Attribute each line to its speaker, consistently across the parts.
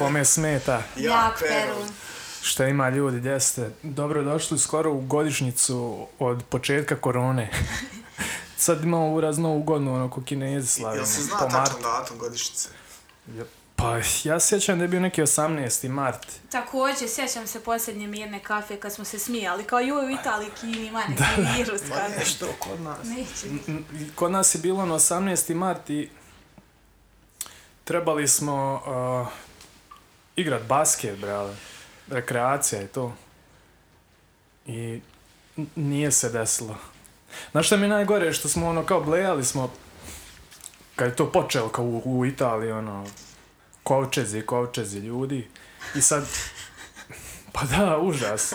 Speaker 1: Oh, mene smeta
Speaker 2: Jak Perun.
Speaker 1: što ima ljudi, jeste. Dobrodošli skoro u godišnjicu od početka korone. Sad imamo ovu razno ugodnu, ono, ko kinezi slavimo.
Speaker 3: Jel se zna
Speaker 1: po martu.
Speaker 3: tačan datum godišnjice?
Speaker 1: Pa, ja se sjećam da je bio neki 18. mart.
Speaker 2: Također, sjećam se posljednje mirne kafe kad smo se smijali, kao joj u Italiji, Kini, ima neki virus.
Speaker 3: Pa
Speaker 1: E,
Speaker 2: kao-
Speaker 3: nešto kod nas.
Speaker 2: Neće.
Speaker 1: N- Kod nas je bilo na 18. mart i trebali smo uh, igrat basket, brale. Rekreacija je to. I n- nije se desilo. Znaš šta mi je najgore? Što smo ono kao blejali smo kad je to počelo kao u, u Italiji ono kovčezi, kovčezi ljudi i sad pa da, užas.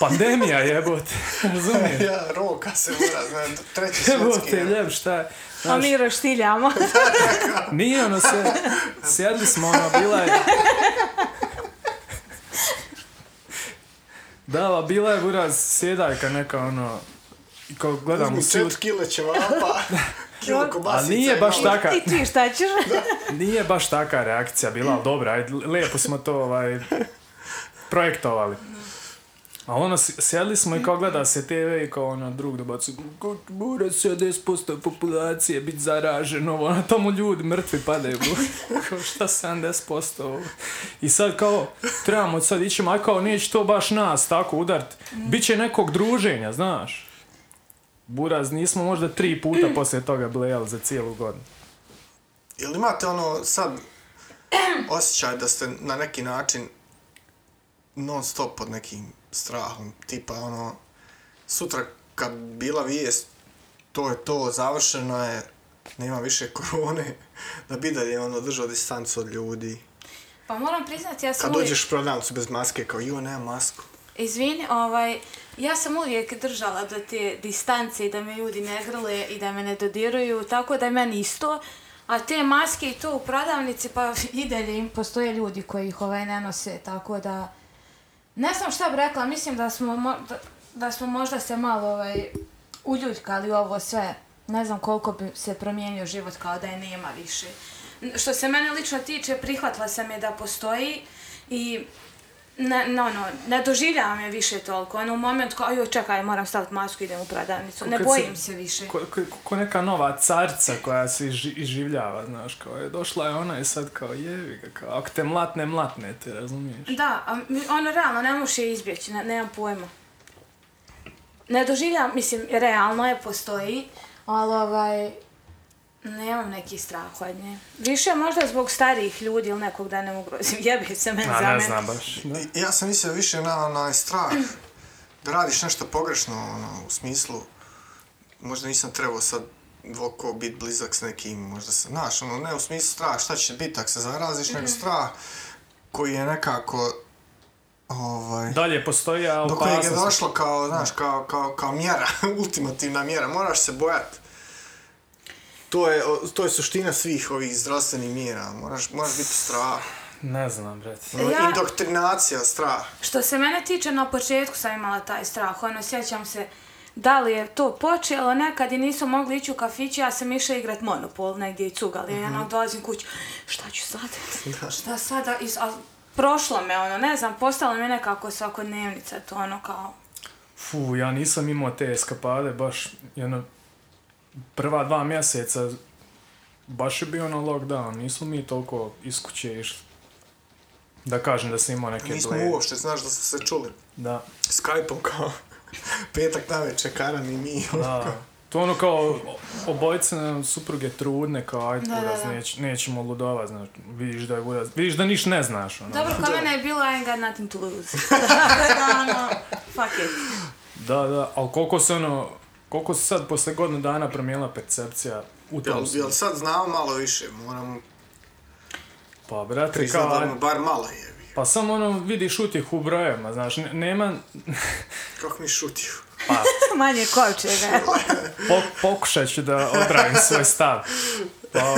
Speaker 1: Pandemija jebote, razumiješ?
Speaker 3: Ja, roka se mora, znam, treći
Speaker 1: Evo
Speaker 3: svjetski.
Speaker 1: te, ljep, šta je?
Speaker 2: A
Speaker 1: Znaš,
Speaker 2: Pa mi roštiljamo.
Speaker 1: nije ono se, sjedli smo, ono, bila je... Da, ali bila je buraz sjedaljka neka, ono, i kao gledam u
Speaker 3: Uzmu
Speaker 1: svi,
Speaker 3: čet kile ćevapa, kilo kobasica.
Speaker 1: A nije baš
Speaker 3: i malo-
Speaker 1: tako. Čaka.
Speaker 2: I ti šta ćeš?
Speaker 1: nije baš taka reakcija bila, ali dobra, ajde, lijepo smo to, ovaj, projektovali. A ono, s- sjedli smo i kao gleda se TV i kao ono, drug dobacu, mora 70% populacije biti zaraženo, ovo, ono, tamo ljudi mrtvi padaju, bro. kao šta 70% ovo. I sad kao, trebamo sad ići, a kao neće to baš nas tako udart, bit će nekog druženja, znaš. Buraz, nismo možda tri puta poslije toga blejali za cijelu godinu.
Speaker 3: Jel imate ono sad osjećaj da ste na neki način non stop pod nekim strahom, tipa ono sutra kad bila vijest to je to, završeno je, nema više korone, da bi dalje ono držao distancu od ljudi.
Speaker 2: Pa moram priznati, ja sam
Speaker 3: Kad
Speaker 2: uvijek-
Speaker 3: dođeš u prodavnicu bez maske, kao jo, nema masku.
Speaker 2: Izvini, ovaj, ja sam uvijek držala do te distance i da me ljudi ne grle i da me ne dodiruju, tako da je meni isto. A te maske i to u prodavnici, pa i dalje im postoje ljudi koji ih ovaj ne nose, tako da... Ne znam šta bi rekla, mislim da smo, mo- da, da smo možda se malo ovaj, uljuljkali u ovo sve. Ne znam koliko bi se promijenio život kao da je nema više. N- Što se mene lično tiče, prihvatila sam je da postoji i ne, no, no, ne doživljavam je više toliko. Ono, u moment kao, joj, čekaj, moram staviti masku, idem u prodavnicu. Ne
Speaker 1: Kad
Speaker 2: bojim se više.
Speaker 1: Ko, ko, ko neka nova carca koja se iži- iživljava, znaš, kao je, došla je ona i sad kao jevi ga, kao, ako te mlatne, mlatne te, razumiješ?
Speaker 2: Da, a mi- ono, realno, ne možeš je izbjeći, ne, nemam pojma. Ne doživljavam, mislim, realno je, postoji, ali ovaj, nemam neki strah od nje. Više možda zbog starijih ljudi ili nekog da ne ugrozim, jebi se meni za
Speaker 1: A ne
Speaker 2: mene.
Speaker 1: znam baš. Da.
Speaker 3: I- Ja sam mislio više na onaj strah da radiš nešto pogrešno, ono, u smislu, možda nisam trebao sad dvoko biti blizak s nekim, možda se, znaš, ono, ne u smislu strah, šta će biti ako se zaraziš, nego strah koji je nekako, ovaj,
Speaker 1: Dalje postoji a
Speaker 3: do kojeg je
Speaker 1: opasnost-
Speaker 3: došlo kao, znaš, kao, kao, kao mjera, ultimativna mjera, moraš se bojati. To je, o- to je suština svih ovih zdravstvenih mjera, moraš, moraš biti strah.
Speaker 1: Ne znam, bret.
Speaker 3: Ono,
Speaker 2: Ja-
Speaker 3: Indoktrinacija, strah.
Speaker 2: Što se mene tiče, na početku sam imala taj strah, ono, sjećam se da li je to počelo nekad i nisu mogli ići u kafić, ja sam išla igrat monopol negdje i cugali,
Speaker 1: Mhm.
Speaker 2: mm ono, dolazim kući, šta ću sad, šta sada, I, s- a, prošlo me, ono, ne znam, postalo mi je nekako svakodnevnica, to ono, kao,
Speaker 1: Fu, ja nisam imao te eskapade, baš, jedno, prva dva mjeseca, baš je bio ono lockdown, nismo mi toliko iz kuće išli. Da kažem da sam imao neke
Speaker 3: Nismo
Speaker 1: bleje.
Speaker 3: uopšte, znaš da smo se čuli.
Speaker 1: Da.
Speaker 3: Skype-om kao petak navečer, Karan i mi.
Speaker 1: Da. To ono kao, obojice nam supruge trudne, kao ajde
Speaker 2: Da, da,
Speaker 1: buraz,
Speaker 2: da.
Speaker 1: neć- nećemo ludovat, znaš, vidiš da je buraz, vidiš da niš ne znaš, ono.
Speaker 2: dobro, kod
Speaker 3: Da.
Speaker 2: mene je bilo I'm got nothing to lose, Tako da, ono, fuck it.
Speaker 1: Da, da, ali koliko se ono, koliko se sad posle godinu dana promijenila percepcija u tom
Speaker 3: Jel, jel
Speaker 1: smislu.
Speaker 3: sad znamo malo više, moram
Speaker 1: Pa, brate,
Speaker 3: priznat
Speaker 1: kao,
Speaker 3: da mu bar malo je.
Speaker 1: pa samo ono vidiš utjeh u brojevima, znaš, ne- nema,
Speaker 3: Kako mi šutio.
Speaker 2: Manje kovčega.
Speaker 1: po, pokušat ću da odbravim svoj stav. Pa,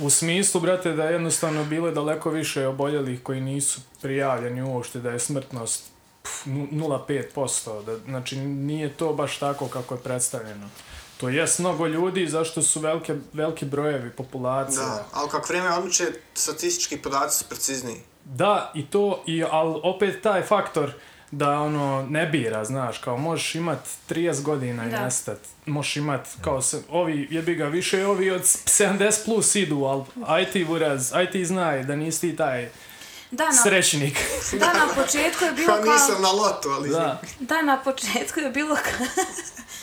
Speaker 1: u- u smislu, brate, da je jednostavno bilo daleko više oboljelih koji nisu prijavljeni uopšte, da je smrtnost pf, nu- 0,5%. Da, znači, nije to baš tako kako je predstavljeno. To jest mnogo ljudi, zašto su velike, veliki brojevi populacije.
Speaker 3: Da, ali kako vrijeme odmiče, statistički podaci su precizniji.
Speaker 1: Da, i to, i, ali opet taj faktor da ono ne bira, znaš, kao možeš imat 30 godina i
Speaker 2: Da.
Speaker 1: nestat, možeš imat kao se, ovi jebi ga više, ovi od 70 plus idu, ali aj ti buraz, aj ti znaj da nisi ti taj
Speaker 2: Da, na,
Speaker 1: srećnik.
Speaker 2: da, na početku je bilo
Speaker 3: Pa
Speaker 2: kao...
Speaker 3: nisam na lotu, ali...
Speaker 1: da.
Speaker 2: Da, na početku je bilo kao...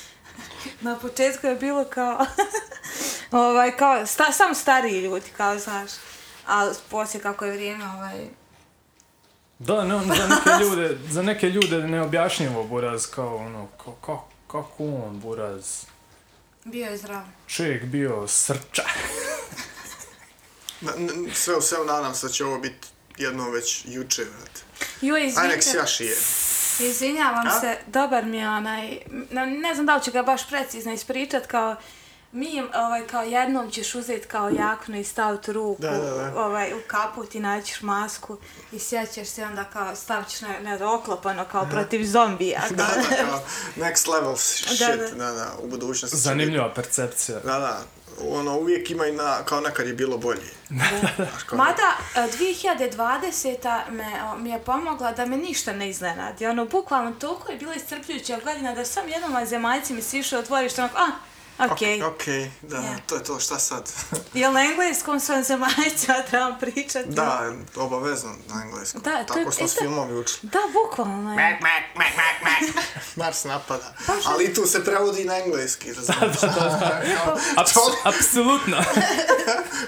Speaker 2: na početku je bilo kao... ovaj, kao sta, sam stariji ljudi, kao, znaš. Ali poslije kako je vrijeme, ovaj...
Speaker 1: Da, ne, on za neke ljude, za neke ljude neobjašnjivo buraz, kao ono, kao, kao, kako on buraz,
Speaker 2: Bio je zdrav.
Speaker 1: čovjek bio srča.
Speaker 3: Na- n- Sve u svemu nadam se da će ovo biti jednom već juče, vrate.
Speaker 2: Jo,
Speaker 3: Aj nek se
Speaker 2: izvinite,
Speaker 3: ja šijem.
Speaker 2: izvinjavam
Speaker 3: A?
Speaker 2: se, dobar mi je onaj, ne, ne znam da li ću ga baš precizno ispričat, kao, mi ovaj, kao jednom ćeš uzeti kao jaknu i staviti ruku
Speaker 3: Da, da, da.
Speaker 2: Ovaj, u kaput i naćiš masku i sjećaš se onda kao stavit ćeš ne, ne, oklopano kao protiv zombija.
Speaker 3: Da,
Speaker 2: kao.
Speaker 3: da, kao next level shit,
Speaker 2: Da,
Speaker 3: da,
Speaker 2: da.
Speaker 3: da, u budućnosti. će
Speaker 1: Zanimljiva percepcija.
Speaker 3: biti- Da, da, ono, uvijek ima i na, kao nekad je bilo bolje. Znaš, kao-
Speaker 2: Mada e, 2020. Me, o, mi je pomogla da me ništa ne iznenadi. Ono, bukvalno toliko je bila iscrpljujuća godina da sam jednom azemaljci mi sišao otvoriš onako, a, okej.
Speaker 3: Ok, da,
Speaker 2: Ja.
Speaker 3: to je to, šta sad?
Speaker 2: Jel na engleskom sam zemaljca trebam pričati?
Speaker 3: da, obavezno na engleskom.
Speaker 2: Da, to je-
Speaker 3: Tako smo
Speaker 2: e,
Speaker 3: s
Speaker 2: da.
Speaker 3: filmovi učili.
Speaker 2: Da, bukvalno je.
Speaker 3: Mars napada.
Speaker 2: Pa
Speaker 3: Ali i tu se prevodi na engleski, razumiješ?
Speaker 1: Aps, apsolutno.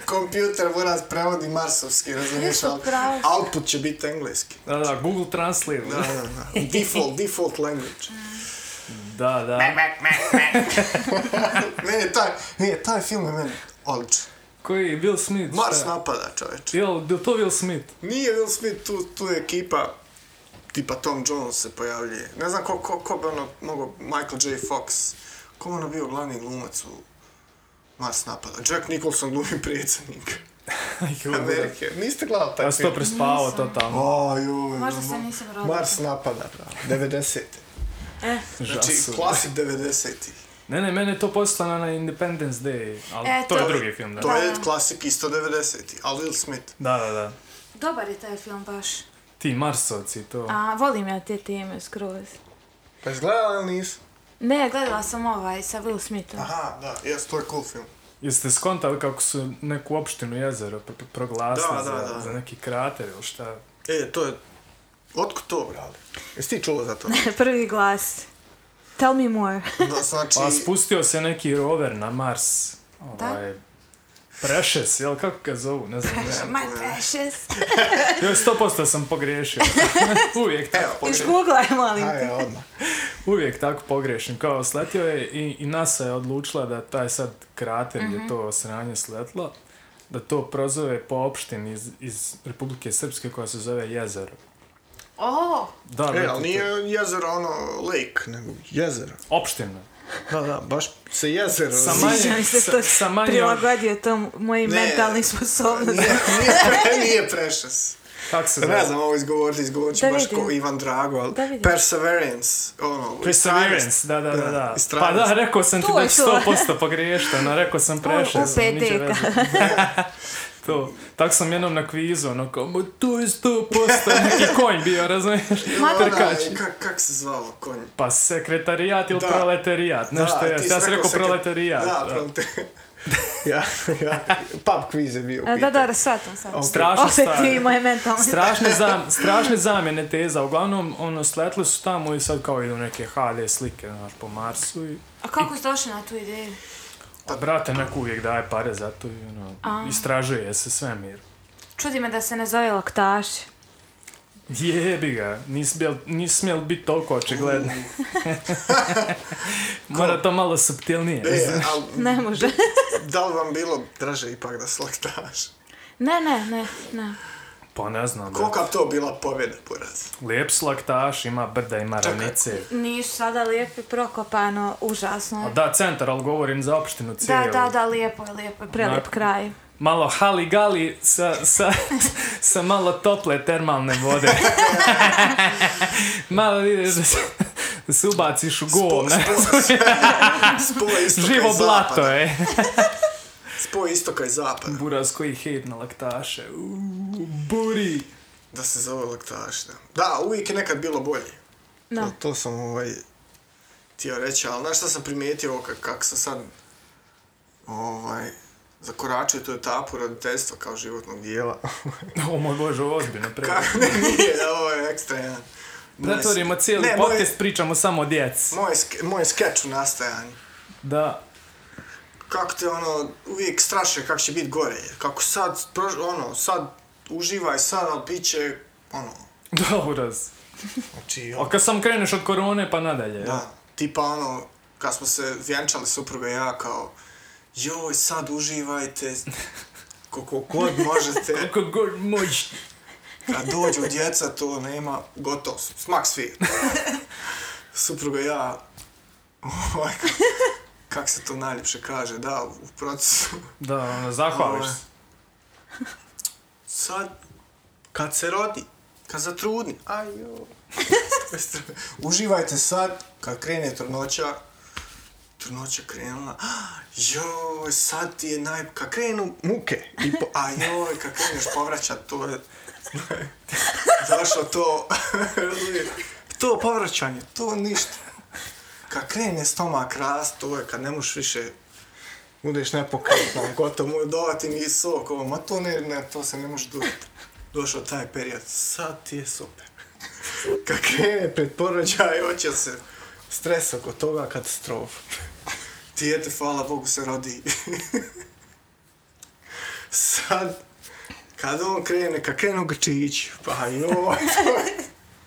Speaker 3: Kompjuter mora prevodi marsovski, razumiješ?
Speaker 2: Jesu,
Speaker 3: Ali
Speaker 2: pravo si.
Speaker 3: output će biti engleski.
Speaker 1: Da, da, Google Translate.
Speaker 3: Da, da, da. Default, default language.
Speaker 1: Da, da.
Speaker 3: Meni taj, nije, taj film je meni odličan.
Speaker 1: Koji je Will Smith?
Speaker 3: Mars
Speaker 1: šta?
Speaker 3: napada, čoveče.
Speaker 1: Jel, bil to Will Smith?
Speaker 3: Nije Will Smith tu, tu je ekipa tipa Tom Jones se pojavljuje. Ne znam ko, ko, ko bi ono mogo, Michael J. Fox. Ko bi ono bio glavni glumac u Mars napada? Jack Nicholson glumi predsjednika Amerike. Niste gledali taj
Speaker 1: Ja sam to
Speaker 3: film?
Speaker 1: prespavao totalno.
Speaker 3: O, joj,
Speaker 2: Možda
Speaker 3: ma-
Speaker 2: se nisam rodila.
Speaker 3: Mars napada, bravo. 90.
Speaker 2: E,
Speaker 3: Znači,
Speaker 1: Žasu.
Speaker 3: klasik 90.
Speaker 1: Ne, ne, mene je to postalo na Independence Day, ali
Speaker 2: E,
Speaker 1: to je
Speaker 2: to-
Speaker 1: drugi film, da.
Speaker 3: To je klasik isto 90. Ali Will Smith.
Speaker 1: Da, da, da.
Speaker 2: dobar je taj film baš.
Speaker 1: Ti Marsovci, to.
Speaker 2: A, volim ja te teme skroz.
Speaker 3: Pa izgledala ili nisu?
Speaker 2: Ne, gledala sam ovaj sa Will Smithom.
Speaker 1: Ah.
Speaker 3: Aha, da, jes, to je cool film.
Speaker 1: Jeste skontali kako su neku opštinu jezero pro- pro- proglasili
Speaker 3: Da, da,
Speaker 1: za,
Speaker 3: da.
Speaker 1: za neki krater ili šta?
Speaker 3: E, to je... Otko to, brale? Jesi ti čula za to?
Speaker 2: Prvi glas. Tell me more.
Speaker 3: Da, znači...
Speaker 1: Pa spustio se neki rover na Mars. Ovaj, Precious, jel kako ga zovu, ne znam. Ne.
Speaker 2: My precious.
Speaker 1: Joj, 100% sam pogriješio. uvijek tako,
Speaker 3: Evo, počeli.
Speaker 2: Izgooglaj, molim te.
Speaker 3: Ajde, odmah.
Speaker 1: uvijek tako pogrešim. Kao, sletio je i, i NASA je odlučila da taj sad krater gdje
Speaker 2: Mhm.
Speaker 1: je to sranje sletlo, da to prozove po opštini iz, iz Republike Srpske koja se zove Jezero.
Speaker 2: O,
Speaker 1: Da,
Speaker 3: E,
Speaker 1: brate, to-
Speaker 3: ali nije jezero ono lake, nego jezero.
Speaker 1: Opština.
Speaker 3: Da, da, baš se jezero...
Speaker 1: Sa
Speaker 3: zove.
Speaker 1: manje-
Speaker 2: sviđam se što
Speaker 1: sa- sa
Speaker 2: si
Speaker 1: manje-
Speaker 2: prilagodio tom mojim
Speaker 3: Ne.
Speaker 2: mentalnim sposobnostima.
Speaker 3: Nije, nije, pre, nije precious.
Speaker 1: Kako se
Speaker 3: Ne
Speaker 1: zove?
Speaker 3: znam ovo izgovoriti, izgovorit ću
Speaker 2: Da
Speaker 3: baš
Speaker 2: vidim.
Speaker 3: ko Ivan Drago, ali
Speaker 2: Da vidim.
Speaker 3: Perseverance, ono...
Speaker 1: Perseverance, da, da, da, da. Pa
Speaker 3: istrajnost.
Speaker 1: da, rekao sam ti
Speaker 2: To
Speaker 1: da
Speaker 2: je
Speaker 1: ću
Speaker 2: to.
Speaker 1: 100% pogriješteno, rekao sam
Speaker 2: U- u
Speaker 1: prešao sam, niđe
Speaker 2: petek.
Speaker 1: veze. to, tak sam jednom na kvizu, ono kao, "Ma, to je 100%, neki konj bio, razumiješ? Trkač.
Speaker 3: Kak, kak se zvalo, konj?
Speaker 1: Pa sekretarijat ili
Speaker 3: Da.
Speaker 1: proletarijat, nešto
Speaker 3: Da,
Speaker 1: je,
Speaker 3: ti
Speaker 1: ja sam rekao
Speaker 3: sekre-
Speaker 1: proletarijat.
Speaker 3: Da,
Speaker 1: da.
Speaker 3: proletarijat. ja, ja, pub quiz je bio u
Speaker 2: A, E, Da,
Speaker 3: pitanju.
Speaker 2: da, shvatam sad.
Speaker 1: Strašno
Speaker 2: Opet
Speaker 1: stari.
Speaker 2: ti i moje mentalne.
Speaker 1: strašne, zam, strašne zamjene teza. Uglavnom, ono, sletli su tamo i sad kao idu neke HD slike, znaš, po Marsu i...
Speaker 2: A kako si došla na tu ideju?
Speaker 1: Pa, brate, neko uvijek daje pare za to i, ono, istražuje se svemir.
Speaker 2: Čudi me da se ne zove laktaš.
Speaker 1: Jebi ga, nisi, bijel, nisi smjel biti toliko očigledni. Mora to malo subtilnije.
Speaker 3: E, ali
Speaker 2: Ne
Speaker 1: Mm.
Speaker 2: može.
Speaker 3: da li vam bilo draže ipak da slaktaš?
Speaker 2: ne, ne, ne, ne.
Speaker 1: Pa ne znam, brate.
Speaker 3: Kolika bi to bila pobjeda, poraz?
Speaker 1: Lijep slaktaš, ima brda, ima ravnice.
Speaker 2: Nisu sada lijepi, prokopano, užasno.
Speaker 1: A Da, centar, ali govorim za opštinu
Speaker 2: Da,
Speaker 1: cijelu.
Speaker 2: da, da, lijepo je, lijepo je, prelijep
Speaker 1: Da.
Speaker 2: kraj.
Speaker 1: Malo hali-gali sa, sa, sa malo tople termalne vode. malo ideš da se, da se ubaciš u gol. ne?
Speaker 3: Spoj istoka
Speaker 1: Živo
Speaker 3: i zapada.
Speaker 1: blato e. je.
Speaker 3: Spoj istoka i zapada.
Speaker 1: Buraz koji hejt na laktaše. Uuu, buri.
Speaker 3: da se zove laktaš. Da. da, uvijek je nekad bilo bolje.
Speaker 2: Da.
Speaker 3: To, to sam ovaj, htio reći, ali znaš šta sam primijetio ovo kak, kak sam sad ovaj, zakoračio tu etapu roditeljstva kao životnog dijela.
Speaker 1: O moj bože, ovo je ozbiljno pre.
Speaker 3: Kako ne nije, ovo je ekstra jedan. moj
Speaker 1: Pretvorimo
Speaker 3: ske-
Speaker 1: cijeli
Speaker 3: ne,
Speaker 1: podcast, pričamo samo o djeci.
Speaker 3: Moj, moj, ske- moj skeč u nastajanju.
Speaker 1: Da.
Speaker 3: kako te ono, uvijek straše kako će biti gore. Kako sad, prož- ono, sad uživaj sad, ali bit će, ono,
Speaker 1: Dobro.
Speaker 3: znači,
Speaker 1: A kad sam kreneš od korone pa nadalje. jel?
Speaker 3: da, tipa ono, kad smo se vjenčali supruga i ja kao, joj, sad uživajte, koliko god možete,
Speaker 1: Kako god možeš.
Speaker 3: kad dođu djeca, to nema, gotovo, smak svi. supruga i ja, ovaj, kak, kak se to najljepše kaže, da, u procesu.
Speaker 1: Da, ono, zahvališ
Speaker 3: Ovaj,
Speaker 1: se.
Speaker 3: Sad, kad se rodi, kad zatrudni, ajo. Uživajte sad, kad krene trudnoća, trudnoća krenula, joj, sad ti je naj... Kad krenu muke, i po... a joj, kad kreneš povraćat, to je... Zašto to... razumiješ? to povraćanje, to ništa. Kad krene stomak rast, to je kad ne možeš više budeš nepokretna, gotovo mu dovati mi sok, ovo, ma to ne, ne, to se ne može dobiti. Došao taj period, sad ti je super. Kad krene pred porođaj, hoće se stres oko toga katastrofa. Dijete, hvala Bogu, se rodi. sad, kad on krene, kad krenu gačići, pa joj,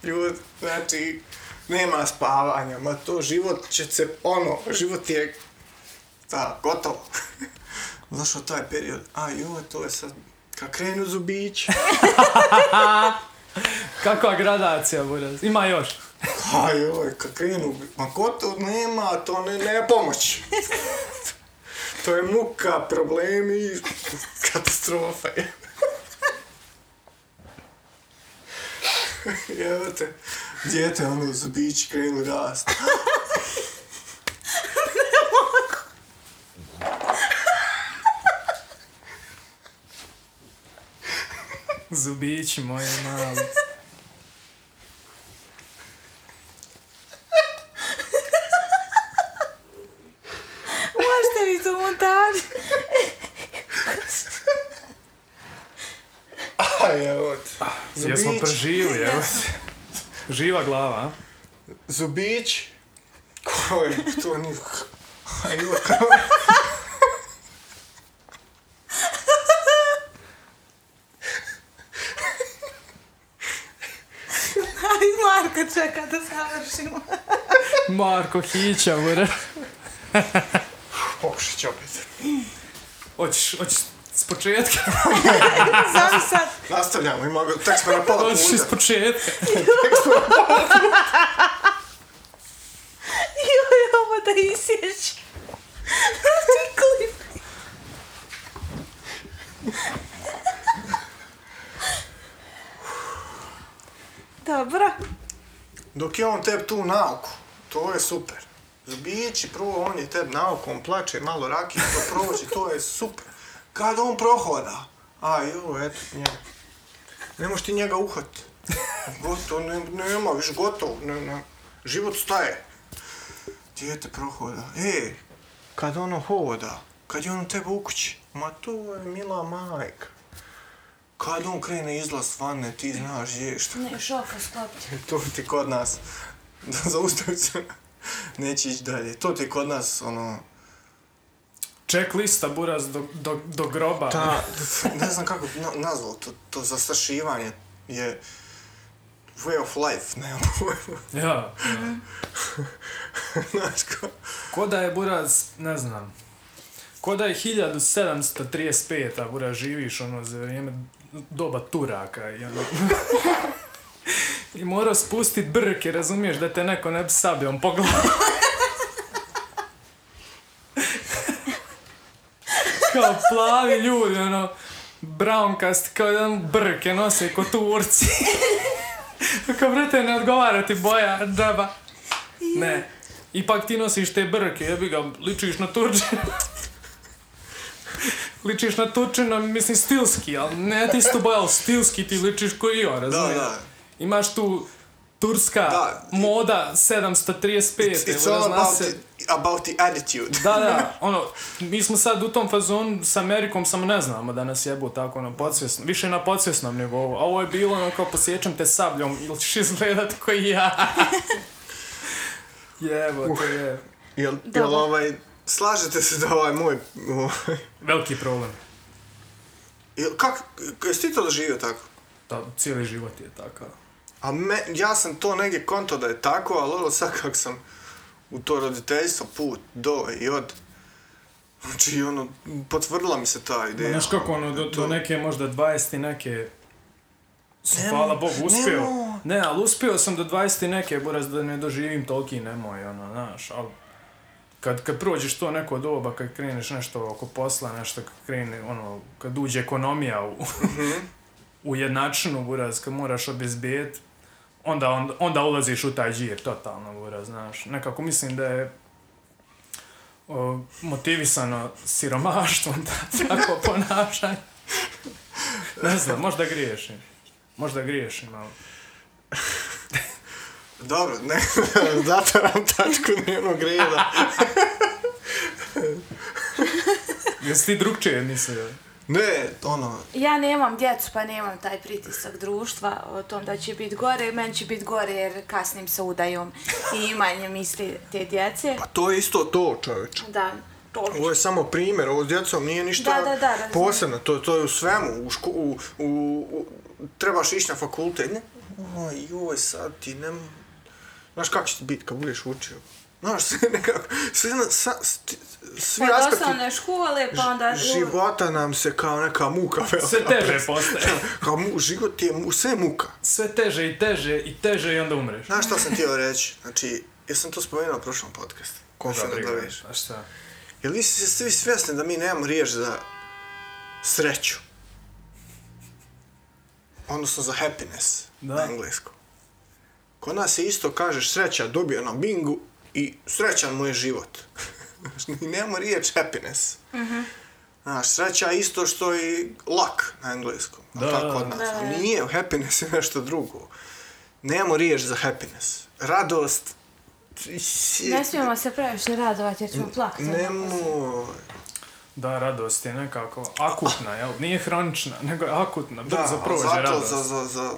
Speaker 3: Ljud, znači, nema spavanja, ma to život će se, ono, život je da, gotovo. Zašao taj period, a joj, to je sad, kad krenu zubić,
Speaker 1: Kakva gradacija, Buraz? Ima još.
Speaker 3: a joj, kad krenu, ma gotovo nema, to ne, ne pomoć. To je muka, problemi, katastrofa je. Evo te, djete ono zubići krenu rast.
Speaker 1: Zubići moje mali.
Speaker 2: Možete mi to montaži?
Speaker 3: A evo te,
Speaker 1: Jesmo
Speaker 3: zubić,
Speaker 1: preživili, evo se. Živa glava, a?
Speaker 3: zubić, koje, to nije, a joj,
Speaker 2: Ali Marko čeka da završimo.
Speaker 1: Marko Hića, Buraz.
Speaker 3: pokušat ću opet.
Speaker 1: Hoćeš, hoćeš s početka?
Speaker 2: Znam sad.
Speaker 3: Nastavljamo, ima go, tek smo na tak pola
Speaker 1: Hoćeš
Speaker 3: puta.
Speaker 1: s početka?
Speaker 2: Joj, ovo da isješ. Ti klip. Dobro.
Speaker 3: Dok je on tebi tu nauku, to je super. Zbići, prvo on je tebi naukom, plače malo raki, to prođe, to je super. Kad on prohoda, a jo, eto, njega. Ne možeš ti njega uhvat. Gotovo, ne, nema, viš gotovo, ne, ne. Život staje. Dijete prohoda, e, kad ono hoda, kad je on tebe u kući, ma to je mila majka. Kad on krene izlaz vane, ti znaš je šta.
Speaker 2: Ne, šoka sklopiti.
Speaker 3: To ti kod nas, da zaustavim se, neće ići dalje. To ti kod nas, ono,
Speaker 1: Checklista, Buraz, do, do, do groba.
Speaker 3: ta, ne znam kako bi na, nazvao, to, to zastrašivanje je way of life, nemam pojma.
Speaker 1: Ja. ja.
Speaker 3: Znaš kao,
Speaker 1: Ko da je Buraz, ne znam, ko da je 1735, a Buraz živiš ono za vrijeme doba Turaka i ono... I morao spustit brke, razumiješ, da te neko ne bi sabljom po glavi. kao plavi ljudi, ono, browncast, kao jedan brke nose ko Turci. kao, brate, ne odgovara ti boja draba. Ne. Ipak ti nosiš te brke, jebi ga, ličiš na turče. ličiš na tučena, mislim, stilski, ali ne ti isto boja, ali stilski ti ličiš koji ja,
Speaker 3: Da,
Speaker 1: razumiješ?
Speaker 3: da.
Speaker 1: Imaš tu turska
Speaker 3: Da.
Speaker 1: moda 735,
Speaker 3: It's, it's
Speaker 1: evo,
Speaker 3: all
Speaker 1: zna
Speaker 3: about,
Speaker 1: se-
Speaker 3: the, about the attitude.
Speaker 1: Da, da, ono, mi smo sad u tom fazonu s Amerikom, samo ne znamo da nas jebu tako na podsvjesnom, više na podsvjesnom nivou. A Ovo je bilo ono kao posjećam te sabljom ili ćeš izgledat koji ja. Jebo, to je
Speaker 3: Jel,
Speaker 2: Da,
Speaker 3: jel
Speaker 2: da.
Speaker 3: ovaj, slažete se da ovaj moj... Ovaj,
Speaker 1: veliki problem.
Speaker 3: jel, kak, k- jesi ti to doživio tako?
Speaker 1: Da, cijeli život je takav.
Speaker 3: A me, ja sam to negdje konto da je tako, ali ovo sad kak sam u to roditeljstvo put do i od. Znači, ono, potvrdila mi se ta ideja.
Speaker 1: Znaš kako, ono, do, do
Speaker 3: To-
Speaker 1: neke možda 20 i neke su,
Speaker 3: Nemo,
Speaker 1: hvala Bogu, uspio.
Speaker 3: nemo.
Speaker 1: Ne, ali uspio sam do 20 i neke, buraz da ne doživim toliki nemoj, ono, znaš, ali kad, kad prođeš to neko doba, kad kreneš nešto oko posla, nešto kad krene, ono, kad uđe ekonomija u, u jednačinu, buraz, kad moraš obezbijet, onda, onda, onda ulaziš u taj džir, totalno, buraz, znaš. Nekako mislim da je o, motivisano siromaštvom ta, tako ponašanje. Ne znam, možda griješim. Možda griješim, ali...
Speaker 3: Dobro, ne, zataram tačku dnevnog reda.
Speaker 1: Jesi ti drugčije mislio?
Speaker 3: Ne, ono,
Speaker 2: Ja nemam djecu, pa nemam taj pritisak društva o tom da će biti gore. Meni će biti gore jer kasnim sa udajom i imanjem misli te djece.
Speaker 3: pa to je isto to, čovječe.
Speaker 2: Da, to
Speaker 3: Ovo je samo primjer, ovo s djecom nije ništa
Speaker 2: Da, da, da, razumijem.
Speaker 3: posebno, to, to je u svemu, u ško, u, u, u, trebaš ići na fakultet, ne, oj, joj, sad ti ne, mo- znaš kako će ti biti kad budeš učio, znaš, sve nekako, sve, na- sa, sti- svi
Speaker 2: Pa od
Speaker 3: aspekti
Speaker 2: osnovne škole, pa onda...
Speaker 3: ž- života nam se kao neka muka, vela,
Speaker 1: Sve teže postaje.
Speaker 3: kao mu, život je, mu, sve je muka.
Speaker 1: Sve teže i teže i teže i onda umreš.
Speaker 3: Znaš šta sam htio reći, znači, ja sam to spomenuo u prošlom podcastu, koga
Speaker 1: Šta
Speaker 3: se
Speaker 1: briga,
Speaker 3: nadoveš.
Speaker 1: A šta?
Speaker 3: Jel vi ste svi svjesni da mi nemamo riječ za sreću? Odnosno za happiness
Speaker 1: Da.
Speaker 3: na engleskom. Kod nas je isto kažeš sreća dobio na bingu i srećan mu je život. Znaš, Mi nemamo riječ happiness.
Speaker 2: Mhm.
Speaker 3: Znaš, sreća je isto što i luck na engleskom.
Speaker 1: Da,
Speaker 3: Da, tako
Speaker 1: da,
Speaker 3: od nas.
Speaker 2: da. Da, da, da.
Speaker 3: A nije, happiness je nešto drugo. Nemamo riječ za happiness. Radost...
Speaker 2: Ne smijemo se previše radovati jer ćemo plakati.
Speaker 3: Nemoj.
Speaker 1: Da, radost je nekako akutna, jel? Nije hronična, nego je akutna.
Speaker 3: Da,
Speaker 1: Brzo
Speaker 3: a
Speaker 1: prođe
Speaker 3: zato
Speaker 1: radost.
Speaker 3: Za, za, za,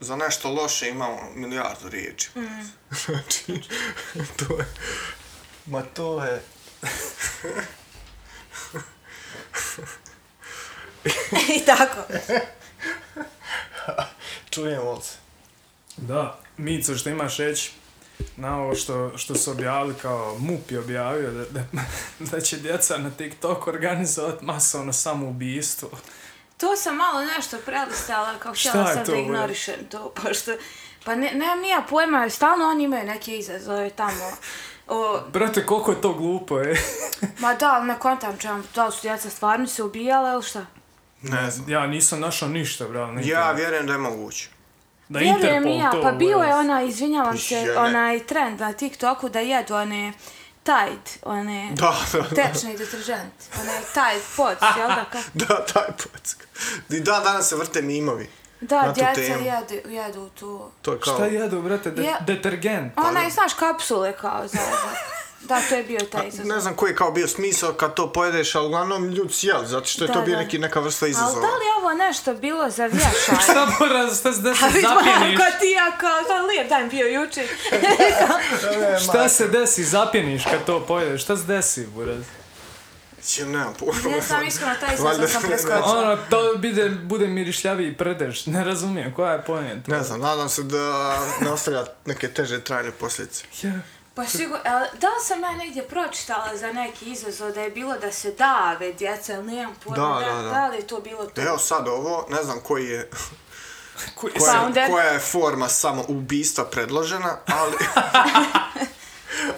Speaker 3: za nešto loše imamo milijardu riječi. Znači, to je... Ma to je...
Speaker 2: I tako.
Speaker 3: Čujemo se.
Speaker 1: Da, Mico, što imaš reći na ovo što, što su objavili, kao MUP je objavio da, da, da će djeca na TikTok organizovati masovno samoubistvo.
Speaker 2: To sam malo nešto prelistala, kao
Speaker 1: Šta
Speaker 2: htjela
Speaker 1: je
Speaker 2: sam
Speaker 1: to,
Speaker 2: da
Speaker 1: bre?
Speaker 2: ignorišem to, pošto... Pa ne, nemam nija pojma, stalno oni imaju neke izazove tamo. O,
Speaker 1: Brate, koliko je to glupo, e? je?
Speaker 2: ma da, ali ne kontam čemu, da li su djeca stvarno se ubijala ili šta?
Speaker 3: Ne znam.
Speaker 1: Ja nisam našao ništa, bravo. na
Speaker 3: Ja
Speaker 1: internetu.
Speaker 3: vjerujem da je moguće.
Speaker 1: da
Speaker 2: Vjerujem
Speaker 1: Interpol
Speaker 2: i ja,
Speaker 1: to
Speaker 2: pa bio je
Speaker 1: uvede.
Speaker 2: ona, izvinjavam se,
Speaker 3: Žene.
Speaker 2: onaj trend na TikToku da jedu one Tide, one
Speaker 3: Da, da, da.
Speaker 2: tečni deteržent, onaj Tide pods, jel da kako?
Speaker 3: Da, taj pock. I da, danas se vrte mimovi.
Speaker 2: Da,
Speaker 3: Na tu
Speaker 2: djeca
Speaker 3: temu.
Speaker 2: jedu, jedu tu.
Speaker 3: To je kao...
Speaker 1: Šta jedu, brate, de
Speaker 2: Ja-
Speaker 1: detergent?
Speaker 3: Pa
Speaker 2: Onaj, znaš, kapsule kao za Da, to je bio taj izazov.
Speaker 3: Pa Ne znam koji je kao bio smisao kad to pojedeš, ali uglavnom ljudi su jeli, zato što je
Speaker 2: Da,
Speaker 3: to bio
Speaker 2: da.
Speaker 3: neki, neka vrsta
Speaker 2: Ali
Speaker 3: izazova.
Speaker 2: da li je ovo nešto bilo za vješanje?
Speaker 1: Šta mora, šta se da se zapjeniš?
Speaker 2: Ko ti ja kao, to je lijep dan bio jučer.
Speaker 1: Šta se desi, zapjeniš kad to pojedeš? Šta se desi, buraz?
Speaker 3: Čim nemam pojma.
Speaker 2: ne znam, iskreno, taj izazov
Speaker 3: Valjda
Speaker 2: sam
Speaker 3: ne
Speaker 2: preskočila.
Speaker 1: Ono, to bude, bude mirišljavi i prdež. Ne razumijem, koja je pojenta?
Speaker 3: Ne znam, nadam se da ne ostavlja neke teže trajne posljedice.
Speaker 1: Ja.
Speaker 2: Pa sigurno, da li sam ja negdje pročitala za neki izazov da je bilo da se dave djeca, ili nemam pojma,
Speaker 3: Da,
Speaker 2: da,
Speaker 3: da, E, da.
Speaker 2: da li je to bilo to?
Speaker 3: Evo sad ovo, ne znam koji je,
Speaker 1: Koji-
Speaker 3: koja,
Speaker 2: Founder.
Speaker 3: je, koja je forma samo ubistva predložena, ali...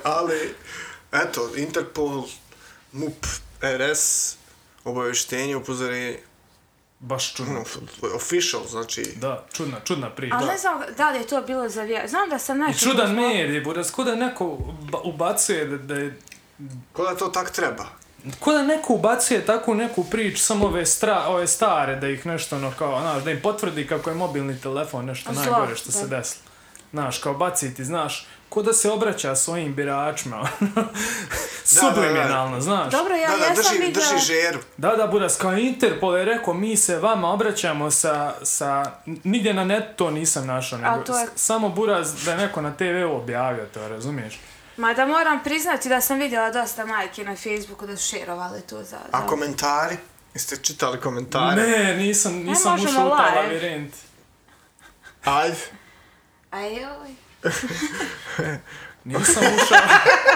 Speaker 3: ali, eto, Interpol, MUP, RS, obavještenje, upozorenje,
Speaker 1: Baš čudno.
Speaker 3: ono, official, znači...
Speaker 1: Da, čudna, čudna priča.
Speaker 2: Ali ne znam da li je to bilo za vješanje. Znam da sam
Speaker 1: I
Speaker 2: nešto...
Speaker 1: čudan medij, buraz, ko da neko ba- ubacuje da, da je...
Speaker 3: Ko da to tak treba?
Speaker 1: Ko da neko ubacuje takvu neku priču, samo ove, stra, ove stare, da ih nešto ono kao, znaš, da im potvrdi kako je mobilni telefon nešto
Speaker 2: Zlo,
Speaker 1: najgore što
Speaker 2: da.
Speaker 1: se desilo. Znaš, kao baciti, znaš, ko da se obraća svojim biračima, ono, subliminalno, znaš.
Speaker 2: Dobro, ja,
Speaker 3: Da, da,
Speaker 2: ja sam
Speaker 3: drži,
Speaker 2: vidjela...
Speaker 3: drži žeru.
Speaker 1: Da, da, Buras, kao Interpol je rekao, mi se vama obraćamo sa, sa nigdje na netu to nisam našao, nego
Speaker 2: to je-
Speaker 1: s- samo Buras da je neko na TV objavio to, razumiješ?
Speaker 2: Mada moram priznati da sam vidjela dosta majke na Facebooku da su šerovale to za... za-
Speaker 3: A komentari? Jeste čitali komentare?
Speaker 1: Ne, nisam, nisam
Speaker 2: možemo
Speaker 1: ušao u taj
Speaker 2: live.
Speaker 1: labirint.
Speaker 3: Ajde.
Speaker 2: A joj.
Speaker 1: Nisam ušao,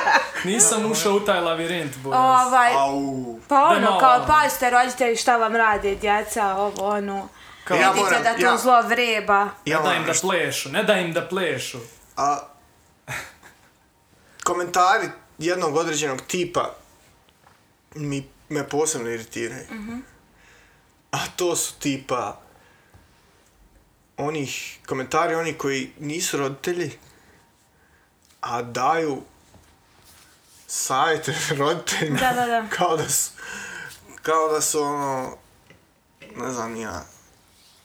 Speaker 1: nisam ušao u taj labirint, Buras.
Speaker 2: Ovaj,
Speaker 3: Au.
Speaker 2: pa ono,
Speaker 1: malo,
Speaker 2: kao
Speaker 1: ono.
Speaker 2: pazite roditelji šta vam rade, djeca, ovo, ono.
Speaker 1: Kao-
Speaker 3: Ja
Speaker 2: Vidite
Speaker 3: moram,
Speaker 2: da to
Speaker 3: ja-
Speaker 2: zlo vreba.
Speaker 1: Ne daj
Speaker 3: Ja
Speaker 1: im
Speaker 3: moram
Speaker 1: da
Speaker 3: nešto.
Speaker 1: plešu, ne daj im da plešu.
Speaker 3: A, komentari jednog određenog tipa mi, me posebno iritiraju.
Speaker 2: Mhm.
Speaker 3: A to su tipa onih komentari, oni koji nisu roditelji, a daju savjete roditeljima.
Speaker 2: Da, da, da.
Speaker 3: Kao da su, kao da su ono, ne znam ni ja,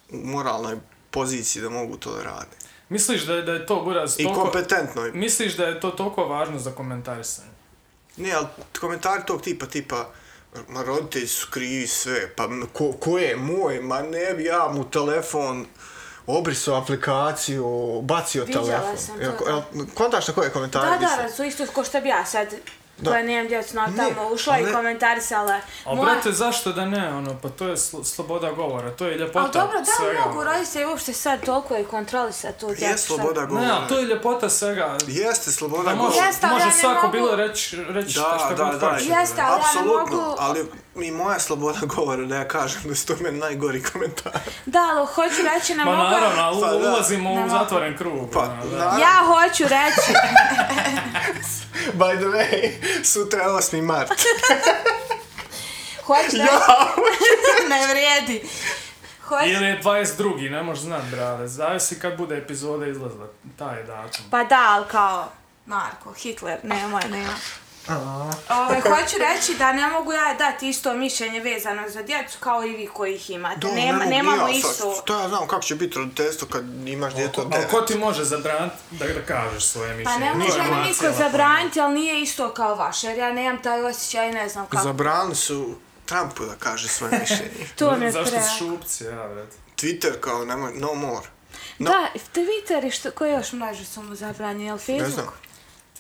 Speaker 3: u moralnoj poziciji da mogu to da rade.
Speaker 1: Misliš da, da je to, Buras,
Speaker 3: I
Speaker 1: toliko...
Speaker 3: kompetentno je.
Speaker 1: Misliš da je to toliko važno za komentarisanje?
Speaker 3: Ne, ali komentari tog tipa, tipa, ma roditelji su krivi sve, pa m- ko, ko je moj, ma ne bi ja mu telefon obrisao aplikaciju, bacio
Speaker 2: Viđala
Speaker 3: telefon.
Speaker 2: sam to,
Speaker 3: Jel,
Speaker 2: da.
Speaker 3: jel, kontaš na koje komentare
Speaker 2: Da,
Speaker 3: mislim?
Speaker 2: da, su isto ko što bi ja sad
Speaker 3: Da.
Speaker 2: koja nemam djecu na
Speaker 3: Ne,
Speaker 2: tamo ušla
Speaker 3: ali-
Speaker 2: i komentarisala.
Speaker 1: A
Speaker 2: Moja-
Speaker 1: brate, zašto da ne, ono, pa to je slo- sloboda govora, to je ljepota
Speaker 2: Ali dobro, da li
Speaker 1: svega,
Speaker 2: mogu
Speaker 1: ono.
Speaker 2: roditelji uopšte sad toliko je kontrolisati tu djecu?
Speaker 3: Je
Speaker 2: šta-
Speaker 3: sloboda
Speaker 1: Ne,
Speaker 3: govora.
Speaker 1: ali to je ljepota svega.
Speaker 3: Jeste sloboda
Speaker 1: Da, može,
Speaker 3: govora.
Speaker 2: Jeste, ali
Speaker 1: može
Speaker 2: ja ne
Speaker 1: svako
Speaker 2: mogu-
Speaker 1: bilo reći reći
Speaker 3: Da,
Speaker 1: šta, šta
Speaker 3: da,
Speaker 1: god
Speaker 3: da,
Speaker 1: hoće.
Speaker 2: Jeste, ali ja ne
Speaker 3: Apsolutno,
Speaker 2: mogu-
Speaker 3: ali i moja sloboda govora da ja kažem da su to meni najgori komentar.
Speaker 2: Da, ali hoću reći, ne
Speaker 1: Ma
Speaker 2: mogu...
Speaker 1: naravno, ali
Speaker 3: Pa da.
Speaker 1: ulazimo
Speaker 2: Ne
Speaker 1: u
Speaker 2: mogu.
Speaker 1: zatvoren krug.
Speaker 3: Pa,
Speaker 1: ono, da.
Speaker 3: naravno.
Speaker 2: Ja hoću reći,
Speaker 3: By the way, sutra je 8. mart.
Speaker 2: hoću reći...
Speaker 3: Ja!
Speaker 2: ne vrijedi. Hoću...
Speaker 1: Ili je 22. ne možeš znat, brale. Zavisi kad bude epizoda izlazila. Taj je datum.
Speaker 2: Pa da, ali kao... Marko, Hitler, nemoj, nema. Ove, hoću reći da ne mogu ja dati isto mišljenje vezano za djecu kao i vi koji ih imate.
Speaker 3: Da, ne
Speaker 2: Nema,
Speaker 3: mogu
Speaker 2: nemamo
Speaker 3: ja sad.
Speaker 2: isto.
Speaker 3: To ja znam kako će biti roditeljstvo kad imaš E, djete od
Speaker 1: Ali
Speaker 3: devet.
Speaker 1: ko ti može zabraniti da, da kažeš svoje
Speaker 2: Pa
Speaker 1: mišljenje?
Speaker 2: ne
Speaker 1: To
Speaker 2: može
Speaker 1: je
Speaker 2: mi
Speaker 1: emocija,
Speaker 2: niko
Speaker 1: ono.
Speaker 2: zabraniti, ali nije isto kao vaše, jer ja nemam taj osjećaj, ne znam kako.
Speaker 3: Zabranili su Trumpu da kaže svoje mišljenje.
Speaker 2: To mi je
Speaker 1: Zašto
Speaker 2: prejako.
Speaker 1: su šupci, ja, brate?
Speaker 3: Twitter kao nemoj, no more. No.
Speaker 2: Da, Twitter i što, koje još mreže su mu zabranjene, jel
Speaker 3: Ne
Speaker 2: Facebook?
Speaker 3: znam.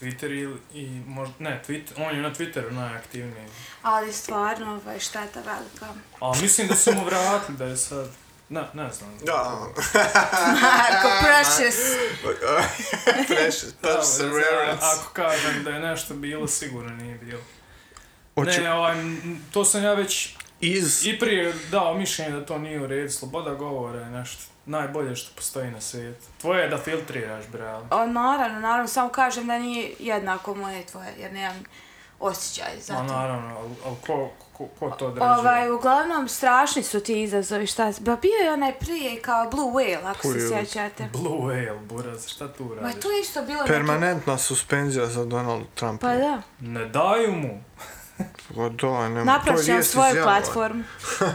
Speaker 1: Twitter ili, i možda, ne, Twitter, on je na Twitteru najaktivniji.
Speaker 2: Ali stvarno, ovaj, šteta velika.
Speaker 1: A mislim da su mu vratili da je sad, ne, ne znam.
Speaker 3: Da.
Speaker 2: Marko, precious!
Speaker 3: Precious.
Speaker 1: Da,
Speaker 3: Perseverance.
Speaker 1: Ako kažem da je nešto bilo, sigurno nije bilo.
Speaker 3: Hoću-
Speaker 1: Ne, ovaj, m, to sam ja već
Speaker 3: Iz...
Speaker 1: i prije dao mišljenje da to nije u redu. Sloboda govora je nešto najbolje što postoji na svijetu. Tvoje je da filtriraš, brale.
Speaker 2: O, naravno, naravno, samo kažem da nije jednako moje i tvoje, jer nemam osjećaj za
Speaker 1: Ma
Speaker 2: to.
Speaker 1: naravno, ali al ko, ko, ko to određuje?
Speaker 2: Ovaj, uglavnom, strašni su ti izazovi, šta... Ba, bio je onaj prije kao Blue Whale, ako
Speaker 3: Koji
Speaker 2: se
Speaker 3: je?
Speaker 2: sjećate.
Speaker 1: Blue whale, buraz, šta tu
Speaker 2: Ma
Speaker 1: radiš?
Speaker 2: to je isto bilo... neki-
Speaker 3: Permanentna suspenzija za Donald Trumpa.
Speaker 2: Pa da,
Speaker 1: Ne daju mu.
Speaker 3: Pa da, nema.
Speaker 2: napravljam svoju platformu.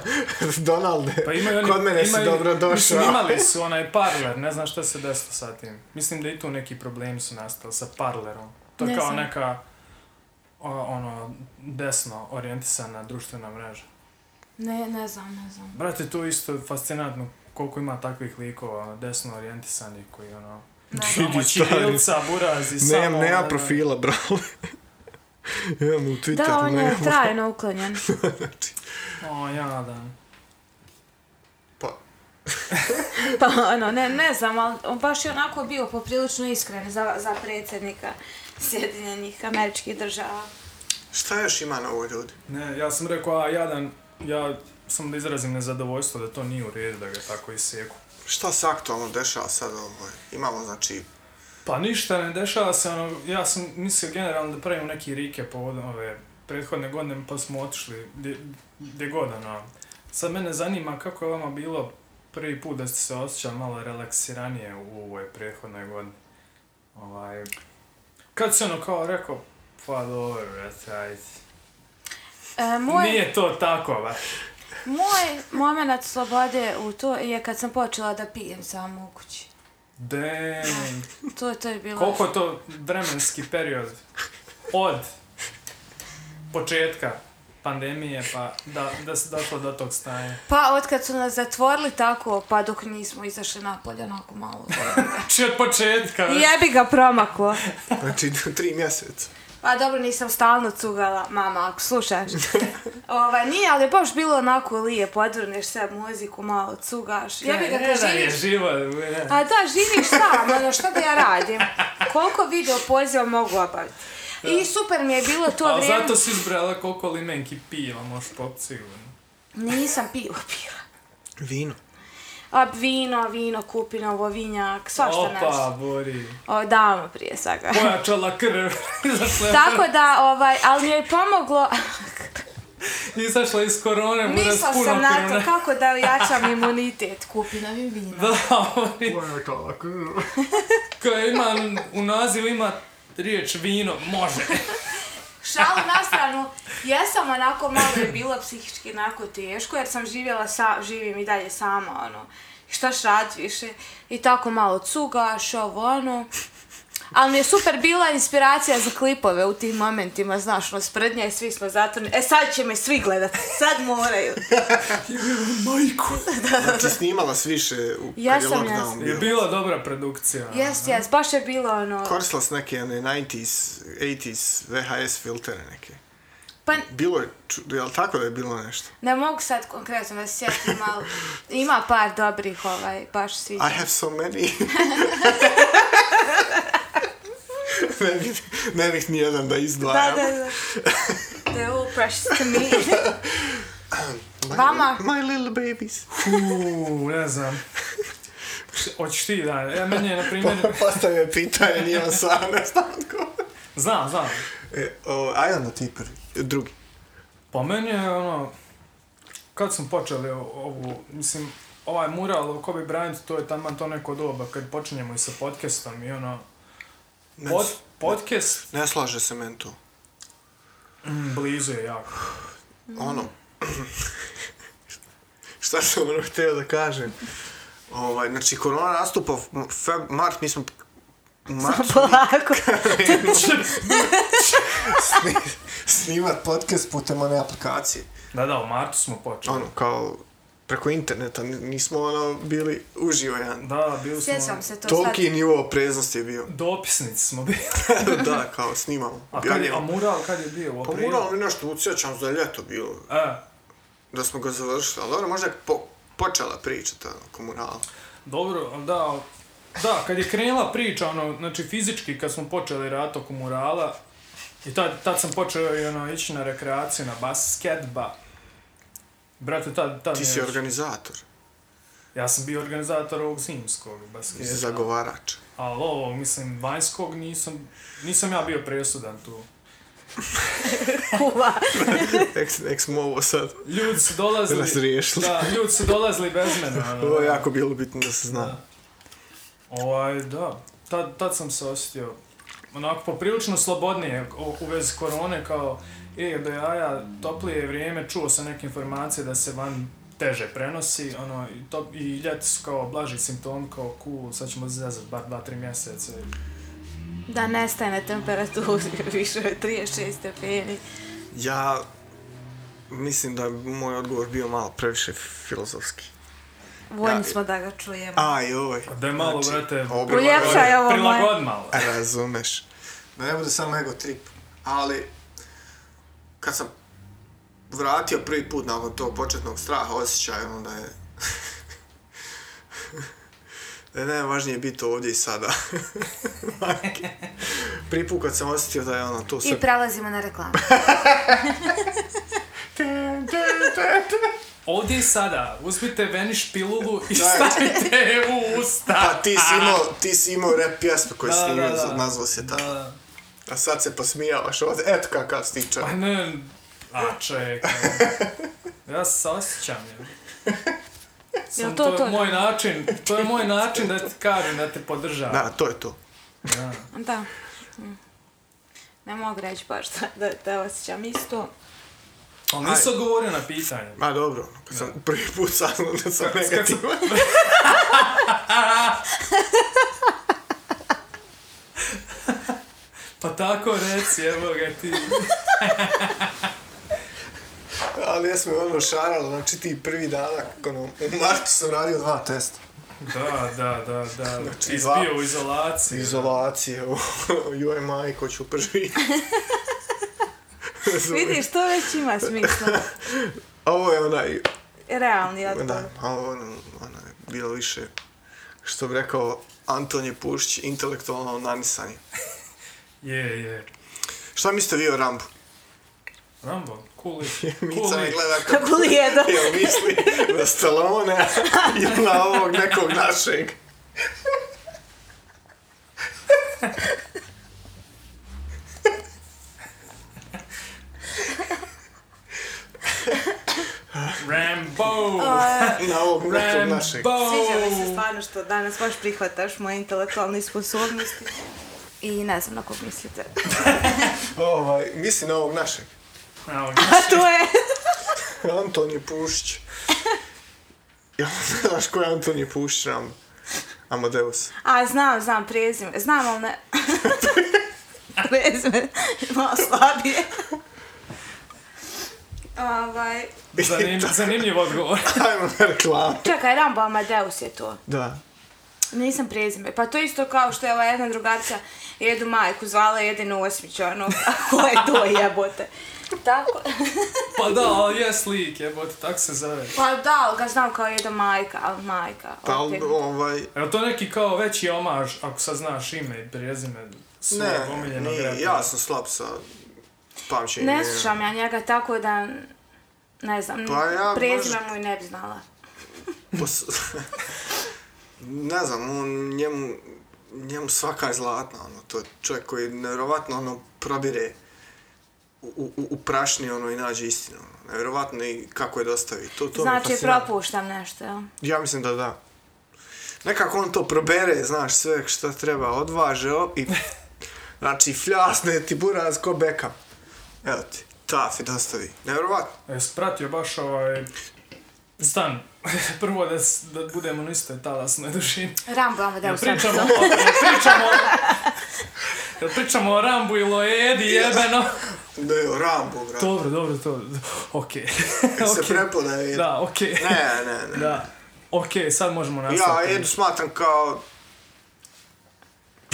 Speaker 3: Donalde,
Speaker 1: Pa imaju oni,
Speaker 3: kod mene si
Speaker 1: imaju-
Speaker 3: dobro došao.
Speaker 1: Mislim, imali su onaj parler, ne znam šta se desilo sa tim. Mislim da i tu neki problemi su nastali sa parlerom. To je
Speaker 2: Ne
Speaker 1: kao
Speaker 2: znam.
Speaker 1: neka o, ono, desno orijentisana društvena mreža.
Speaker 2: Ne, ne znam, ne znam.
Speaker 1: Brate, to je isto fascinantno koliko ima takvih likova ono, desno orijentisanih koji ono... Samo
Speaker 3: Vidi, stari.
Speaker 1: Čirilica, buraz i samo...
Speaker 3: Nemam,
Speaker 1: ono,
Speaker 3: nema
Speaker 1: da-
Speaker 3: profila, brale. Imam u Twitteru,
Speaker 2: Da, on je
Speaker 3: nemam.
Speaker 2: trajno uklonjen.
Speaker 1: O, ono, jadan.
Speaker 3: Pa,
Speaker 2: Pa ono, ne, ne znam, ali on baš je onako bio poprilično iskren za, za predsjednika Sjedinjenih američkih država.
Speaker 3: šta još ima na ovoj ljudi?
Speaker 1: Ne, ja sam rekao, a jadan, ja sam da izrazim nezadovoljstvo da to nije u redu da ga tako iseku.
Speaker 3: Šta se aktualno dešava sad ovo? Imamo, znači,
Speaker 1: Pa ništa ne dešava se, ono, ja sam mislio generalno da pravim neki rike povodom ove prethodne godine, pa smo otišli gdje, gdje god, ono. Sad mene zanima kako je vama bilo prvi put da ste se osjećali malo relaksiranije u ovoj prethodnoj godini. Ovaj, kad se ono kao rekao, pa dobro, brate, ajde.
Speaker 2: E, moj,
Speaker 1: Nije to tako, va.
Speaker 2: moj moment slobode u to je kad sam počela da pijem samo u kući.
Speaker 1: Damn.
Speaker 2: To, to je bilo...
Speaker 1: Koliko je to vremenski period? Od početka pandemije pa da, da se došlo do tog stanja.
Speaker 2: Pa od kad su nas zatvorili tako, pa dok nismo izašli napolje, onako malo.
Speaker 1: Znači od početka. već.
Speaker 2: Jebi ga promaklo.
Speaker 3: Znači, tri mjeseca.
Speaker 2: Pa dobro, nisam stalno cugala, mama, ako slušaš. ovaj, nije, ali je baš bilo onako lijepo, odvrneš se muziku, malo cugaš. Ja bih ga
Speaker 1: Ne, da
Speaker 2: kad
Speaker 1: je
Speaker 2: živiš...
Speaker 1: život. ne.
Speaker 2: A da, živiš sam, ono, što da ja radim? Koliko video poziva mogu obaviti? I super mi je bilo to
Speaker 1: Ali
Speaker 2: vrijeme.
Speaker 1: zato si izbrala koliko limenki piva možeš popiti sigurno.
Speaker 2: Nisam pivo pila.
Speaker 3: Vino.
Speaker 2: A vino, vino, kupinovo, vinjak, svašta nešto.
Speaker 1: Opa, Bori.
Speaker 2: O, davno prije svega.
Speaker 1: Pojačala krv. Izašla je-
Speaker 2: Tako da, ovaj, ali mi je pomoglo,
Speaker 1: Izašla iz korone, bude s
Speaker 2: mislila
Speaker 1: puno
Speaker 2: sam na to
Speaker 1: krvne.
Speaker 2: kako da ojačam imunitet kupinovim vinom.
Speaker 1: Da, Bori.
Speaker 3: tako.
Speaker 1: Koja ima, u nazivu ima riječ vino, može.
Speaker 2: Šalu na stranu, jesam onako malo je bilo psihički onako teško jer sam živjela sa, živim i dalje sama ono, šta rad više i tako malo cugaš ovo ono. Ali mi je super bila inspiracija za klipove u tim momentima, znaš, ono, sprednja i svi smo zatvorni. E, sad će me svi gledat, sad moraju.
Speaker 1: Majko.
Speaker 3: Ti Znači, snimala s više u,
Speaker 2: Ja
Speaker 3: kad je
Speaker 2: sam,
Speaker 3: lockdown
Speaker 1: Je
Speaker 3: bio.
Speaker 1: bila dobra produkcija.
Speaker 2: Jes, jes, baš je bilo ono...
Speaker 3: Koristila sam neke one 90s, 80s VHS filtere neke.
Speaker 2: Pa
Speaker 3: Bilo je, ču- je li tako da je bilo nešto?
Speaker 2: ne mogu sad konkretno da se sjetim, ali ima par dobrih ovaj, baš svi.
Speaker 3: I have so many. ne, bih, ne bih nijedan da
Speaker 2: Da,
Speaker 3: izdvajam.
Speaker 2: da, da. They're all precious to me.
Speaker 3: My,
Speaker 2: Vama.
Speaker 3: My little babies.
Speaker 1: Uuu, ne znam. Hoćeš ti da, ja meni je, na primjer,
Speaker 3: Pa. Postavio je pitanje, nije on sam ne znam odgovor.
Speaker 1: znam, znam.
Speaker 3: E, o, aj onda ti prvi. Drugi.
Speaker 1: Pa meni je ono, kad smo počeli o- ovu, mislim, ovaj mural o Kobe Bryant, to je tamo to neko doba kad počinjemo i sa podcastom i ono,
Speaker 3: Ne,
Speaker 1: pod, podcast
Speaker 3: ne slaže se meni to.
Speaker 1: mm, blizu je jako.
Speaker 3: ono, šta sam ono htio da kažem? Ovaj, znači, korona nastupa u feb, mart, mi smo... Mart,
Speaker 2: Polako.
Speaker 3: sni, snimat podcast putem one aplikacije.
Speaker 1: Da, da, u martu smo počeli.
Speaker 3: Ono, kao preko interneta, n- nismo ono bili uživo jedan.
Speaker 1: Da, da, bili smo...
Speaker 2: Sjećam se to
Speaker 3: Toliki
Speaker 2: sad.
Speaker 3: nivo opreznosti je bio.
Speaker 1: Dopisnici smo bili.
Speaker 3: da, kao snimamo.
Speaker 1: A, kad je, a
Speaker 3: objavljamo.
Speaker 1: mural kad je bio? U
Speaker 3: Pa
Speaker 1: aprilu?
Speaker 3: moram mi nešto ucjećam za ljeto bilo,
Speaker 1: E,
Speaker 3: da smo ga završili, ali dobro, možda je po, počela priča ono, komunala.
Speaker 1: Dobro, ali da, da, kad je krenula priča, ono, znači fizički kad smo počeli rat oko murala, i tad, tad sam počeo i ono, ići na rekreaciju, na basketba. Brate, tad, tad
Speaker 3: Ti
Speaker 1: mi je
Speaker 3: si
Speaker 1: već-
Speaker 3: organizator,
Speaker 1: Ja sam bio organizator ovog zimskog basketa.
Speaker 3: zagovarač.
Speaker 1: Ali ovo, mislim, vanjskog nisam, nisam ja bio presudan tu.
Speaker 2: Kuva.
Speaker 3: Ex, ex mu ovo sad.
Speaker 1: Ljudi su dolazili...
Speaker 3: Razriješili.
Speaker 1: Da, ljudi su dolazili bez mene. ono.
Speaker 3: Ovo je jako bilo bitno da se zna.
Speaker 1: Ovaj, da. Tad, tad sam se osjetio onako poprilično slobodnije u- u vezi korone kao e, do jaja, toplije je vrijeme, čuo sam neke informacije da se van teže prenosi, ono, i, to, i ljeti su kao blaži simptom, kao cool, sad ćemo zezat bar 2-3 mjeseca.
Speaker 2: Da nestaje na temperaturi više od 36 stepeni.
Speaker 3: Ja mislim da je moj odgovor bio malo previše filozofski.
Speaker 2: Voljni
Speaker 3: Ja-
Speaker 2: smo da ga čujemo.
Speaker 3: A i ovaj.
Speaker 1: Da je malo, brate,
Speaker 3: obra-
Speaker 2: Uljepšaj ovo moje.
Speaker 1: prilagod malo.
Speaker 3: Razumeš. Da ne bude samo ego trip. Ali, kad sam vratio prvi put nakon tog početnog straha, osjećaj ono da je... da je najvažnije biti ovdje i sada. prvi put kad sam osjetio da je ono to sve
Speaker 2: I prelazimo na reklamu.
Speaker 1: Ovdje i sada, uzmite veniš pilulu i stavite je u usta.
Speaker 3: Pa ti si imao, ti si imao rap pjesmu koju
Speaker 1: Da,
Speaker 3: si imao,
Speaker 1: da, da.
Speaker 3: nazvao se
Speaker 1: Da,
Speaker 2: Pa,
Speaker 3: tako.
Speaker 1: da.
Speaker 3: A sad se posmijavaš ovdje, eto kakav stičar.
Speaker 1: Pa ne, a čovjek, ja se osjećam, ja. Sam,
Speaker 2: to
Speaker 1: to,
Speaker 2: to?
Speaker 1: je moj način, to je moj način da ti kažem, da te podržavam.
Speaker 3: Da, to je to.
Speaker 1: Da.
Speaker 2: Da. Mm. Ne mogu reći baš da, da, da osjećam isto.
Speaker 1: Ali nisi odgovorio na pitanje.
Speaker 3: Ma dobro, ono, kad sam prvi put saznao da sam negativan.
Speaker 1: Pa tako reci, evo ga ti.
Speaker 3: Ali ja sam ono šaralo, znači ti prvi danak, ono, u martu sam radio dva testa.
Speaker 1: Da, da, da, da.
Speaker 3: Znači,
Speaker 1: Ti si
Speaker 3: dva-
Speaker 1: bio u izolaciji.
Speaker 3: Izolacije, u- joj majko ću preživjeti.
Speaker 2: Vidiš, to već ima smisla.
Speaker 3: A Ovo je onaj,
Speaker 2: Realni odgovor.
Speaker 3: da, malo ono, ono je bilo više, što bi rekao Antonije Pušić, intelektualno nanisanje.
Speaker 1: Je, je.
Speaker 3: Šta mislite vi o Rambu?
Speaker 1: Rambo, cool lik.
Speaker 3: Mica
Speaker 1: Cool
Speaker 3: me
Speaker 1: lik.
Speaker 3: gleda kako
Speaker 2: Kako li jedo?
Speaker 3: jel misli na Stallone ili na ovog nekog našeg.
Speaker 1: Rambo!
Speaker 3: Na ovog nekog
Speaker 1: Rambo!
Speaker 3: našeg.
Speaker 2: Sviđa mi se stvarno što danas baš prihvataš moje intelektualne sposobnosti. I ne znam na kog mislite.
Speaker 3: Ovaj, misli na ovog našeg.
Speaker 1: A, on-
Speaker 2: A to je...
Speaker 3: Antonije Pušić. Jel ne znaš ko je Antonije Pušić Rambo? Amadeus.
Speaker 2: A, znam, znam prezime. Znam, ali ne... prezime. Malo slabije. Ovaj...
Speaker 1: Zanim, zanimljiv odgovor.
Speaker 3: Ajmo na reklamu.
Speaker 2: Čekaj, Rambo Amadeus je to.
Speaker 3: Da.
Speaker 2: Nisam prezime. Pa to je isto kao što je ova jedna drugarica jedu majku zvala jedinu osmićanu. A ko ono, je to jebote? Tako...
Speaker 1: Pa da, ali jes lik, jebote, tak se zove.
Speaker 2: Pa da, ali ga znam kao jedu majka, ali majka.
Speaker 3: Pa
Speaker 2: opet.
Speaker 3: ovaj...
Speaker 1: Je li to neki kao veći omaž, ako sad znaš ime i prezime svog
Speaker 3: Ne,
Speaker 1: omiljenog
Speaker 3: nije,
Speaker 1: rapera?
Speaker 3: ja sam slab sa pamćenjem.
Speaker 2: Ne slušam ja njega tako da... Ne znam,
Speaker 3: Pa ja
Speaker 2: prezime
Speaker 3: možda-
Speaker 2: mu i ne bi znala.
Speaker 3: Pos... ne znam, on, njemu, njemu svaka je zlatna, ono, to je čovjek koji nevjerovatno, ono, probire u, u, u prašni, ono, i nađe istinu, ono, nevjerovatno i kako je dostavi, to, to mi je
Speaker 2: Znači,
Speaker 3: fascinantno.
Speaker 2: propuštam nešto, jel?
Speaker 3: Ja mislim da da. Nekako on to probere, znaš, sve što treba, odvaže op, i... Znači, fljasne ti buraz ko beka. Evo ti, taf i dostavi. Nevjerovatno.
Speaker 1: E, spratio baš ovaj... Stan, prvo da, s- da budemo na istoj talasnoj dužini.
Speaker 2: Rambo
Speaker 1: Jel
Speaker 2: Amadeus
Speaker 1: pričamo,
Speaker 2: Rambo.
Speaker 1: o- jel pričamo, jel pričamo o Rambu i Loedi jebeno?
Speaker 3: Da je Rambo, brate.
Speaker 1: Dobro, dobro, to, okej.
Speaker 3: Se prepodaje.
Speaker 1: Da, okej.
Speaker 3: Ne, ne, ne.
Speaker 1: Da. Okej, sad možemo
Speaker 3: Ja
Speaker 1: nastaviti.
Speaker 3: Edu smatram kao,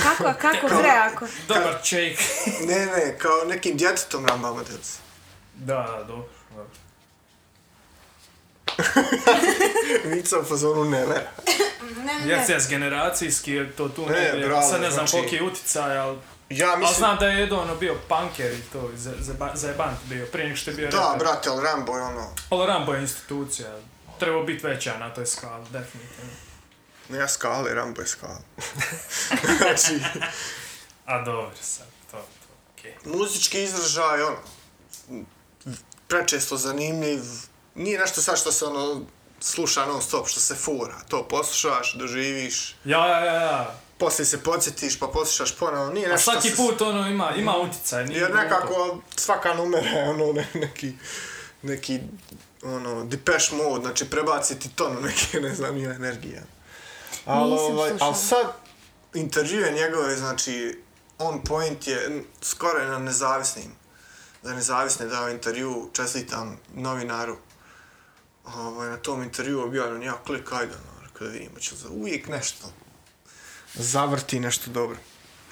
Speaker 2: Kako, kako, preako.
Speaker 1: Dobar ček.
Speaker 3: ne, ne, kao nekim djetetom Rambo Amadeus.
Speaker 1: Da, da, dobro. dobro.
Speaker 3: Nica u fazonu ne vera.
Speaker 2: Ne, ne,
Speaker 1: Jes,
Speaker 2: ne.
Speaker 1: jes, generacijski je to tu
Speaker 3: Ne,
Speaker 1: negdje.
Speaker 3: bravo,
Speaker 1: Sad ne znam
Speaker 3: znači-
Speaker 1: koliki je uticaj, ali...
Speaker 3: Ja
Speaker 1: Ali
Speaker 3: mislim,
Speaker 1: znam da je Edo ono bio punker i to, za- za- zajebant bio, prije nek što je bio
Speaker 3: da,
Speaker 1: reper.
Speaker 3: brate, ali Rambo je ono,
Speaker 1: Ali Rambo je institucija, trebao biti veća na toj skali, definitivno.
Speaker 3: ne ja skale, Rambo je skale. znači,
Speaker 1: A dobro, sad, to, to, okej.
Speaker 3: muzički izražaj, ono, prečesto zanimljiv, nije nešto sad što se ono sluša non stop, što se fura, to poslušaš, doživiš,
Speaker 1: Ja, ja, ja, ja.
Speaker 3: poslije se podsjetiš pa poslušaš ponovo, nije
Speaker 1: A
Speaker 3: nešto
Speaker 1: svaki
Speaker 3: se-
Speaker 1: put ono ima, ima uticaj, nije
Speaker 3: Jer
Speaker 1: glupo.
Speaker 3: nekako svaka numera je ono ne, neki, neki ono, Depeche Mode, znači prebaci ti tonu neke, ne znam, nije energija. Ali, ovaj,
Speaker 2: Nisam slušala.
Speaker 3: ali sad intervjue njegove, znači, on point je n- skoro je na nezavisnim. Za nezavisne dao intervju, čestitam novinaru. Ovaj, na tom intervju objavljeno, ja klik, ajde, ono, rekao da vidimo, ću za uvijek nešto. Zavrti nešto dobro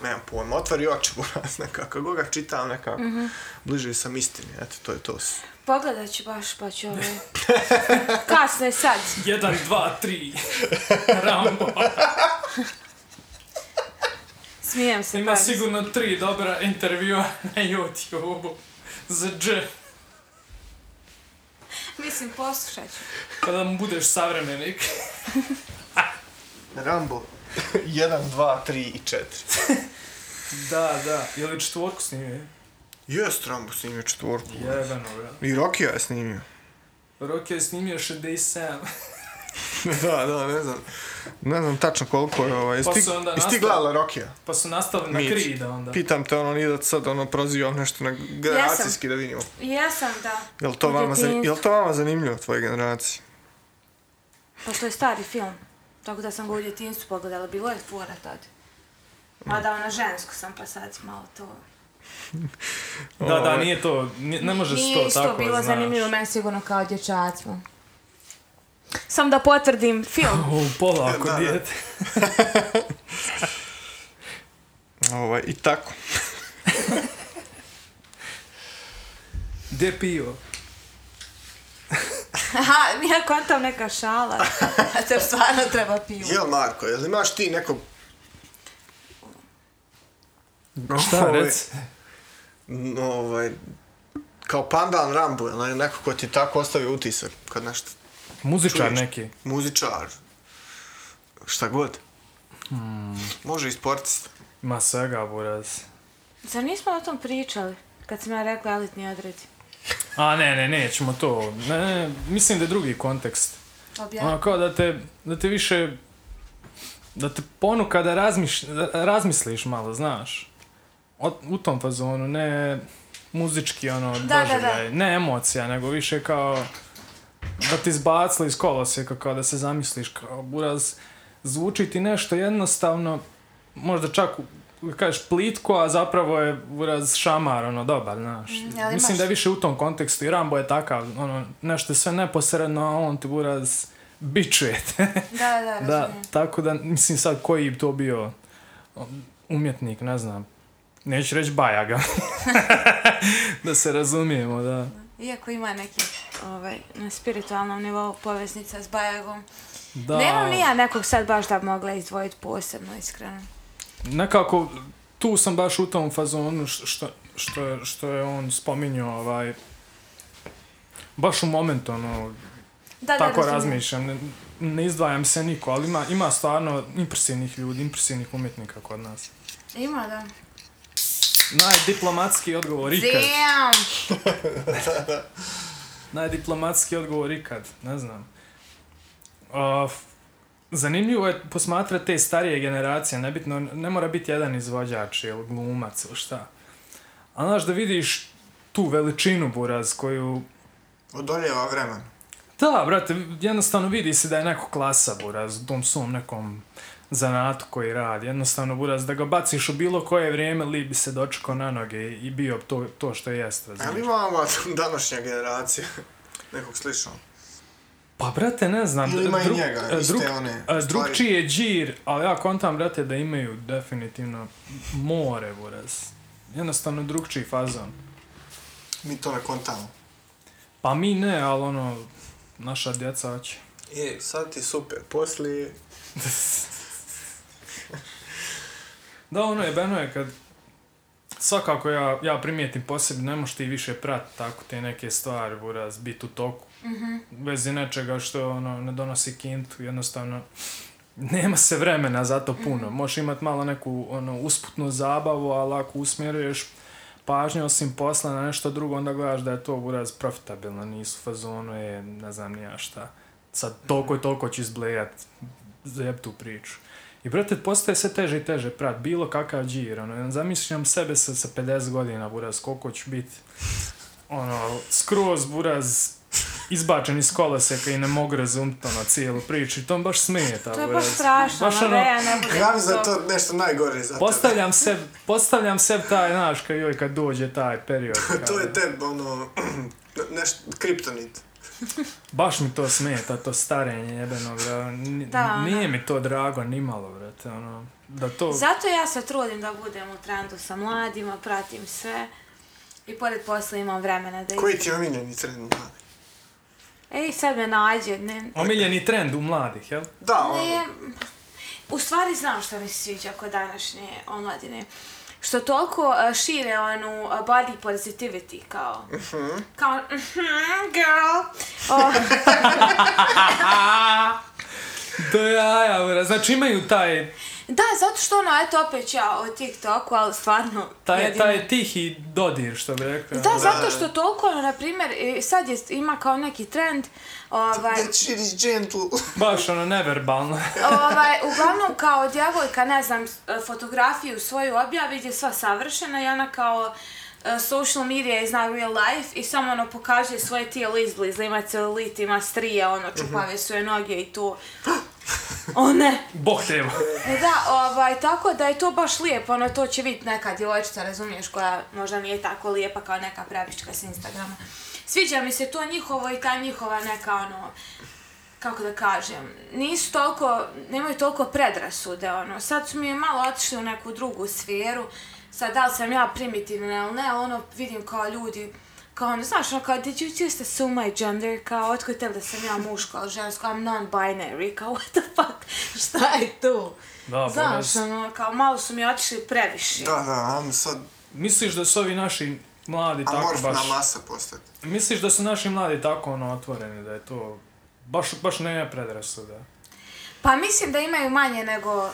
Speaker 3: nemam pojma, otvori oči, buraz, nekako, kako ga čitam, nekako,
Speaker 2: Mhm.
Speaker 3: bliže sam istini, eto, to je to.
Speaker 2: Pogledat ću baš, pa ću ovaj... Kasno je sad.
Speaker 1: Jedan, dva, tri. Rambo.
Speaker 2: Smijem se.
Speaker 1: Ima
Speaker 2: baš.
Speaker 1: sigurno tri dobra intervjua na YouTube-u. Za dž.
Speaker 2: Mislim, poslušat ću.
Speaker 1: Kada mu budeš savremenik.
Speaker 3: Rambo, 1, 2, 3 i 4.
Speaker 1: Da, da. Je li četvorku snimio?
Speaker 3: Jest Rambo snimio četvorku.
Speaker 1: Jebeno, bro.
Speaker 3: I Rokija je snimio.
Speaker 1: Rock je snimio 67.
Speaker 3: da, da, ne znam. Ne znam tačno koliko je ovaj.
Speaker 1: Pa
Speaker 3: Jesi ti,
Speaker 1: su onda
Speaker 3: jesi ti
Speaker 1: nastav-
Speaker 3: gledala Rokija?
Speaker 1: Pa su nastali na
Speaker 3: Mić.
Speaker 1: kri da onda.
Speaker 3: Pitam te ono, nije da sad ono prozivam nešto na generacijski da vidimo.
Speaker 2: Jesam, da.
Speaker 3: Jel to,
Speaker 2: U
Speaker 3: vama, zani-
Speaker 2: djetinjstvu.
Speaker 3: jel to vama zanimljivo tvoje generacije?
Speaker 2: Pa to je stari film. Tako da sam ga u djetinstvu pogledala. Bilo je fora tad. Mada ono žensko sam pa sad malo to...
Speaker 1: Da,
Speaker 3: Ovaj.
Speaker 1: da, nije to, ni- ne može se to
Speaker 2: isto
Speaker 1: tako,
Speaker 2: bilo
Speaker 1: znaš.
Speaker 2: zanimljivo meni sigurno kao dječacima. Sam da potvrdim film.
Speaker 1: U pola ako
Speaker 3: Da, da.
Speaker 1: dijete.
Speaker 3: Ovaj, I tako.
Speaker 1: Gdje pivo?
Speaker 2: Aha, ja kontam neka šala. A te stvarno treba pivo.
Speaker 3: Jel Marko, jel imaš ti nekog...
Speaker 1: Šta,
Speaker 3: Ovaj,
Speaker 1: rec?
Speaker 3: n- Ovaj, kao pandan Rambo, jel ne- neko ko ti tako ostavi utisak kad nešto
Speaker 1: Muzičar
Speaker 3: čuješ?
Speaker 1: neki.
Speaker 3: muzičar, šta god. Može i sportista.
Speaker 1: Ma svega, buraz.
Speaker 2: Zar nismo o tom pričali? Kad sam ja rekla elitni odredi.
Speaker 1: A ne, ne, nećemo to. Ne, ne, mislim da je drugi kontekst. Ono kao da te, da te više, da te ponuka da, razmiš, da razmisliš malo, znaš. O, u tom fazonu, ne muzički ono
Speaker 2: Da, da,
Speaker 1: doživljaj, ne emocija, nego više kao da ti izbacili iz koloseka, kao da se zamisliš, kao buraz, zvuči ti nešto jednostavno, možda čak u- kažeš plitko, a zapravo je buraz šamar, ono, dobar, znaš.
Speaker 2: Mm, ali
Speaker 1: Mislim
Speaker 2: imaš-
Speaker 1: da je više u tom kontekstu i Rambo je takav, ono, nešto je sve neposredno, a on ti buraz bičuje te.
Speaker 2: Da, da,
Speaker 1: da,
Speaker 2: razumijem.
Speaker 1: tako da, mislim sad koji bi to bio um, umjetnik, ne znam. Neću reći Bajaga. da se razumijemo, da.
Speaker 2: Iako ima neki ovaj, na spiritualnom nivou poveznica s Bajagom.
Speaker 1: da.
Speaker 2: Nemam ni ja nekog sad baš da bi mogla izdvojiti posebno, iskreno.
Speaker 1: nekako tu sam baš u tom fazonu š- što, što, je- što je on spominjao ovaj baš u momentu ono
Speaker 2: Da,
Speaker 1: tako
Speaker 2: da, razumijem.
Speaker 1: razmišljam ne, ne izdvajam se niko ali ima, ima stvarno impresivnih ljudi impresivnih umjetnika kod nas
Speaker 2: Ima, da.
Speaker 1: najdiplomatski odgovor ikad
Speaker 2: Damn!
Speaker 1: najdiplomatski odgovor ikad ne znam Uh, zanimljivo je posmatrati te starije generacije, nebitno, ne mora biti jedan izvođač ili glumac ili šta. A znaš da vidiš tu veličinu buraz koju...
Speaker 3: Odoljeva vremena.
Speaker 1: Da, brate, jednostavno vidi se da je neko klasa buraz u tom svom nekom zanatu koji radi. Jednostavno buraz da ga baciš u bilo koje vrijeme li bi se dočekao na noge i bio to, to što jeste. razumiješ?
Speaker 3: Ali ima ova današnja generacija nekog sličnog.
Speaker 1: Pa, brate, ne znam.
Speaker 3: Ili ima i
Speaker 1: drug-
Speaker 3: njega,
Speaker 1: e,
Speaker 3: iste
Speaker 1: drug-
Speaker 3: one
Speaker 1: e,
Speaker 3: stvari.
Speaker 1: Drugčiji je džir, ali ja kontam, brate, da imaju definitivno more, buraz. Jednostavno drugčiji fazon.
Speaker 3: Mi to ne kontamo.
Speaker 1: Pa mi ne, ali ono, naša djeca će.
Speaker 3: E, sad ti super, poslije...
Speaker 1: Da, ono je, beno je kad... Svakako ja, ja primijetim posebno, ne moš ti više prat tako te neke stvari, buraz, bit u toku. Bez nečega što ono, ne donosi kintu, jednostavno nema se vremena za to puno. Možeš imat malo neku ono, usputnu zabavu, ali ako usmjeruješ pažnju osim posla na nešto drugo, onda gledaš da je to buraz profitabilno, nisu fazono je, ne znam ni ja šta. Sad toliko i toliko će izblejat zajeb tu priču. I brate, postaje sve teže i teže prat, bilo kakav džir, ono, zamišljam sebe sa, sa 50 godina, buraz, koliko ću biti, ono, skroz, buraz, izbačen iz koloseka i ne mogu razumit, ono, cijelu priču, i to me baš smeta,
Speaker 2: To je baš
Speaker 1: buraz.
Speaker 2: strašno,
Speaker 1: Baš
Speaker 2: baš
Speaker 1: ono,
Speaker 2: Andreja, ne bude
Speaker 3: Ja mislim da je to nešto najgore za tebe.
Speaker 1: Postavljam se, postavljam se taj, znaš, kad, joj, kad dođe taj period.
Speaker 3: To
Speaker 1: kad-
Speaker 3: je te, ono, nešto, kriptonit.
Speaker 1: Baš mi to smeta, to starenje jebeno, bra. N-
Speaker 2: Da, ono.
Speaker 1: Nije mi to drago, ni malo, brate, ono. Da to...
Speaker 2: Zato ja se trudim da budem u trendu sa mladima, pratim sve. I pored posla imam vremena da...
Speaker 3: Koji ti je omiljeni trend mladi?
Speaker 2: Ej, sad me nađe, ne...
Speaker 1: Omiljeni trend u mladih, jel?
Speaker 3: Da,
Speaker 2: Ne,
Speaker 3: ono,
Speaker 2: u stvari znam što mi se sviđa kod današnje omladine. Što toliko e, šire onu e, body positivity, kao... Kao, mhm, girl! O,
Speaker 1: Do jaja, bra. Znači imaju taj
Speaker 2: Da, zato što ono, eto opet ja o TikToku, ali stvarno...
Speaker 1: Taj,
Speaker 2: jedino-
Speaker 1: taj tihi dodir, što bi rekao.
Speaker 2: Da, zato što toliko, ono, na primjer, i sad je, ima kao neki trend, ovaj,
Speaker 3: That shit is gentle.
Speaker 1: Baš ono, neverbalno.
Speaker 2: ovaj, uglavnom kao djevojka, ne znam, s- e, fotografiju svoju objavi gdje je sva savršena i ona kao e, social media is not real life i samo ono pokaže svoje tijelo izbliza, ima celulit, ima strije, ono, čupave su je noge i to. O ne!
Speaker 1: Bog te evo.
Speaker 2: E Da, ovaj, tako da je to baš lijepo, ono, to će vidjeti neka djevojčica, razumiješ, koja možda nije tako lijepa kao neka pravička s Instagrama. Sviđa mi se to njihovo i ta njihova neka, ono, kako da kažem, nisu toliko, nemaju toliko predrasude, ono, sad su mi malo otišli u neku drugu sferu, sad da li sam ja primitivna ili ne, ono, vidim kao ljudi, kao ono, znaš, ono, kao, did you just assume my gender, kao, otko je tebi da sam ja muško ili žensko, I'm non-binary, kao, what the fuck, šta je tu?
Speaker 1: Da,
Speaker 2: Znaš,
Speaker 1: boga.
Speaker 2: ono, kao, malo su mi otišli previše.
Speaker 3: Da, da, ajmo sad
Speaker 1: Misliš da su ovi naši mladi tako
Speaker 3: amorfna
Speaker 1: baš...
Speaker 3: masa postati.
Speaker 1: Misliš da su naši mladi tako ono otvoreni, da je to... Baš, baš ne predrasuda.
Speaker 2: Pa mislim da imaju manje nego,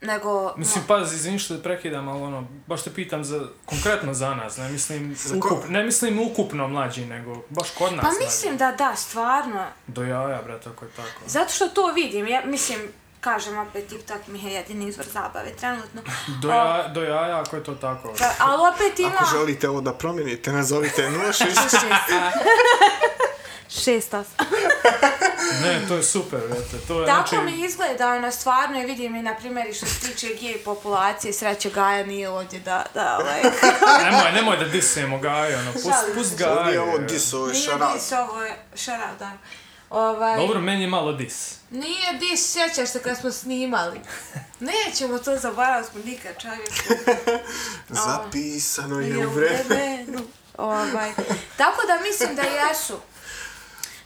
Speaker 2: nego, ono,
Speaker 1: Mislim, pazi, izvini što te prekidam, ali ono, baš te pitam za, konkretno za nas, ne mislim,
Speaker 3: Za
Speaker 1: ukup,
Speaker 3: koga?
Speaker 1: ne mislim ukupno mlađi, nego baš kod nas
Speaker 2: pa
Speaker 1: mlađi.
Speaker 2: mislim da da, stvarno,
Speaker 1: Do jaja, brate, ako je tako.
Speaker 2: Zato što to vidim, ja mislim, kažem opet, TikTok mi je jedini izvor zabave trenutno.
Speaker 1: Do, jaja, do jaja, ako je to tako.
Speaker 2: Pa, ali opet ima...
Speaker 3: Ako želite ovo da promijenite, nazovite 06.
Speaker 2: Šest osam.
Speaker 1: Ne, to je super, brate, to je,
Speaker 2: Tako
Speaker 1: Pa znači,
Speaker 2: mi izgleda, ono, stvarno, i vidim i, na primjer, i što se tiče gej populacije, sreće Gaja nije ovdje da, da, ovaj,
Speaker 1: nemoj, nemoj da disujemo Gaju, ono, pust,
Speaker 2: Šalim
Speaker 1: pust Gaju.
Speaker 3: Ovdje je ovo dis, ovo je
Speaker 2: nije
Speaker 3: šarad.
Speaker 2: dis, ovo je šarab, da. Ovaj,
Speaker 1: Dobro, meni je malo dis.
Speaker 2: Nije dis, sjećaš se kad smo snimali. Nećemo to zaboraviti smo nikad, čovječe.
Speaker 3: Zapisano
Speaker 2: Je
Speaker 3: je
Speaker 2: u
Speaker 3: u vremenu.
Speaker 2: vremenu. Ovaj. Tako da mislim da jesu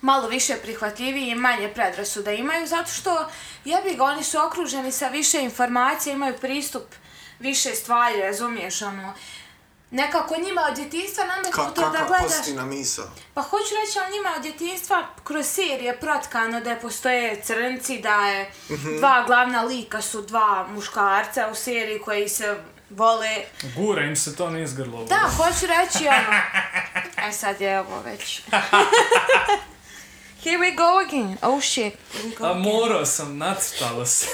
Speaker 2: malo više prihvatljiviji i manje predrasuda imaju, zato što jebi ga, oni su okruženi sa više informacija, imaju pristup više stvari, razumiješ, ono, nekako njima od djetinjstva nametnuto
Speaker 3: Ka,
Speaker 2: da
Speaker 3: kakva
Speaker 2: gledaš...
Speaker 3: pozitivna misa.
Speaker 2: Pa hoću reći, ali njima od djetinjstva kroz serije protkano da postoje crnci, da je
Speaker 3: Mhm.
Speaker 2: dva glavna lika su dva muškarca u seriji koji se vole
Speaker 1: Gura im se to niz grlo.
Speaker 2: da, hoću reći ono. E sad je ovo već. Here we go again. Oh shit. Here we go
Speaker 1: A
Speaker 2: again.
Speaker 1: morao sam, nacrtalo se.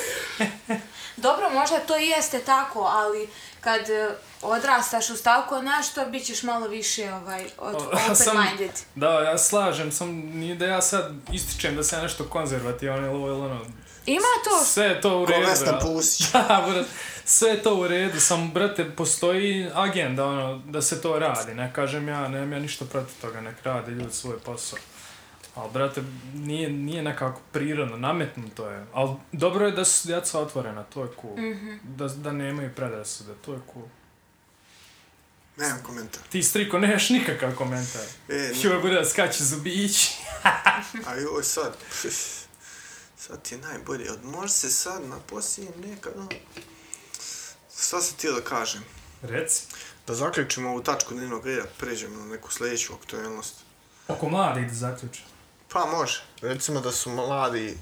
Speaker 2: Dobro, možda to i jeste tako, ali kad e, odrastaš u stavku nešto, bit ćeš malo više ovaj, od,
Speaker 1: Ja sam-
Speaker 2: open-minded.
Speaker 1: Da, ja slažem, sam, nije da ja sad ističem da sam ja nešto konzervativan ili ovo ili ono.
Speaker 2: Ima to
Speaker 1: Sve je to u
Speaker 3: Ko
Speaker 1: redu.
Speaker 3: Vesna
Speaker 1: ja.
Speaker 3: Pusić.
Speaker 1: Da, brate, sve je to u redu, samo, brate, postoji agenda, ono, da se to radi, ne kažem ja, nemam ja ništa protiv toga, nek rade ljudi svoj posao. Ali, brate, nije, nije nekako prirodno, nametnuto je. Ali dobro je da su djeca otvorena, to je cool. Da, da nemaju predrasude, to je cool.
Speaker 3: Nemam komentar.
Speaker 1: Ti, striko, nemaš nikakav komentar.
Speaker 3: E, ne,
Speaker 1: Joj, bude da skače zubići.
Speaker 3: a joj sad. Sad ti je najbolje. Odmor se sad na posljednji nekad. no. Šta sam htio da kažem?
Speaker 1: Reci.
Speaker 3: Da zaključimo ovu tačku dnevnog reda, pređemo na neku sljedeću aktualnost.
Speaker 1: Oko mladih da zaključa.
Speaker 3: Pa može. Recimo da su mladi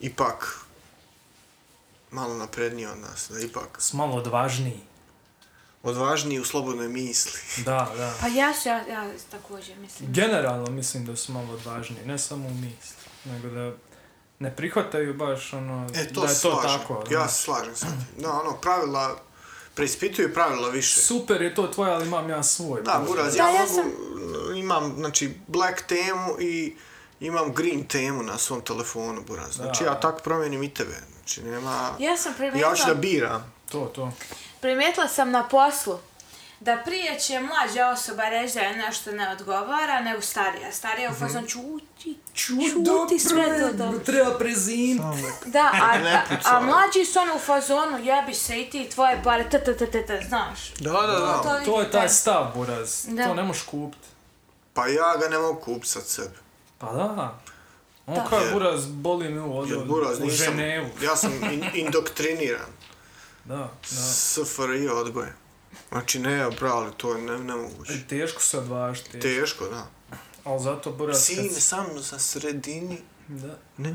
Speaker 3: ipak malo napredniji od nas, da ipak
Speaker 1: S malo odvažniji.
Speaker 3: odvažniji u slobodnoj misli.
Speaker 1: Da, da.
Speaker 2: Pa jesu, ja, ja također mislim.
Speaker 1: Generalno mislim da su malo odvažniji, ne samo u misli, nego da ne prihvataju baš ono,
Speaker 3: E, to
Speaker 1: da je
Speaker 3: se
Speaker 1: to
Speaker 3: slažem.
Speaker 1: tako. ono.
Speaker 3: ja se slažem sad. Da, ono, pravila, preispituju pravila više.
Speaker 1: Super je to tvoje, ali imam ja svoj.
Speaker 3: Da, Buraz,
Speaker 2: Da,
Speaker 3: ja,
Speaker 2: ja
Speaker 3: mogu, imam, znači, black temu i imam green temu na svom telefonu, Buraz. Znači,
Speaker 1: Da.
Speaker 3: ja tako promijenim i tebe. Znači, nema...
Speaker 2: Ja sam primijetila...
Speaker 3: Ja ću da biram.
Speaker 1: To, to.
Speaker 2: Primijetila sam na poslu da prije će mlađa osoba reći da je nešto ne odgovara nego starija. Starija je u fazon čuti, čuti sve to dobro.
Speaker 1: Treba prezim.
Speaker 2: Da, a, a,
Speaker 3: Lepuca.
Speaker 2: a mlađi su ono u fazonu jebi se i ti i tvoje pare, t, t, t, t, t, znaš.
Speaker 3: Da, da, da.
Speaker 2: To-
Speaker 1: To je taj stav, Buraz.
Speaker 2: Da.
Speaker 1: To ne možeš kupiti.
Speaker 3: Pa ja ga ne mogu kupiti sad sebi.
Speaker 1: Pa da. On
Speaker 2: Da.
Speaker 1: kao Buraz, boli me u
Speaker 3: Jer
Speaker 1: od,
Speaker 3: Buraz
Speaker 1: u
Speaker 3: nisam...
Speaker 1: Ženevu.
Speaker 3: Ja sam in, indoktriniran.
Speaker 1: Da, da.
Speaker 3: SFRI odgoje. Znači, ne, brale, to je ne, nemoguće.
Speaker 1: Teško se odvažiti,
Speaker 3: Teško, da.
Speaker 1: ali zato Buraz... kad
Speaker 3: Sine,
Speaker 1: se-
Speaker 3: sa mnom na sredini.
Speaker 1: Da.
Speaker 3: Ne,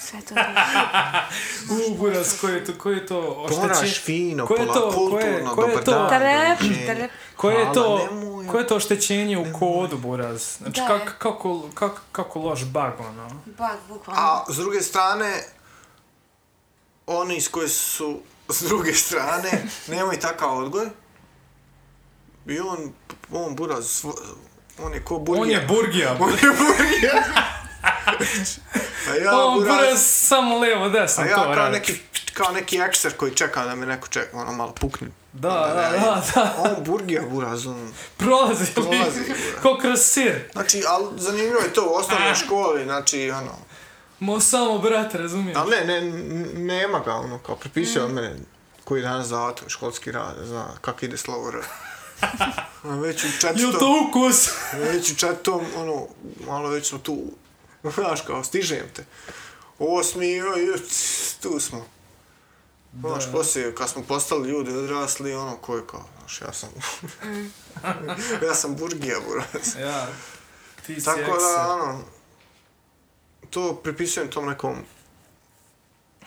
Speaker 2: sve to dobro.
Speaker 1: U, buras, koje je to, koje je to oštećenje?
Speaker 3: Moraš fino,
Speaker 1: koje je to-
Speaker 3: polako,
Speaker 1: koje-
Speaker 3: kulturno,
Speaker 1: koje je
Speaker 3: dobar
Speaker 1: to-
Speaker 3: dan.
Speaker 2: Trep,
Speaker 3: doviđenja.
Speaker 2: trep.
Speaker 1: Koje je
Speaker 3: Hvala,
Speaker 1: to,
Speaker 3: nemoj.
Speaker 1: koje je to oštećenje u kodu, buraz? Znači,
Speaker 2: Da.
Speaker 1: kak, kako, kak, kako loš bug, ono?
Speaker 2: Bak, bukvalno.
Speaker 3: A s druge strane, oni iz koje su s druge strane, nemaju takav odgoj. I on, on buraz, svo- on je ko burgija.
Speaker 1: On je burgija,
Speaker 3: On je burgija. A ja
Speaker 1: on
Speaker 3: buraz,
Speaker 1: buraz samo levo, desno,
Speaker 3: a
Speaker 1: to
Speaker 3: ja kao
Speaker 1: radi.
Speaker 3: neki, kao neki ekser koji čeka da me neko čeka, ono malo pukne.
Speaker 1: Da, da, da, da.
Speaker 3: On burgija buraz, on.
Speaker 1: Prolazi,
Speaker 3: Prolazi,
Speaker 1: lik,
Speaker 3: buraz.
Speaker 1: ko kroz sir.
Speaker 3: Znači, ali zanimljivo je to u osnovnoj školi, znači, ono,
Speaker 1: Mo samo, brat, razumiješ?
Speaker 3: Ali ne, ne, n- nema ga, ono, kao prepisao
Speaker 1: Mm.
Speaker 3: od mene koji je danas zavatom školski rad, zna kako ide slovo R. A već u
Speaker 1: Jel
Speaker 3: četvrtom,
Speaker 1: to ukus?
Speaker 3: već u četvrtom, ono, malo već smo tu, znaš kao, stižem te. Osmi, joj, joj, tu smo. Znaš, poslije, kad smo postali ljudi odrasli, ono, ko je kao, znaš, ja sam,
Speaker 1: Mm.
Speaker 3: ja sam burgija, buraz.
Speaker 1: Ja, ti si
Speaker 3: Tako da,
Speaker 1: ekser.
Speaker 3: ono, to pripisujem tom nekom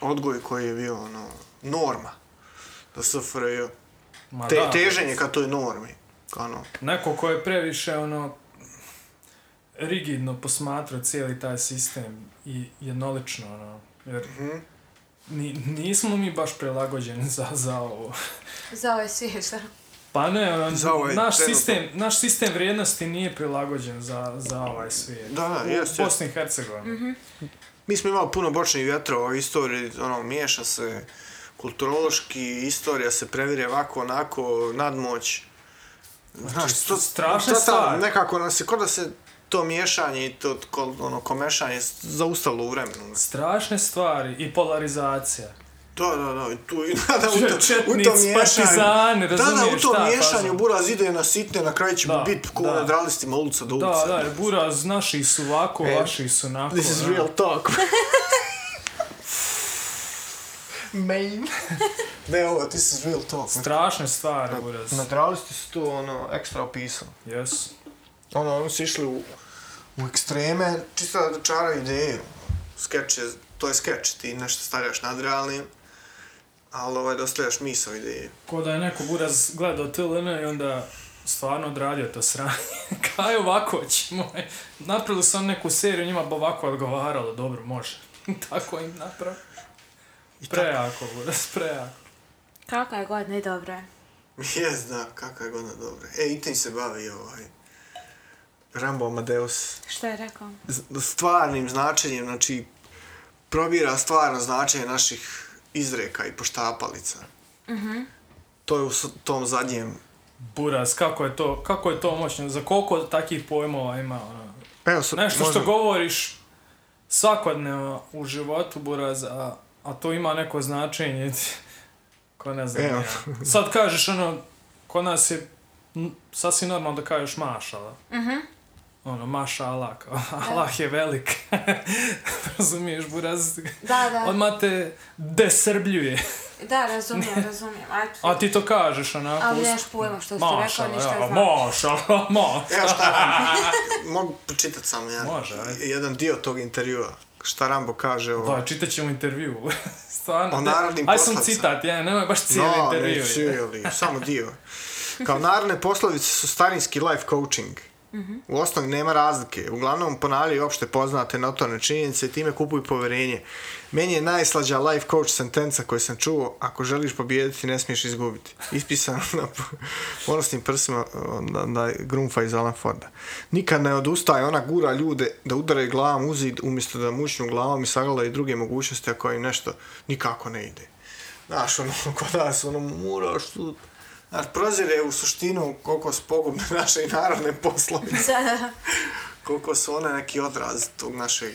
Speaker 3: odgoju koji je bio, ono, norma. Da SFRJ.
Speaker 1: Ma
Speaker 3: Te,
Speaker 1: da.
Speaker 3: teženje ka toj normi. Ka Ono,
Speaker 1: Neko ko je previše ono rigidno posmatrao cijeli taj sistem i jednolično ono, jer
Speaker 3: Mhm.
Speaker 1: ni, nismo mi baš prelagođeni za, za ovo.
Speaker 2: Za ovaj svijet, šta?
Speaker 1: Pa ne, ono,
Speaker 3: Za ovaj
Speaker 1: naš,
Speaker 3: trenutno.
Speaker 1: sistem, naš sistem vrijednosti nije prilagođen za, za ovaj svijet.
Speaker 3: Da, da,
Speaker 1: U
Speaker 3: jest, jest.
Speaker 1: Bosni i Hercegovini.
Speaker 3: mi smo imali puno bočnih vjetrova u istoriji, ono, miješa se kulturološki, istorija se previre ovako, onako, nadmoć. Znaš, to,
Speaker 1: strašne
Speaker 3: to- to-
Speaker 1: stvari.
Speaker 3: Nekako nas je, kod da se to miješanje i to ko- ono, komešanje zaustalo u vremenu.
Speaker 1: Strašne stvari i polarizacija.
Speaker 3: Da, da, da, i tu i da, da, u to, u
Speaker 1: Četnici,
Speaker 3: to miješanju.
Speaker 1: partizani,
Speaker 3: da, da, u
Speaker 1: razumiješ,
Speaker 3: to
Speaker 1: ta
Speaker 3: miješanju
Speaker 1: faza.
Speaker 3: buraz ide na sitne, na kraju će
Speaker 1: Da,
Speaker 3: biti ko
Speaker 1: da.
Speaker 3: na dralistima ulica do
Speaker 1: Da,
Speaker 3: ulica.
Speaker 1: da, jer buraz, naši su ovako,
Speaker 3: E,
Speaker 1: vaši su onako. ono.
Speaker 3: This is
Speaker 1: da.
Speaker 3: real talk. Main. ne, ovo, this is real talk.
Speaker 1: Strašne stvari, buraz.
Speaker 3: Na dralisti su to, ono, ekstra opisano.
Speaker 1: Yes.
Speaker 3: Ono, oni su išli u, u ekstreme, čisto da dočaraju ideju. Skeč je, to je skeč, ti nešto stavljaš nadrealnim, ali ovaj, dostavljaš misao ideju.
Speaker 1: Ko da je neko buraz gledao TLN i onda stvarno odradio to sranje. Kaj ovako ćemo? Napravili sam neku seriju, njima bi ovako odgovaralo, dobro, može. tako im napravi. Prejako, buraz, prejako.
Speaker 2: Kako je god, ne dobro je.
Speaker 3: Jes, da, kakva je godina dobra. E, i tim se bavi ovaj... Rambo Amadeus.
Speaker 2: Šta je rekao?
Speaker 3: Z- Stvarnim značenjem, znači, probira stvarno značenje naših izreka i poštapalica. Mhm. To je u s- tom zadnjem...
Speaker 1: Buraz, kako je to, kako je to moćno? Za koliko takih pojmova ima, ono?
Speaker 3: pa Evo, sad,
Speaker 1: Nešto što govoriš svakodnevno u životu, buraz, a, a to ima neko značenje. Ko ne znam.
Speaker 3: Evo.
Speaker 1: Ja. Sad kažeš ono, kod nas je m, sasvim normalno da kažeš mašala. Mhm. ono, maša Allah, kao, Allah je velik. Razumiješ, buraz?
Speaker 2: Da, da.
Speaker 1: Odmah te desrbljuje.
Speaker 2: Da, razumijem, razumijem. Ajde.
Speaker 1: A ti to kažeš, onako,
Speaker 2: Ali
Speaker 1: uz-
Speaker 2: nemaš pojma što si rekao,
Speaker 1: mašala,
Speaker 2: ništa znači.
Speaker 1: ja,
Speaker 2: znaš.
Speaker 1: mašala, mašala.
Speaker 3: Evo šta Rambo... Mogu pročitati samo jedan,
Speaker 1: Može, ajde.
Speaker 3: jedan dio tog intervjua. Šta Rambo kaže
Speaker 1: Da,
Speaker 3: o...
Speaker 1: Pa, čitat ćemo intervju. Stvarno.
Speaker 3: O narodnim
Speaker 1: Aj sam
Speaker 3: poslovicama.
Speaker 1: citat, ja, nemoj baš cijeli
Speaker 3: no,
Speaker 1: intervju.
Speaker 3: Ne, cijeli, samo dio. Kao narodne poslovice su starinski life coaching. U osnovi nema razlike. Uglavnom ponavljaju opšte poznate notorne činjenice i time kupuju poverenje. Meni je najslađa life coach sentenca koju sam čuo, ako želiš pobijediti ne smiješ izgubiti. Ispisano na po- ponosnim prsima da, da Grunfa iz Alan Forda. Nikad ne odustaje, ona gura ljude da udaraju glavom u zid umjesto da mučnu glavom i sagledaju druge mogućnosti ako im nešto nikako ne ide. Znaš, ono, kod nas, ono, moraš tu... Znaš, prozire u suštinu koliko su pogubne naše i narodne poslovice,
Speaker 2: Da, da.
Speaker 3: koliko su one neki odraz tog našeg...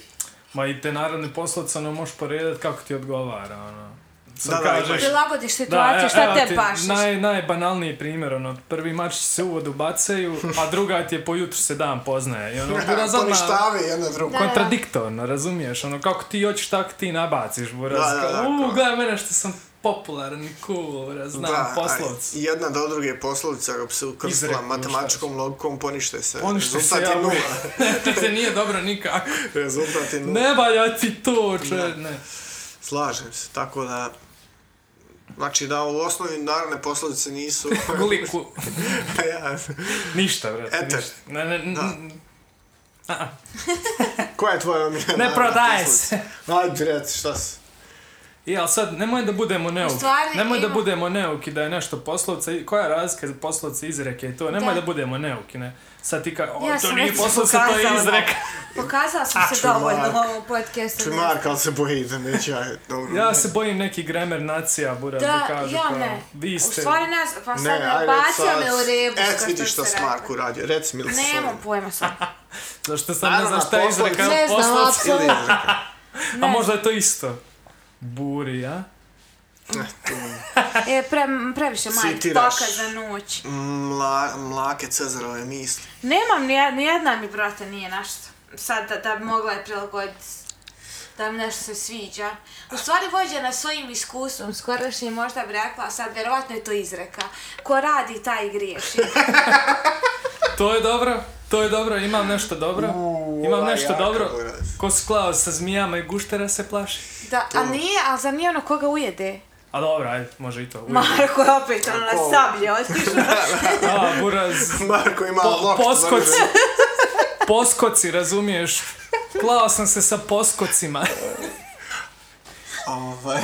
Speaker 1: Ma i te narodne poslovce ono možeš poredat kako ti odgovara, ono. Sad
Speaker 3: Da, da, imaš-
Speaker 2: Prilagodiš
Speaker 1: evo-
Speaker 2: situaciju, šta
Speaker 1: evo
Speaker 2: te
Speaker 1: ti
Speaker 2: baš?
Speaker 1: Naj, najbanalniji primjer, ono, prvi mač se u vodu bacaju, a druga ti je po jutru se dan poznaje. I ono, buraz odmah
Speaker 3: Poništave jedna drugu.
Speaker 2: Da.
Speaker 1: kontradiktorno, razumiješ? Ono, kako ti hoćeš, tako ti nabaciš, buraz.
Speaker 3: Da, da,
Speaker 1: Kao,
Speaker 3: da,
Speaker 1: "U,
Speaker 3: kao-
Speaker 1: gledaj mene što sam popularni, cool, bre, znam,
Speaker 3: Da,
Speaker 1: poslovci.
Speaker 3: a jedna do druge poslovica kako se ukrstila
Speaker 4: Izrekom,
Speaker 3: matematičkom logikom, ponište se.
Speaker 4: Ponište se,
Speaker 3: Rezultat je
Speaker 4: ja
Speaker 3: nula.
Speaker 1: to se nije dobro nikako.
Speaker 3: Rezultat je nula.
Speaker 1: Ne valja ti to, če, ne.
Speaker 3: Slažem se, tako da... Znači da u osnovi naravne poslovice nisu...
Speaker 1: Guliku,
Speaker 3: ja,
Speaker 4: Ništa, brate,
Speaker 3: Eter.
Speaker 4: ništa.
Speaker 1: ne, ne, ne,
Speaker 3: Da.
Speaker 1: a, a,
Speaker 3: koja je tvoja omiljena
Speaker 1: ne
Speaker 3: narodna
Speaker 1: prodaje
Speaker 3: poslovica?
Speaker 1: se.
Speaker 3: Ajde, reci, šta si?
Speaker 1: I, ali sad, nemoj da budemo neuki.
Speaker 2: stvari,
Speaker 1: nemoj da
Speaker 2: ima-
Speaker 1: budemo neuki da je nešto poslovca. i- Koja je razlika za poslovca i izreke i to? Nemoj da,
Speaker 2: Da.
Speaker 1: budemo neuki, ne. Sad ti kao, o,
Speaker 2: Ja
Speaker 1: to
Speaker 2: sam
Speaker 1: nije
Speaker 2: već
Speaker 1: poslovca, to je
Speaker 2: pokazala.
Speaker 1: izreka.
Speaker 2: Pokazala sam
Speaker 3: A,
Speaker 2: se
Speaker 3: čuvar.
Speaker 2: dovoljno u ovom podcastu.
Speaker 3: Čuj Marka, Znači, ali se boji da neće ja... Dobro.
Speaker 1: Ja se bojim neki gramer nacija, Buraz, da,
Speaker 2: Da,
Speaker 1: kažu
Speaker 2: ja
Speaker 1: kao,
Speaker 2: ne.
Speaker 1: vi
Speaker 2: U
Speaker 1: ste...
Speaker 2: stvari nas, pa
Speaker 3: Ne,
Speaker 2: sad
Speaker 3: ajde,
Speaker 2: ne, bacio
Speaker 3: sad-
Speaker 2: me u rebu.
Speaker 3: Et, vidi šta
Speaker 2: se
Speaker 3: s Marku radio. Reci mi li se
Speaker 2: Nemam pojma sad.
Speaker 1: Zašto sam ne
Speaker 3: Naravno,
Speaker 1: znam šta je
Speaker 3: poslovci-
Speaker 1: izreka,
Speaker 2: Ne znam,
Speaker 1: poslovci-
Speaker 2: apsolutno.
Speaker 3: Ili izreka.
Speaker 1: A
Speaker 2: Ne.
Speaker 1: možda je to isto. Buri, a?
Speaker 3: Ne, to mi-
Speaker 2: E, pre, previše manj
Speaker 3: Citiraš.
Speaker 2: toka za noć.
Speaker 3: Mla, mlake Cezarove misli.
Speaker 2: Nemam, ni jed- ni jedna mi, brate, nije našta. Sad da, da bi mogla je prilagoditi da mi nešto se sviđa. U stvari vođena svojim iskustvom, skorašnjim možda bi rekla, a sad vjerovatno je to izreka. Ko radi, taj griješi.
Speaker 1: To je dobro, to je dobro, imam nešto dobro.
Speaker 3: U,
Speaker 1: Imam
Speaker 3: ova
Speaker 1: nešto
Speaker 3: jaka,
Speaker 1: dobro.
Speaker 3: Buraz.
Speaker 1: Ko se klao sa zmijama i guštera se plaši.
Speaker 2: Da, a nije, a za nije ono koga ujede?
Speaker 1: A dobro, ajde, može i to. ujde.
Speaker 2: Marko je opet ono na
Speaker 3: Ko?
Speaker 2: sablje otišao.
Speaker 1: A, buraz,
Speaker 3: Marko ima
Speaker 1: Po-
Speaker 3: lokt.
Speaker 1: poskoc.
Speaker 3: završen.
Speaker 1: poskoci, razumiješ? Klao sam se sa poskocima.
Speaker 3: Ovaj,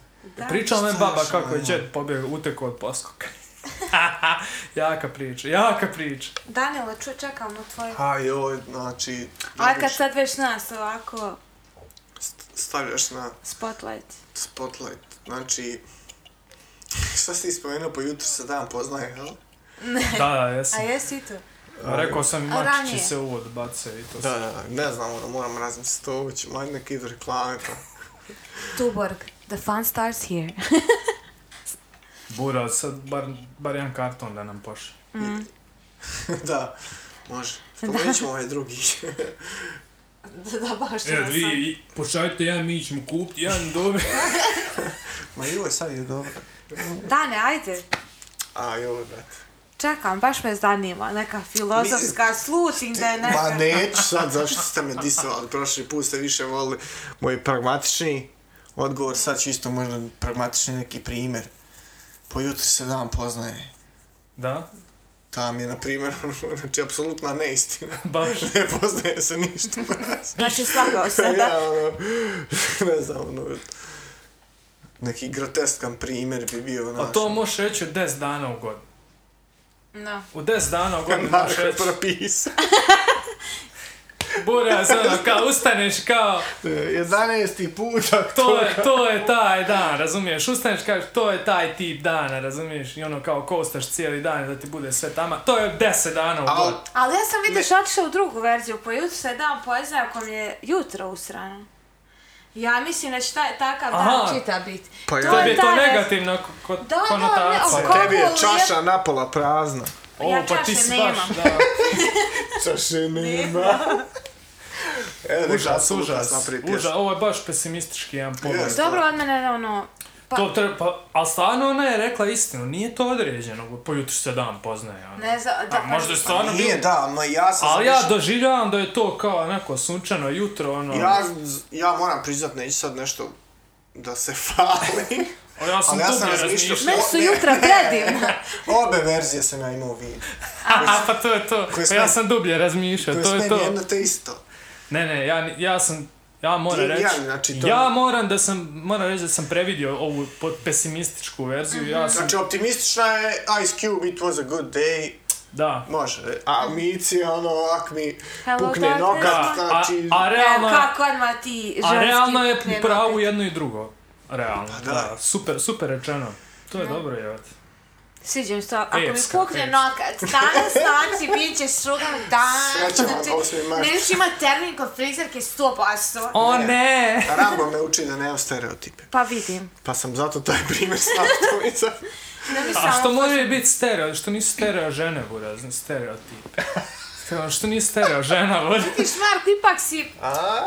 Speaker 1: Pričala me baba
Speaker 3: još
Speaker 1: kako je
Speaker 3: imamo?
Speaker 1: džed pobjeg, utekao od poskoka. jaka priča, jaka priča.
Speaker 2: Danilo, ču, čekamo tvoju.
Speaker 3: a joj, znači...
Speaker 2: Aj kad
Speaker 3: dobiš-
Speaker 2: sad već nas ovako
Speaker 3: st- Stavljaš na
Speaker 2: spotlight.
Speaker 3: spotlight, znači... Šta si ti spomenuo, po jutru se dan poznaje, jel?
Speaker 1: Da, da,
Speaker 2: A
Speaker 1: jesam.
Speaker 2: jesi tu?
Speaker 1: Rekao sam i
Speaker 2: A
Speaker 1: mačići
Speaker 2: ranije?
Speaker 1: se uvod bace i to
Speaker 3: Da, da, ne znam, ono, moram razmisliti to ući, manje neki idu reklame, pa...
Speaker 2: Tuborg, the fun starts here.
Speaker 1: Bura, sad bar, bar jedan karton da nam pošli.
Speaker 3: Mm. da, može. Spomenut ćemo ovaj drugi.
Speaker 2: da, da, baš
Speaker 1: E,
Speaker 2: nas sad-
Speaker 1: vi, pošaljite jedan, mi ćemo kupiti jedan, dobro.
Speaker 3: Ma joj, sad je dobro.
Speaker 2: Dane, ajde.
Speaker 3: A joj, brate.
Speaker 2: Čekam, baš me zanima, neka filozofska, slutim da je
Speaker 3: Ma
Speaker 2: neka...
Speaker 3: neću sad, zašto ste me disovali? Prošli put ste više volili moj pragmatični odgovor, sad ću isto možda pragmatični neki primjer. Po jutru se dan poznaje.
Speaker 1: Da,
Speaker 3: Tam je, na primjer, ono, znači, apsolutna neistina.
Speaker 1: baš.
Speaker 3: Ne poznaje se ništa. brate.
Speaker 2: Znači, slagao se,
Speaker 3: ja,
Speaker 2: da.
Speaker 3: ono, ne znam, ono, neki groteskan primjer bi bio, znaš.
Speaker 1: A to možeš reći u 10 dana u godinu.
Speaker 2: No.
Speaker 1: U 10 dana u godinu možeš
Speaker 3: Marko je
Speaker 1: reći.
Speaker 3: propisao.
Speaker 1: Bura, sad, ono, kao ustaneš kao,
Speaker 3: 11. puta.
Speaker 1: to je, to je taj dan, razumiješ? Ustaneš kažeš, to je taj tip dana, razumiješ? I ono kao kostaš cijeli dan da ti bude sve tama. To je 10 dana u
Speaker 3: Al,
Speaker 1: godinu.
Speaker 2: Ali ja sam vidiš otišla u drugu verziju, po jutru se dan poznaje ako mi je jutro usrano. Ja mislim da će taj, takav
Speaker 1: Aha.
Speaker 2: dan čita biti.
Speaker 3: Pa ja-
Speaker 1: Tebi je to
Speaker 2: taj raz-
Speaker 1: negativna ko- ko-
Speaker 2: da, ne,
Speaker 1: konotacija.
Speaker 2: oko-
Speaker 3: tebi je
Speaker 2: Kako
Speaker 3: čaša napola prazna.
Speaker 1: O,
Speaker 2: Ja
Speaker 1: pa ti
Speaker 2: čaše
Speaker 1: si
Speaker 2: nemam.
Speaker 1: baš, da.
Speaker 3: Čaše nema. E,
Speaker 1: Užas, užas, užas,
Speaker 3: užas.
Speaker 1: ovo je baš pesimistički jedan pogled.
Speaker 3: Jest.
Speaker 2: Dobro, od mene ono... Pa,
Speaker 1: To treba, pa, ali stvarno ona je rekla istinu, nije to određeno, po jutru se dan poznaje. ono.
Speaker 2: Ne znam, da,
Speaker 1: A
Speaker 2: pa-
Speaker 1: možda je stvarno bilo,
Speaker 3: Nije, da, ma ja sam
Speaker 1: ali ja
Speaker 3: zamišljao-
Speaker 1: doživljavam da je to kao neko sunčano jutro, ono,
Speaker 3: Ja,
Speaker 1: ja,
Speaker 3: ja moram priznat, neću sad nešto da se fali.
Speaker 1: ja sam
Speaker 3: ali ja sam
Speaker 1: dublje
Speaker 3: razmišljao-
Speaker 1: razmišljao.
Speaker 2: Meni su jutra predivna.
Speaker 3: Obe verzije sam ja imao u vidu.
Speaker 1: Aha, pa to je to,
Speaker 3: Koje
Speaker 1: pa ja
Speaker 3: sme-
Speaker 1: sam dublje razmišljao,
Speaker 3: To je
Speaker 1: E, to je
Speaker 3: s meni
Speaker 1: to.
Speaker 3: jedno te isto.
Speaker 1: Ne, ne, ja, ni- ja sam, ja moram
Speaker 3: Ti i
Speaker 1: reći,
Speaker 3: ja, znači, to-
Speaker 1: ja moram da sam, moram reći da sam previdio ovu pot- pesimističku verziju,
Speaker 2: Mhm.
Speaker 1: ja sam,
Speaker 3: Znači, optimistična je Ice Cube, it was a good day.
Speaker 1: da.
Speaker 3: Može. A Mici je ono, ak mi
Speaker 2: Hello,
Speaker 3: pukne
Speaker 2: darkness.
Speaker 3: nokat,
Speaker 1: A, a,
Speaker 3: znači...
Speaker 1: a realno,
Speaker 2: Evo, kako odmah ti ženski...
Speaker 1: A realno je
Speaker 2: krenuo.
Speaker 1: pravo jedno i drugo. Realno, da.
Speaker 3: Pa da.
Speaker 1: Super, super rečeno. To je dobro, jevati.
Speaker 2: Sviđam se, ako mi
Speaker 1: Epska,
Speaker 2: pukne
Speaker 1: epska.
Speaker 2: nokat, danas noći bit će šugan dan,
Speaker 3: Srećan vam 8. mart.
Speaker 2: nećeš imat termin kod frizerke 100%.
Speaker 1: O
Speaker 3: Ne.
Speaker 1: ne!
Speaker 3: Rambo me uči da nemam stereotipe.
Speaker 2: Pa vidim.
Speaker 3: Pa sam zato taj primjer stavio iza.
Speaker 2: Da mi
Speaker 1: A
Speaker 2: samo
Speaker 1: što može biti stereo, što nisu stereo žene, buraz, stereotipe. Kao, što nisi terao žena, vodi.
Speaker 2: Viš, Marko, ipak si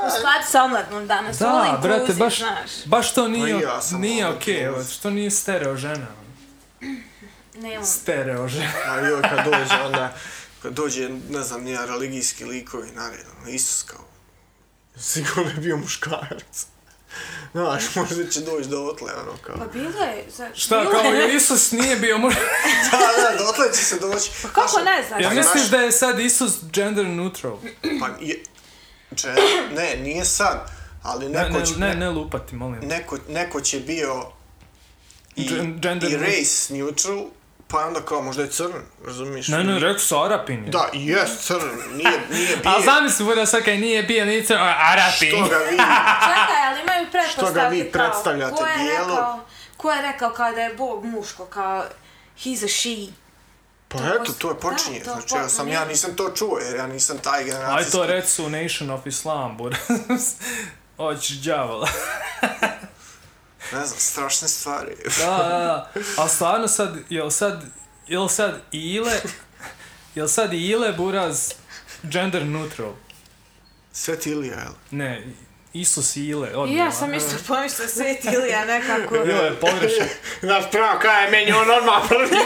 Speaker 2: u skladu sa omladnom danas. all
Speaker 1: Da,
Speaker 2: inclusive,
Speaker 1: brate, baš,
Speaker 2: Znaš.
Speaker 1: baš to nije,
Speaker 3: Pa i ja sam
Speaker 1: nije
Speaker 3: all
Speaker 1: okej, okay,
Speaker 3: inclusive.
Speaker 1: što nije stereo žena. ono.
Speaker 2: Nemam.
Speaker 1: Stereo žena.
Speaker 3: A joj, kad dođe, onda, kad dođe, ne znam, nije religijski likovi, naredno, Isus kao, sigurno je bio muškarac. Znaš, možda će doći do otle, ono, kao.
Speaker 2: Pa bilo je. Za,
Speaker 1: Šta,
Speaker 2: bilo
Speaker 1: kao,
Speaker 2: je.
Speaker 1: jel Isus nije bio muž...
Speaker 3: Da, da, do otle će se doći.
Speaker 2: Pa kako ne znaš?
Speaker 1: Ja
Speaker 3: Pa
Speaker 1: misliš
Speaker 3: znaš-
Speaker 1: da je sad Isus gender neutral?
Speaker 3: Pa, je, če, ne, nije sad, ali
Speaker 1: Ne,
Speaker 3: neko
Speaker 1: ne,
Speaker 3: će,
Speaker 1: ne, ne lupati, molim.
Speaker 3: neko, neko će bio i,
Speaker 1: Gen- gender-
Speaker 3: i race neutral, pa je onda kao, možda je crn, razumiješ?
Speaker 1: Ne, ne, rekao su Arapin. je.
Speaker 3: Da, jest crn, nije, nije bijen.
Speaker 1: A znam se bude sad kaj nije bio ni crno, Arapin.
Speaker 3: To ga vi,
Speaker 2: Čekaj, ali imaju pretpostavke
Speaker 3: Što ga vi
Speaker 2: kao,
Speaker 3: predstavljate,
Speaker 2: ko je
Speaker 3: bijelo?
Speaker 2: Rekao, ko je rekao kao da je Bog muško, kao he's a she.
Speaker 3: pa
Speaker 2: To
Speaker 3: eto,
Speaker 2: pos-
Speaker 3: to je
Speaker 2: da,
Speaker 3: počinje,
Speaker 2: to
Speaker 3: znači ja
Speaker 2: po-
Speaker 3: sam,
Speaker 2: ne.
Speaker 3: ja nisam to čuo, jer ja nisam taj
Speaker 1: Aj
Speaker 3: generacijski.
Speaker 1: to recu Nation of Islam, bur. Oći džavola.
Speaker 3: Ne znam, strašne stvari.
Speaker 1: Da, da, da. A stvarno sad, jel sad, jel sad Ile, jel sad Ile Buraz gender neutral?
Speaker 3: Sveti Ilija, jel?
Speaker 1: Ne, Isus i Ile,
Speaker 2: I
Speaker 1: odmah.
Speaker 2: ja sam isto pomišla Sveti Ilija nekako.
Speaker 1: Bilo je pogrešno.
Speaker 3: Znaš, pravo, kaj je meni on odmah prvi.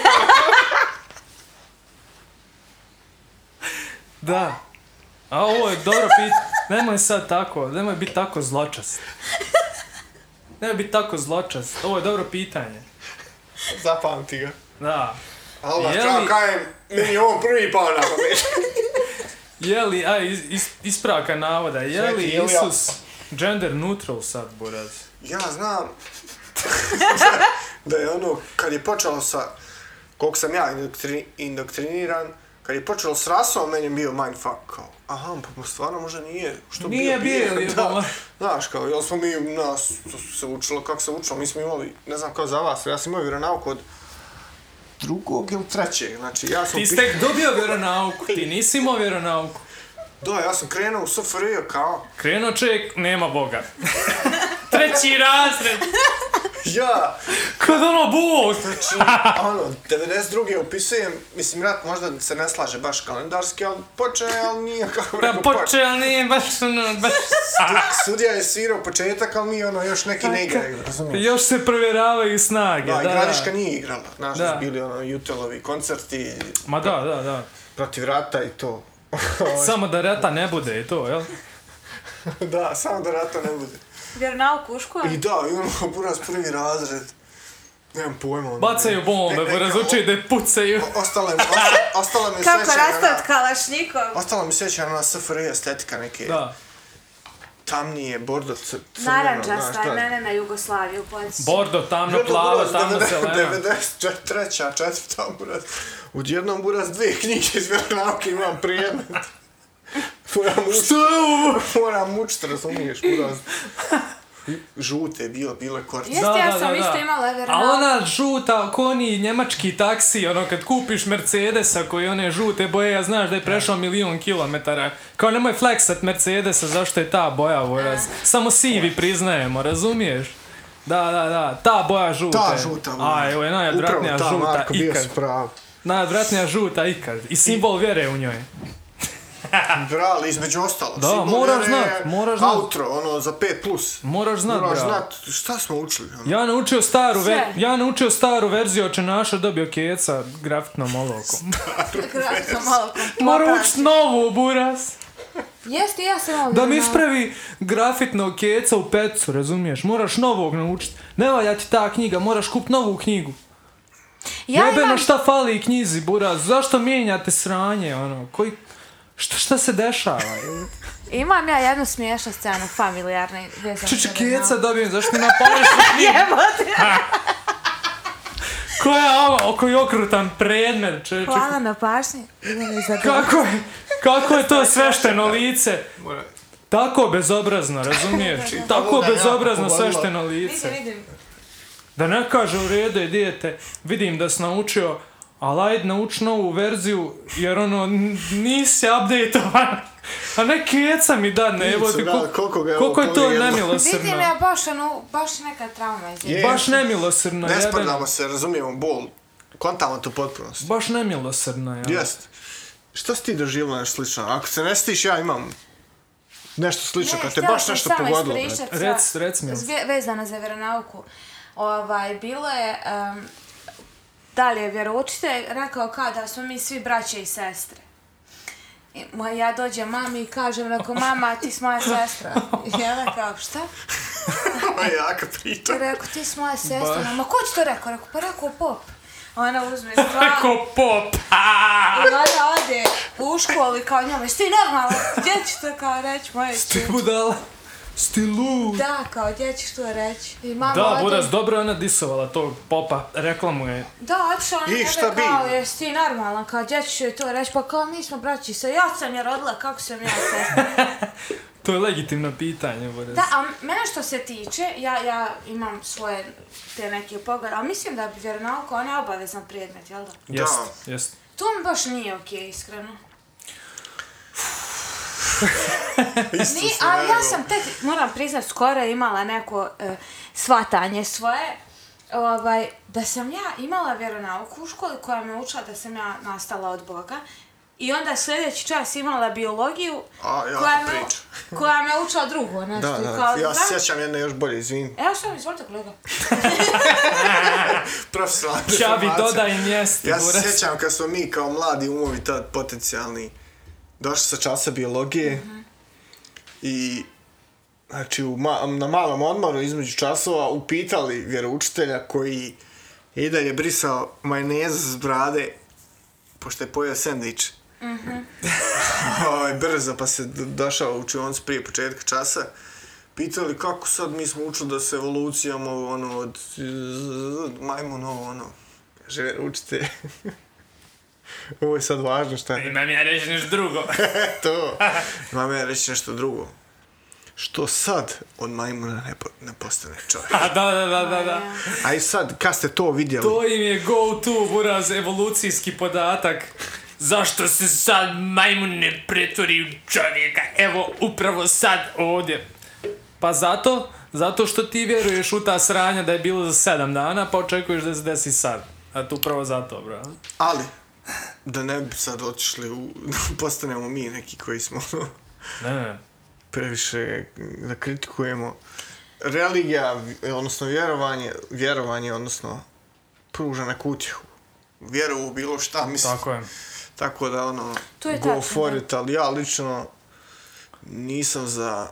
Speaker 1: Da. A ovo je dobro pit. Nemoj sad tako, nemoj biti tako zločast. Nemoj biti tako zločast. Ovo je dobro pitanje.
Speaker 3: Zapamti ga.
Speaker 1: Da.
Speaker 3: A onda,
Speaker 1: Je
Speaker 3: pravo,
Speaker 1: li-
Speaker 3: kaj je meni on prvi pao na pamet.
Speaker 1: Je li, aj, is, is, ispravka navoda, je
Speaker 3: Sveti
Speaker 1: li
Speaker 3: Ilija.
Speaker 1: Isus gender neutral sad, buraz?
Speaker 3: Ja znam da je ono, kad je počelo sa, koliko sam ja indoktri, indoktriniran, kad je počelo s rasom, meni je bio mindfuck, kao, aha, pa stvarno možda nije, što
Speaker 1: Nije
Speaker 3: bio,
Speaker 1: bio, jebola.
Speaker 3: da, znaš, kao, jel smo mi, nas, to su se učilo, kako se učilo, mi smo imali, ne znam kao za vas, ja sam imao vjeronauku od drugog ili trećeg, znači, ja sam...
Speaker 1: Ti si
Speaker 3: upisao-
Speaker 1: tek dobio vjeronauku, ti nisi imao vjeronauku.
Speaker 3: Da, ja sam krenuo u SFRJ kao,
Speaker 1: Krenuo čovjek, nema Boga. Treći razred,
Speaker 3: ja,
Speaker 1: kod ono Bog.
Speaker 3: Znači, ono, 92. upisujem, mislim, rat možda se ne slaže baš kalendarski, ali počeo je, ali nije kako
Speaker 1: Da
Speaker 3: rekao, počeo.
Speaker 1: poče, ali nije baš, ono, baš...
Speaker 3: Sudija je svirao početak, ali mi ono, još neki ne igra, razumiješ?
Speaker 1: Još se provjeravaju snage,
Speaker 3: Da,
Speaker 1: da,
Speaker 3: i
Speaker 1: da.
Speaker 3: Gradiška nije igrala, znaš,
Speaker 1: Da.
Speaker 3: da. bili ono, Jutelovi koncerti
Speaker 1: Ma da, da, da.
Speaker 3: protiv rata i to.
Speaker 1: Samo da rata ne bude i to, jel?
Speaker 3: da, samo da rata ne bude.
Speaker 2: Vjeronauk u školu.
Speaker 3: I da, i ono, buraz prvi razred, nemam pojma. Ono,
Speaker 1: Bacaju bombe,
Speaker 3: E, e,
Speaker 1: razučuju da pucaju.
Speaker 3: o- Ostala mi, osta- ostala mi
Speaker 2: Kako
Speaker 3: sjećanja na-
Speaker 2: rastavit kalašnikov.
Speaker 3: Ostala mi sjećanja na SFRJ estetika neke.
Speaker 1: Da.
Speaker 3: tamnije, bordo cr- crveno,
Speaker 2: Naranđasta je mene na Jugoslaviju podsjeća.
Speaker 1: Bordo, tamno, plavo, Ono tamno, zeleno.
Speaker 3: 93. četvrta buraz. Odjednom buraz dvije knjige iz vjeronauke imam prijedne. Moram učit. Što je ovo? Moram učit, razumiješ, buraz. I Žute je bilo, bilo je kortice.
Speaker 2: Jeste, ja sam isto imala
Speaker 1: A
Speaker 2: vjeronauk.
Speaker 1: ona žuta, ko oni njemački taksi, ono kad kupiš Mercedesa koji one žute boje, ja znaš da je prešao milion kilometara. Kao nemoj fleksat Mercedesa, zašto je ta boja voraz? Samo sivi priznajemo, razumiješ? Da, da, da, ta boja žute.
Speaker 3: Ta žuta, buraz.
Speaker 1: A, evo je najodvratnija
Speaker 3: Upravo ta,
Speaker 1: žuta
Speaker 3: Marko, bio
Speaker 1: ikad.
Speaker 3: si prav.
Speaker 1: Najodvratnija žuta ikad. I simbol vjere u njoj.
Speaker 3: Brali, između ostalo.
Speaker 1: Da,
Speaker 3: Simbol
Speaker 1: moraš
Speaker 3: vjere
Speaker 1: znat,
Speaker 3: je
Speaker 1: moraš znat.
Speaker 3: Outro, ono, za 5 plus.
Speaker 1: Moraš znat,
Speaker 3: Moraš
Speaker 1: bravo.
Speaker 3: znat, šta smo učili? Ono?
Speaker 1: Ja naučio staru,
Speaker 2: Sve.
Speaker 1: ver, ja naučio staru verziju Oče naša dobio keca grafitnom olovkom.
Speaker 2: Kratko malo
Speaker 1: Moram
Speaker 2: kompletan.
Speaker 1: učit novu, buras.
Speaker 2: Jeste, ja sam imala
Speaker 1: Da mi
Speaker 2: vjeronauk.
Speaker 1: ispravi grafitnog keca u pecu, razumiješ? Moraš novog naučit. Ne valja ti ta knjiga, moraš kup novu knjigu.
Speaker 2: Ja
Speaker 1: Jebeno
Speaker 2: imam
Speaker 1: šta fali knjizi, buraz. Zašto mijenjate sranje, ono? Koji... Šta, šta se dešava?
Speaker 2: Imam ja jednu smiješnu scenu, familijarnu, vezanu
Speaker 1: Čuče
Speaker 2: za
Speaker 1: keca
Speaker 2: vjeronauk.
Speaker 1: dobijem, zašto ima pogrešnu knjigu?
Speaker 2: Jebote!
Speaker 1: Koja ovo, o koji okrutan predmet, čeče.
Speaker 2: Hvala na pažnji. Idemo za
Speaker 1: Kako je, kako je to svešteno lice?
Speaker 3: Mora-
Speaker 1: Tako bezobrazno, razumiješ? Tako
Speaker 3: Ovoga ja
Speaker 1: bezobrazno
Speaker 3: pogodila.
Speaker 1: svešteno lice.
Speaker 2: Vidim, vidim.
Speaker 1: Da ne kaže u redu je dijete, vidim da si naučio, ali ajde nauč novu verziju, jer ono, n- nisi updateovan. A ne keca mi dadne, evo ti,
Speaker 3: Ivicu, da, koliko ga je ovo
Speaker 1: koliko je to
Speaker 3: povrijedilo.
Speaker 2: Vidim
Speaker 1: nemilosrno.
Speaker 2: ja baš, ono, baš neka trauma iz
Speaker 3: Je.
Speaker 1: Baš nemilosrno,
Speaker 3: Ne
Speaker 1: jebeno.
Speaker 3: sprdamo se, razumijemo bol. Kontamo to potpunost.
Speaker 1: Baš nemilosrno, jel?
Speaker 3: Jest. Šta si ti doživjela nešto slično? Ako se ne stiš, ja imam nešto slično,
Speaker 2: Ne,
Speaker 3: kad te
Speaker 2: htjela
Speaker 3: baš
Speaker 2: sam
Speaker 3: nešto
Speaker 2: samo
Speaker 3: pogodilo. brate.
Speaker 2: ispričat
Speaker 1: Rec-
Speaker 2: sa-
Speaker 1: rec mi.
Speaker 2: zve- Vezano za vjeronauku. Ovaj, bilo je... em, da li je vjeroučitelj rekao kao da smo mi svi braće i sestre. I mo- ja dođem mami i kažem, reko, mama, ti si moja sestra. I ona kao, šta?
Speaker 3: Ovo je jaka priča.
Speaker 2: I rekao, ti si moja sestra. Ma ko ti to rekao? Rekao, pa rekao pop. A Ona uzme stvar
Speaker 1: Ko pop!
Speaker 2: i ona ode u školu i kao njome, jesi ti normalno? Gdje ću to kao reći moje
Speaker 1: Ti budala! Stilu!
Speaker 2: Da, kao gdje ćeš to reći? I mama
Speaker 1: Da,
Speaker 2: ode-
Speaker 1: Buras, dobro je ona disovala tog popa, reklamu je.
Speaker 2: Da, otišla na
Speaker 3: I
Speaker 2: njega
Speaker 3: šta bi?
Speaker 2: kao, jesi ti normalan, kao gdje ćeš joj to reći? Pa kao, mi smo braći, sa ja sam je rodila, kako sam ja sestra.
Speaker 1: To je legitimno pitanje, Buras.
Speaker 2: da, a mene što se tiče, ja, ja imam svoje te neke poglede, ali mislim da bi vjeronauka, on je obavezan predmet, jel da?
Speaker 1: Jest,
Speaker 3: Da.
Speaker 1: jest.
Speaker 2: To mi baš nije okej, iskreno.
Speaker 3: Isto
Speaker 2: Ni,
Speaker 3: sam
Speaker 2: ali ja
Speaker 3: rekao.
Speaker 2: sam tek, moram priznat, skoro imala neko e, svatanje svoje, ovaj, da sam ja imala vjeronauku u školi koja me učila da sam ja nastala od Boga. I onda sljedeći čas imala biologiju
Speaker 3: A, jaka
Speaker 2: koja, me,
Speaker 3: priča.
Speaker 2: koja me učila drugo
Speaker 3: Da,
Speaker 2: nešto.
Speaker 3: da,
Speaker 2: kao,
Speaker 3: ja se
Speaker 2: znam-
Speaker 3: sjećam jedne još bolje, izvin.
Speaker 2: Evo što mi, izvolite kolega.
Speaker 3: Profesionalna
Speaker 1: Čavi,
Speaker 3: informacija.
Speaker 1: dodaj mjesto,
Speaker 3: Ja se
Speaker 1: Buras.
Speaker 3: sjećam kad smo mi kao mladi umovi tad potencijalni došli sa časa biologije i znači u ma na malom odmoru između časova upitali vjeroučitelja koji je i dalje brisao majonez s brade pošto je pojeo sendvič. Ovaj, brzo pa se do- došao u učionicu prije početka časa. Pitali kako sad mi smo učili da se evolucijom ovo ono od majmuna ovo ono. Kaže, učite. Ovo je sad važno šta je
Speaker 1: E, Imam ja reći nešto drugo.
Speaker 3: to. Mama ja reći nešto drugo. Što sad od majmuna ne, po- ne postane čovjek.
Speaker 1: A da, da, da, da, da.
Speaker 3: A i sad, kad ste to vidjeli?
Speaker 1: To im je go to, Buraz, evolucijski podatak. Zašto se sad majmun ne pretvori u čovjeka? Evo, upravo sad ovdje. Pa zato, zato što ti vjeruješ u ta sranja da je bilo za sedam dana, pa očekuješ da se desi sad. A to upravo zato, bro.
Speaker 3: Ali, da ne bi sad otišli u... postanemo mi neki koji smo ono,
Speaker 1: Ne, ne.
Speaker 3: previše da kritikujemo. Religija, vi- odnosno vjerovanje, vjerovanje, odnosno pruža neku utjehu. Vjeruju u bilo šta, mislim.
Speaker 1: Tako je.
Speaker 3: Tako da ono,
Speaker 2: To je
Speaker 3: go
Speaker 2: tačno,
Speaker 3: for
Speaker 2: da.
Speaker 3: it, ali ja lično nisam za...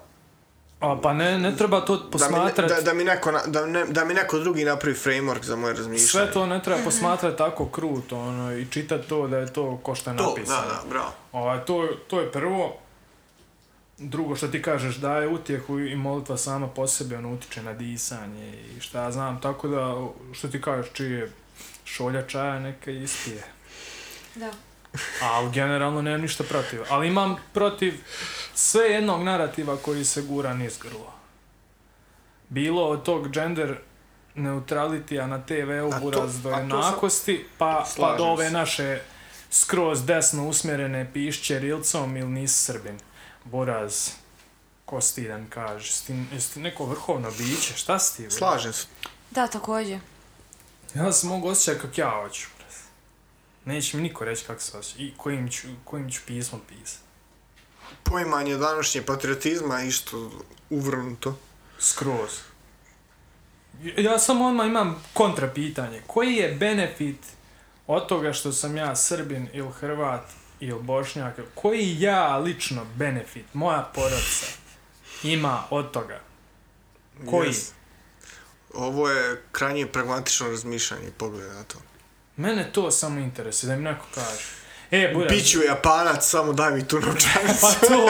Speaker 1: A, pa ne, ne treba to
Speaker 3: Da mi, ne-
Speaker 1: posmatrati.
Speaker 3: da, da, mi neko, na- da, ne, da mi neko drugi napravi framework za moje razmišljanje.
Speaker 1: Sve to ne treba posmatrati tako kruto, ono, i čitati to da je to ko što je
Speaker 3: to,
Speaker 1: napisano.
Speaker 3: da, da, bravo.
Speaker 1: Ovaj, to, to je prvo. Drugo što ti kažeš, daje utjehu i molitva sama po sebi, ono, utiče na disanje i šta ja znam, tako da, što ti kažeš, čije šolja čaja neka ispije.
Speaker 2: Da.
Speaker 1: Ali generalno nemam ništa protiv. Ali imam protiv sve jednog narativa koji se gura niz grlo. Bilo od tog gender neutralitija na
Speaker 3: A
Speaker 1: TV-u
Speaker 3: to-
Speaker 1: buraz do
Speaker 3: a to sam-
Speaker 1: jednakosti, pa, pa
Speaker 3: Slažem
Speaker 1: do ove
Speaker 3: se.
Speaker 1: naše skroz desno usmjerene pišće rilcom ili nisi srbin. Buraz, ko si ti da mi kažeš? Jesi ti- jesi ti neko vrhovno biće? Šta si ti? buraz?
Speaker 3: Slažem se.
Speaker 2: Da, također.
Speaker 1: Ja se mogu osjećati kako ja hoću. brez. Neće mi niko reći kako se osjeća i kojim ću, kojim ću pismom pisati.
Speaker 3: Poimanje današnje patriotizma je isto uvrnuto.
Speaker 1: Skroz. Ja samo odmah imam kontrapitanje. Koji je benefit od toga što sam ja Srbin ili Hrvat ili Bošnjak? Koji ja lično benefit, moja porodica, ima od toga? Koji?
Speaker 3: Yes. Ovo je krajnje pragmatično razmišljanje i pogled na to.
Speaker 1: Mene to samo interesuje, da mi neko kaže. E, Buraz,
Speaker 3: Biću japanac, samo daj mi tu novčanicu.
Speaker 1: pa to,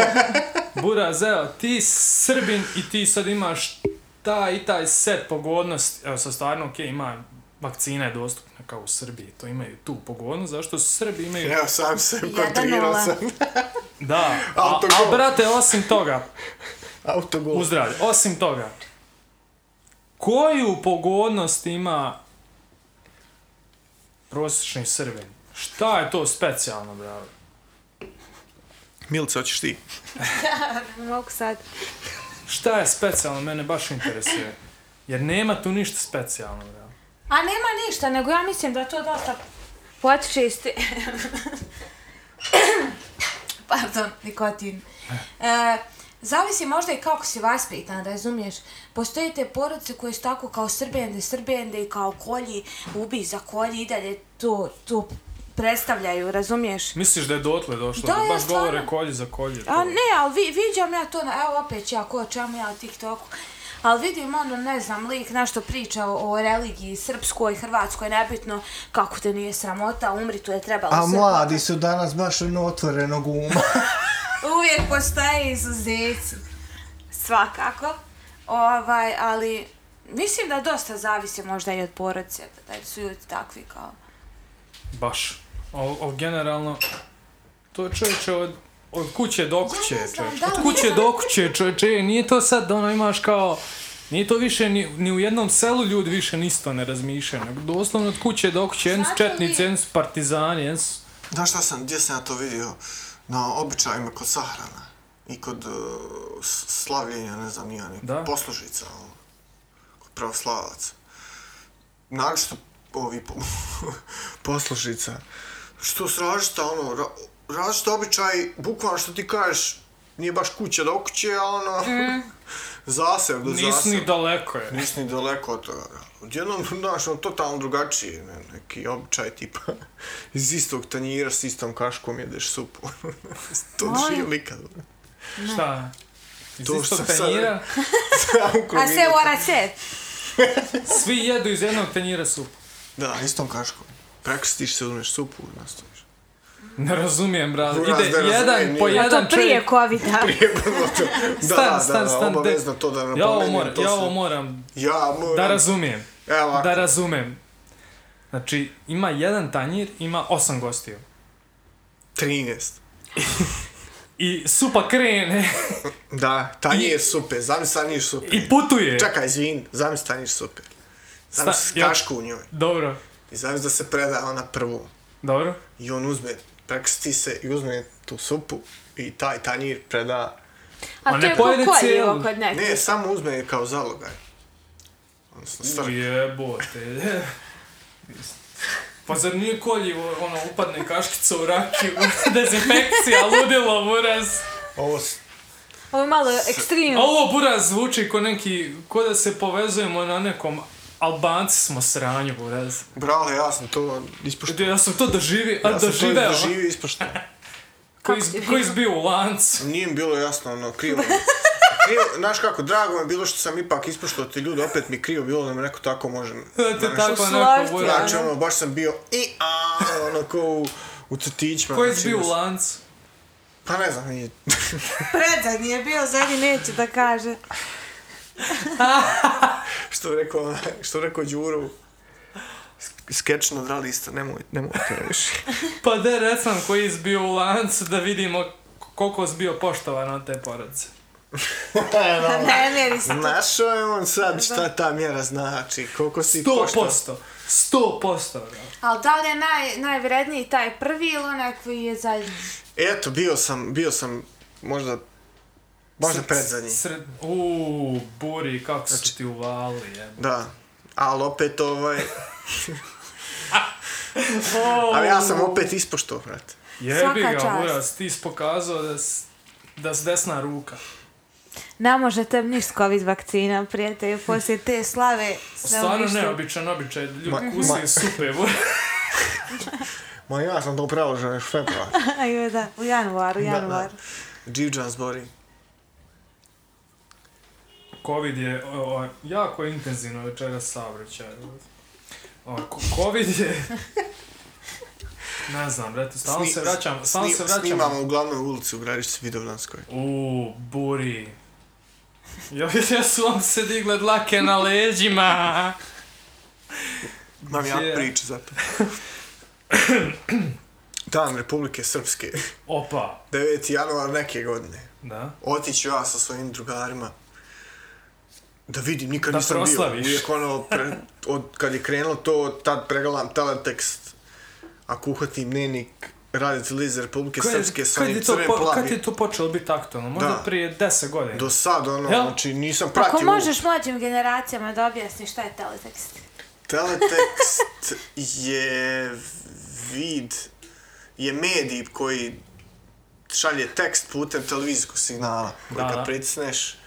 Speaker 1: Buraz, evo, ti si Srbin i ti sad imaš taj i taj set pogodnosti. Evo, sa stvarno, okej, ima vakcina je dostupna kao u Srbiji, to imaju tu pogodnost, zašto Srbi imaju...
Speaker 3: Evo sam se
Speaker 2: Jedan
Speaker 3: kontrirao
Speaker 2: nula.
Speaker 3: sam.
Speaker 1: Da, a,
Speaker 3: Autogol.
Speaker 1: a brate, osim toga,
Speaker 3: Autogol.
Speaker 1: uzdravlje, osim toga, koju pogodnost ima prosječni Srbin? Šta je to specijalno, bravo?
Speaker 3: Milice, hoćeš ti?
Speaker 2: Ne mogu sad.
Speaker 1: Šta je specijalno, mene baš interesuje. Jer nema tu ništa specijalno, bravo.
Speaker 2: A nema ništa, nego ja mislim da to dosta potiče iz te... Pardon, nikotin. E, zavisi možda i kako si vaspitan, razumiješ? Postoje te porodice koje su tako kao srbende, srbende i kao kolji, ubi za kolji i dalje to, to predstavljaju, razumiješ?
Speaker 1: Misliš da je dotle došlo?
Speaker 2: Da,
Speaker 1: Da,
Speaker 2: ja
Speaker 1: baš
Speaker 2: stvarno-
Speaker 1: govore kolje za kolje.
Speaker 2: A ne, ali vi, viđam ja to, na, evo opet ću ja ko o čemu ja o TikToku. Ali vidim ono, ne znam, lik nešto priča o, o religiji srpskoj, hrvatskoj, nebitno, kako te nije sramota, umri tu je trebalo
Speaker 5: A
Speaker 2: sve
Speaker 5: mladi
Speaker 2: pokat.
Speaker 5: su danas baš ono otvorenog uma.
Speaker 2: Uvijek postoje izuzeci. Svakako. Ovaj, ali mislim da dosta zavisi možda i od porodice, da su ljudi takvi kao...
Speaker 1: Baš. Al, al generalno, to je čovječe od, od kuće do kuće,
Speaker 2: Ja ne znam,
Speaker 1: čovječe.
Speaker 2: da li
Speaker 1: Od kuće
Speaker 2: je-
Speaker 1: do kuće, čovječe. Nije to sad ono imaš kao... Nije to više ni, ni u jednom selu ljudi više nisto ne razmišljaju. nego Doslovno od kuće do kuće, jedni su
Speaker 2: Znate li-
Speaker 1: četnici, jedni su partizani, jedni su...
Speaker 3: Znaš šta sam, gdje sam ja to vidio? Na običajima kod sahrana i kod uh, s- slavljenja, ne znam, nija nekog
Speaker 1: Da.
Speaker 3: poslušica, ono, kod pravoslavaca. Naravno ovi po, poslušica, što su različita, ono, ra, različita običaj, bukvalno što ti kažeš, nije baš kuća do kuće, a ono, zaseb do
Speaker 1: Nisu
Speaker 3: zaseb.
Speaker 1: ni daleko je.
Speaker 3: Nisi ni daleko od toga. Odjednom, znaš, on totalno drugačiji, ne, neki običaj tipa iz istog tanjira s istom kaškom jedeš supu. to
Speaker 2: Molim?
Speaker 3: drži likad.
Speaker 1: Šta? Iz
Speaker 3: To
Speaker 1: istog
Speaker 3: sam sad-
Speaker 1: tanjira,
Speaker 2: A se ora se!
Speaker 1: svi jedu iz jednog tanjira supu.
Speaker 3: Da, istom kaškom. Prekrstiš se, uzmeš supu i nastaviš.
Speaker 1: Ne razumijem, brate.
Speaker 3: Buraz, ne
Speaker 1: Ide
Speaker 3: razumijem,
Speaker 1: jedan
Speaker 3: nije.
Speaker 1: po
Speaker 3: A to
Speaker 2: A to
Speaker 1: jedan
Speaker 2: prije
Speaker 1: čovjek.
Speaker 2: covida.
Speaker 3: da,
Speaker 1: Stan,
Speaker 3: da,
Speaker 1: stan,
Speaker 3: da,
Speaker 1: stan, de-
Speaker 3: obavezno to da
Speaker 1: Ja ovo
Speaker 3: napomenem,
Speaker 1: moram,
Speaker 3: to
Speaker 1: ja
Speaker 3: se-
Speaker 1: ovo moram
Speaker 3: Ja moram.
Speaker 1: da razumijem.
Speaker 3: Evo ovako.
Speaker 1: Da razumem. Znači, ima jedan tanjir, ima osam gostiju.
Speaker 3: 13.
Speaker 1: I supa krene
Speaker 3: Da, tanjir supe, zamisli tanjir supe.
Speaker 1: i putuje.
Speaker 3: Čekaj, izvin, zamisli tanjir supe. Zamisli
Speaker 1: ja-
Speaker 3: kašku u njoj.
Speaker 1: Dobro,
Speaker 3: I zamisli da se preda ona prvu.
Speaker 1: dobro.
Speaker 3: I on uzme, prekrsti se i uzme tu supu i taj tanjir preda...
Speaker 1: Ma
Speaker 2: A to
Speaker 1: ne
Speaker 2: je ko
Speaker 1: pojede
Speaker 2: koljivo
Speaker 1: cijelu.
Speaker 2: kod nekih.
Speaker 3: Ne, samo uzme kao zalogaj. Odnosno, stvar...
Speaker 1: Jebote. Pa zar nije koljivo, ono, upadne kaškica u rakiju, dezinfekcija, ludilo, buraz.
Speaker 3: Ovo s-
Speaker 2: Ovo je malo ekstremno.
Speaker 1: Ovo buraz zvuči ko neki, ko da se povezujemo na nekom Albanci smo sranju, buraz.
Speaker 3: Brale, ja sam to ispoštio.
Speaker 1: Ja sam to doživio, a
Speaker 3: Ja sam to
Speaker 1: doživeo.
Speaker 3: doživio ispoštio.
Speaker 1: Koji
Speaker 2: Kako ti
Speaker 1: koji izbio u lancu.
Speaker 3: Nije mi bilo jasno, ono, krivo. mi- krivo, znaš kako, drago mi je bilo što sam ipak ispoštio ti ljudi, opet mi krivo bilo da me neko tako može...
Speaker 1: Da te
Speaker 3: znaš,
Speaker 1: tako
Speaker 2: Usloviti,
Speaker 1: neko buraz.
Speaker 3: Znači, ono, baš sam bio i a ono, ko u, u crtićima.
Speaker 1: Ko je
Speaker 3: znači,
Speaker 1: izbio u
Speaker 3: mislim-
Speaker 1: lancu?
Speaker 3: Pa ne znam, nije...
Speaker 2: Predzadnji je bio, zadnji neće da kaže.
Speaker 3: Što je rekao, onaj- što je rekao Đuro, sk- skeč na dva lista, nemoj, nemoj to više.
Speaker 1: Pa da recam koji je izbio u lancu da vidimo koliko si bio poštovan od te porodice.
Speaker 2: Ne, mjeri se.
Speaker 3: Našao je on sad šta ta mjera znači, koliko si
Speaker 1: 100%. 100%. brate.
Speaker 2: Ali da li je naj, najvredniji taj prvi ili onaj koji je zadnji?
Speaker 3: E, Eto, bio sam, bio sam možda, možda predzadnji. Znači-
Speaker 1: Sred... Uuu, buri, kako su ti uvali, jebote.
Speaker 3: Da, ali opet ovaj... Ali ja sam opet ispoštovao, brate.
Speaker 1: Jebi
Speaker 2: Svaka
Speaker 1: ga,
Speaker 2: čast.
Speaker 1: buraz, ti si pokazao da si, da si desna ruka.
Speaker 2: Ne može tebi niš s covid vakcina, prijatelju, poslije te slave sve
Speaker 1: Stvarno
Speaker 2: uništeno.
Speaker 1: neobičan običaj,
Speaker 3: Ma-
Speaker 1: ljudi
Speaker 3: ma-
Speaker 1: kusaju supe, buraz.
Speaker 3: Ma ja sam to pravožen, što je pravo.
Speaker 2: Ajme da, u januaru, u januaru.
Speaker 3: Dživđan zbori.
Speaker 1: Covid je o, o, jako intenzivno večeras saobraćaj. O, ko- Covid je... Ne znam, brate, stalno se vraćam, stalno se vraćam.
Speaker 3: Snimamo u glavnoj ulici u Gradišci Vidovdanskoj.
Speaker 1: U, buri. Ja, ja su vam se digle dlake na leđima.
Speaker 3: Imam ja
Speaker 1: Je.
Speaker 3: priče za to. Dan Republike Srpske,
Speaker 1: Opa,
Speaker 3: 9. januar neke godine.
Speaker 1: da.
Speaker 3: Otiću ja sa svojim drugarima da vidim, nikad
Speaker 1: Da
Speaker 3: nisam
Speaker 1: proslaviš.
Speaker 3: bio. Uvijek ono, pre, od kad je krenulo to, tad pregledam teletekst. Ako uhvatim dnevnik Radio Televizije Republike
Speaker 1: Kad,
Speaker 3: Srpske sa
Speaker 1: kad
Speaker 3: onim
Speaker 1: je to,
Speaker 3: crvenim
Speaker 1: po, kad
Speaker 3: plavim.
Speaker 1: je to počelo biti aktualno? Možda
Speaker 3: Da.
Speaker 1: prije 10 godina.
Speaker 3: Do sad, ono,
Speaker 1: Jel?
Speaker 3: znači nisam pratio.
Speaker 2: Ako možeš mlađim generacijama da objasniš šta je teletekst?
Speaker 3: Teletekst je vid je medij koji šalje tekst putem televizijskog signala. Koji
Speaker 1: Da,
Speaker 3: kad
Speaker 1: da.
Speaker 3: pritisneš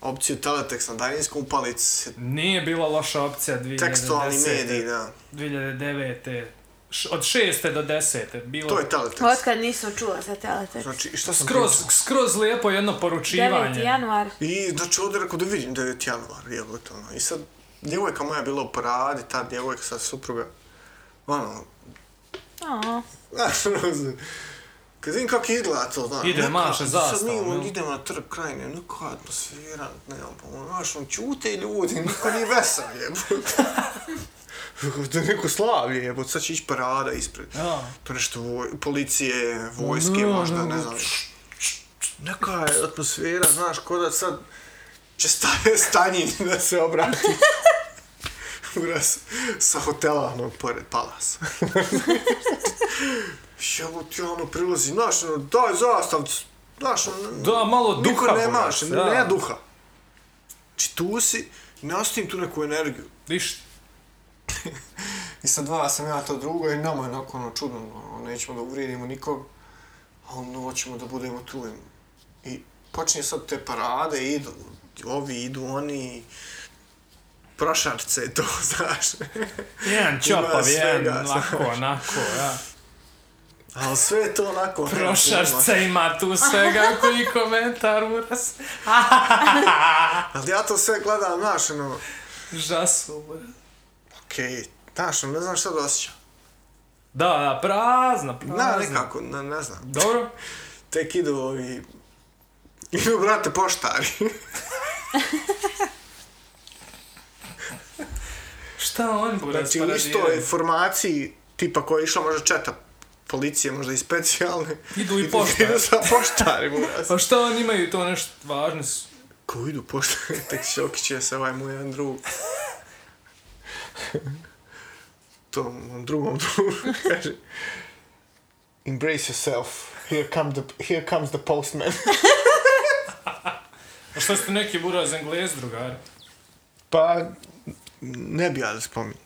Speaker 3: opciju teletekst na daljinskom upali ti se
Speaker 1: Nije bila loša opcija 2010.
Speaker 3: tekstualni medij, da.
Speaker 1: 2009. Š- Od 6. do 10. Bilo
Speaker 3: To je teletekst.
Speaker 2: Otkad nisam čula za teletekst.
Speaker 3: Znači, šta sam
Speaker 1: skroz,
Speaker 3: pričao?
Speaker 1: skroz lijepo jedno
Speaker 2: 9.
Speaker 1: poručivanje.
Speaker 2: januar.
Speaker 3: I znači ovdje rekao da vidim 9. januar, jebote ono. I sad, djevojka moja je bila u paradi, ta djevojka sad supruga, ono,
Speaker 2: O,
Speaker 3: znaš, ono, kad vidim kako izgleda to, znaš.
Speaker 1: Ide, maše
Speaker 3: Sad mi
Speaker 1: zastavom,
Speaker 3: ono,
Speaker 1: jel?
Speaker 3: idemo na trg krajine, neka atmosfera, nemam pomoć, ono, znaš, on čute ljudi, niko nije vesel, jebote. da je neko slavlje, jebote, sad će ići parada ispred.
Speaker 1: Ja.
Speaker 3: To nešto voj, policije, vojske,
Speaker 1: No,
Speaker 3: možda,
Speaker 1: no,
Speaker 3: ne znam. Neka je atmosfera, znaš, ko da sad će stanje stanjin da se obrati. Uraz sa hotela, ono, pored palasa. Jelo ti ono prilazi, znaš, ono, daj zastavcu, znaš, ono,
Speaker 1: Da, malo duha.
Speaker 3: niko nemaš,
Speaker 1: brate,
Speaker 3: ne, nema duha. Znači tu si, ne ostavim tu neku energiju.
Speaker 1: Ništa.
Speaker 3: I sad dva sam ja to drugo i nama je onako ono čudno, ono, nećemo da uvrijedimo nikog, a ono hoćemo da budemo tu. I počinje sad te parade, idu, ovi idu, oni, prošarce je to, znaš.
Speaker 1: Jedan čopav,
Speaker 3: svega,
Speaker 1: jedan lako, onako, ja.
Speaker 3: Ali sve je to onako... ono, ne, nema.
Speaker 1: Prošarca ima tu svega koji komentar uras.
Speaker 3: Ali ja to sve gledam, znaš, ono,
Speaker 1: Žasu, brate.
Speaker 3: okej, znaš, ono, ne znam šta da osjećam.
Speaker 1: Da, da, prazna, prazna.
Speaker 3: Na, nekako, ne, ne znam.
Speaker 1: Dobro.
Speaker 3: tek idu ovi... Idu, brate, poštari.
Speaker 1: Šta on bude
Speaker 3: Znači, u istoj formaciji, tipa koja je išla možda četa policije, možda i specijalne.
Speaker 1: Idu i poštari.
Speaker 3: Idu sa poštarima.
Speaker 1: Pa šta oni imaju to nešto važno su?
Speaker 3: Ko idu poštari, tek šokić je se ovaj moj jedan drug. Tom drugom drugu kaže Embrace yourself. Here, come the, here comes the postman.
Speaker 1: Pa šta ste neki buraz englez drugari?
Speaker 3: Pa, ne bi ja da spominjem.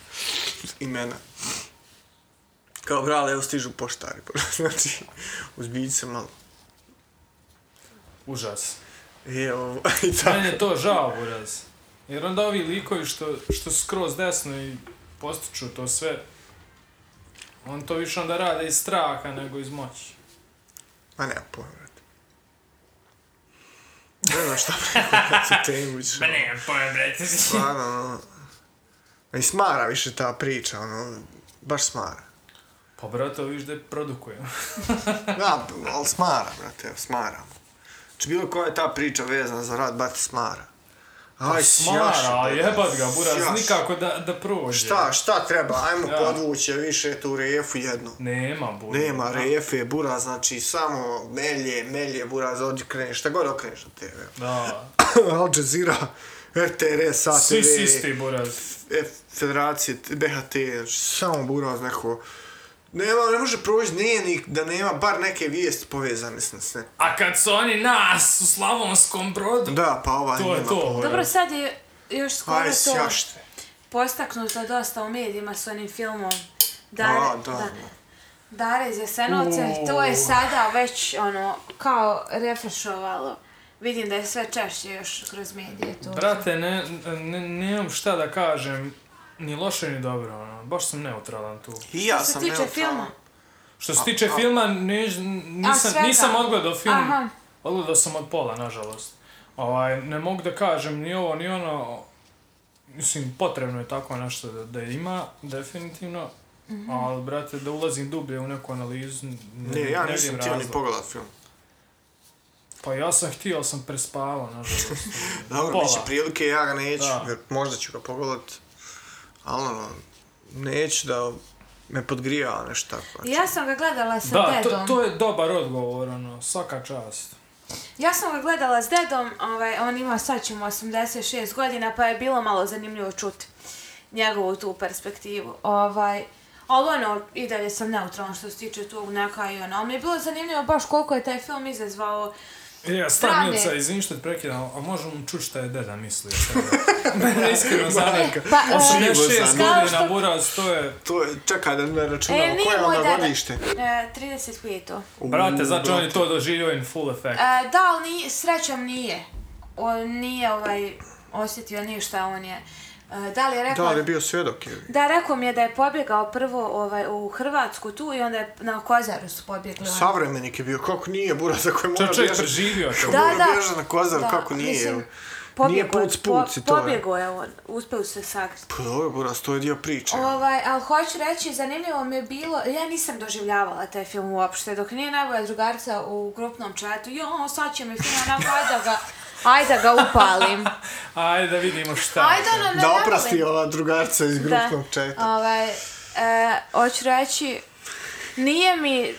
Speaker 3: Imena. Kao brale, evo stižu poštari. Znači, uzbilji se malo.
Speaker 1: Užas.
Speaker 3: E, ovo, i
Speaker 1: Meni
Speaker 3: tako.
Speaker 1: je to žao buraz. Jer onda ovi likovi što, što su skroz desno i postiču to sve, on to više onda rade iz straha nego iz moći.
Speaker 3: Ma nema pojma, brate. Ne znam šta preko tu temu više.
Speaker 1: ne, pojem, brete.
Speaker 3: Stvarno, ono... a I smara više ta priča, ono... Baš smara.
Speaker 1: Pa brate, viš da je produkujem.
Speaker 3: Da, ali smara, brate, evo, smara. Znači, bilo koja je ta priča vezana za rad, brate, smara. Aj,
Speaker 1: Pa Smara,
Speaker 3: sjaši,
Speaker 1: jebat ga, buraz,
Speaker 3: sjaši.
Speaker 1: nikako da, da prođe.
Speaker 3: Šta, šta treba? Ajmo
Speaker 1: Da.
Speaker 3: podvuće više tu refu jednu.
Speaker 1: Nema, buraz.
Speaker 3: Nema refe, bura, znači samo melje, melje, bura, ovdje kreneš, šta god okreneš na TV.
Speaker 1: Da,
Speaker 3: Al Jazeera, RTS, ATV,
Speaker 1: svi si isti, buraz.
Speaker 3: F- Federacije, BHT, znači samo buraz neko. Nema, ne može proći nije ni da nema bar neke vijesti povezane s nas, ne.
Speaker 1: A kad su oni nas u Slavonskom brodu,
Speaker 3: Da, pa ova
Speaker 1: to je
Speaker 3: nema
Speaker 1: to.
Speaker 3: povezane.
Speaker 2: Dobro, sad je još skoro
Speaker 3: Aj,
Speaker 2: to
Speaker 3: sjašte.
Speaker 2: postaknuto dosta u medijima s onim filmom. Dare,
Speaker 3: A, da,
Speaker 2: da.
Speaker 3: da.
Speaker 2: Dare iz Jasenovca, to je sada već ono, kao refrešovalo. Vidim da je sve češće još kroz medije to.
Speaker 1: Brate, ne, ne, nemam šta da kažem, ni loše ni dobro, ono, baš sam neutralan tu.
Speaker 3: I ja
Speaker 2: Što se
Speaker 3: sam
Speaker 2: tiče
Speaker 3: neutralan.
Speaker 2: filma,
Speaker 1: Što se tiče filma, ne, nisam,
Speaker 2: svega?
Speaker 1: nisam odgledao film,
Speaker 2: Aha.
Speaker 1: odgledao sam od pola, nažalost. Ovaj, ne mogu da kažem ni ovo, ni ono, mislim, potrebno je tako nešto da, da ima, definitivno,
Speaker 2: Mhm.
Speaker 1: ali, brate, da ulazim dublje u neku analizu, ne,
Speaker 3: Ne, ja
Speaker 1: ne
Speaker 3: nisam
Speaker 1: vidim
Speaker 3: htio ni
Speaker 1: razloga.
Speaker 3: pogledat film.
Speaker 1: Pa ja sam htio, ali sam prespavao, nažalost.
Speaker 3: Dobro,
Speaker 1: Pola.
Speaker 3: bit će prilike, ja ga neću,
Speaker 1: Da.
Speaker 3: jer možda ću ga pogledat. Ali ono, neću da me podgrijava nešto tako. znači.
Speaker 2: ja sam ga gledala sa
Speaker 1: da, to,
Speaker 2: dedom.
Speaker 1: to je dobar odgovor, ono, svaka čast.
Speaker 2: Ja sam ga gledala s dedom, ovaj, on ima sad ćemo 86 godina, pa je bilo malo zanimljivo čuti njegovu tu perspektivu. Ovaj, ali ono, i dalje sam neutralna što se tiče tog neka i ono, ali mi je bilo zanimljivo baš koliko je taj film izazvao
Speaker 1: Ja,
Speaker 2: Zdravlje.
Speaker 1: stani E, Milca, izvini što te prekidam, a možemo čuti šta je deda mislio sada. Mene iskreno zanima.
Speaker 2: Pa, e,
Speaker 1: 86
Speaker 3: zanima.
Speaker 1: godina buraz, to je...
Speaker 3: To je, čekaj da ne računamo,
Speaker 2: E, nije
Speaker 3: koje je
Speaker 2: moj
Speaker 3: onda
Speaker 2: deda.
Speaker 3: godište?
Speaker 2: e, 35.
Speaker 1: Brate, znači on je
Speaker 3: brate.
Speaker 1: to doživio in full effect.
Speaker 2: E, da, ali nije, srećom nije. On nije ovaj, osjetio ništa, on je... e, da li je rekao...
Speaker 3: Da, ali je bio svjedok je.
Speaker 2: Da, rekao mi je da je pobjegao prvo ovaj, u Hrvatsku tu i onda je na Kozaru su pobjegli. oni.
Speaker 3: Savremenik je bio, kako nije bura za koje mora
Speaker 1: Čovjek
Speaker 2: E,
Speaker 6: e,
Speaker 1: čovjek
Speaker 3: bježati?
Speaker 1: preživio to.
Speaker 3: Da, mora bježati na Kozar, kako nije, evo. Nije
Speaker 2: pobjegao je,
Speaker 3: puc, puc i to je.
Speaker 2: Pobjegao je on, uspio se sakriti.
Speaker 3: Pa dobro, buras, to je dio priče.
Speaker 2: Ovaj, ali hoću reći, zanimljivo mi je bilo, ja nisam doživljavala taj film uopšte, dok nije najbolja drugarica u grupnom četu, jo, sad će mi film, onako, ajde da ga, ajde da ga upalim.
Speaker 1: Ajde da vidimo šta. je
Speaker 2: Ajde
Speaker 1: to.
Speaker 2: ono, ne
Speaker 3: Da
Speaker 2: volim.
Speaker 3: oprasti ova drugarca iz
Speaker 2: Da.
Speaker 3: grupnog četa.
Speaker 2: Ovaj, e, hoću reći, nije mi,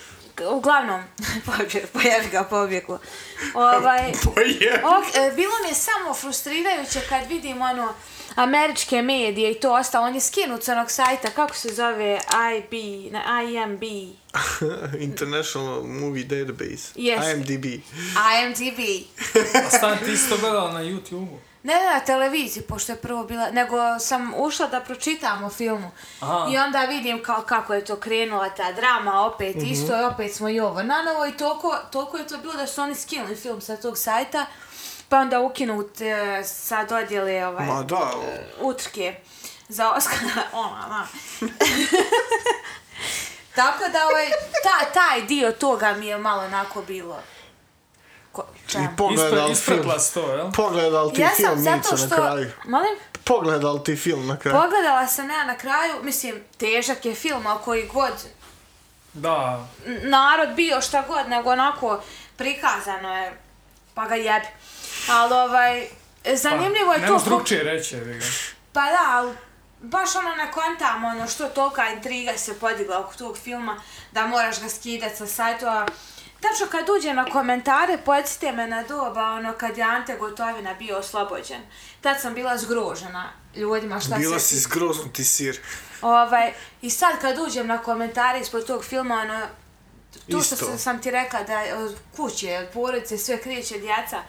Speaker 2: uglavnom, pobjeg, pojebi ga pobjeglo. Ovaj,
Speaker 3: Pa je.
Speaker 2: Ok, e, bilo mi je samo frustrirajuće kad vidim ono američke medije i to ostalo. On je skinut s onog sajta, kako se zove IB, ne, IMB,
Speaker 3: International Movie Database.
Speaker 2: Jeste.
Speaker 3: IMDB.
Speaker 2: IMDB.
Speaker 1: A stan ti isto gledala na YouTube-u.
Speaker 2: Ne, ne, na televiziji, pošto je prvo bila, nego sam ušla da pročitam o filmu.
Speaker 1: Aha.
Speaker 2: I onda vidim kao kako je to krenula ta drama, opet isto, i opet smo i ovo na novo. I toliko, toliko je to bilo da su oni skinuli film sa tog sajta, pa onda ukinut e, sa dodjele ovaj...
Speaker 3: Ma da, o-
Speaker 2: utrke za Oscara, ona, ona. Tako da ovaj, ta, taj dio toga mi je malo onako bilo. Ko, šta?
Speaker 3: i pogledal
Speaker 1: Ispre,
Speaker 3: film.
Speaker 1: ispratila si to, jel?
Speaker 3: Pogledal ti
Speaker 2: ja sam
Speaker 3: film
Speaker 2: zato
Speaker 3: Mico
Speaker 2: što,
Speaker 3: na kraju.
Speaker 2: molim,
Speaker 3: Pogledal ti film na kraju.
Speaker 2: pogledala sam ja na kraju, mislim, težak je film, ali koji god
Speaker 1: Da.
Speaker 2: n- narod bio šta god, nego onako prikazano je, pa ga jebi. Ali ovaj, zanimljivo je
Speaker 3: Pa,
Speaker 1: ne
Speaker 2: to...
Speaker 1: možeš
Speaker 2: ko-
Speaker 1: drugčije reći, jebi ga.
Speaker 2: Pa da, ali baš ono ne kontam ono što tolika intriga se podigla oko tog filma da moraš ga skidat sa sajtova. Tačno kad uđe na komentare, podsjeti me na doba ono kad je Ante Gotovina bio oslobođen. Tad sam bila zgrožena ljudima šta
Speaker 3: Bila
Speaker 2: se...
Speaker 3: si zgroznuti sir.
Speaker 2: Ovaj, I sad kad uđem na komentare ispod tog filma, ono, to što
Speaker 3: Isto.
Speaker 2: sam, sam ti rekla da je od kuće, od porodice, sve krijeće djeca,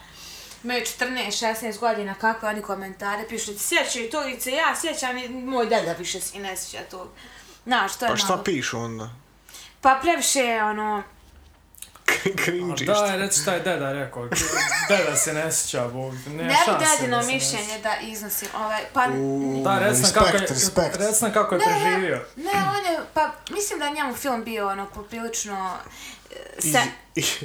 Speaker 2: imaju 14-16 godina, kakve oni komentare pišu, sjećaju to i se ja sjećam, i moj deda više se i ne sjeća tog. Znaš, to je
Speaker 3: Pa šta
Speaker 2: malo.
Speaker 3: pišu onda?
Speaker 2: Pa previše je ono,
Speaker 1: A
Speaker 3: Cringe
Speaker 1: da, reci šta je deda rekao. Deda se ne sjeća, bog. Ne,
Speaker 2: ne bi
Speaker 1: šanse
Speaker 2: dedino
Speaker 1: da se ne
Speaker 2: mišljenje
Speaker 1: sjeća.
Speaker 2: da iznosim, ovaj, pa...
Speaker 1: Da, reci nam kako je,
Speaker 6: Respekt, respekt.
Speaker 1: reci nam kako je
Speaker 2: Ne, ne,
Speaker 1: preživio.
Speaker 2: Ne, on je, pa mislim da je njemu film bio ono poprilično... e, Se,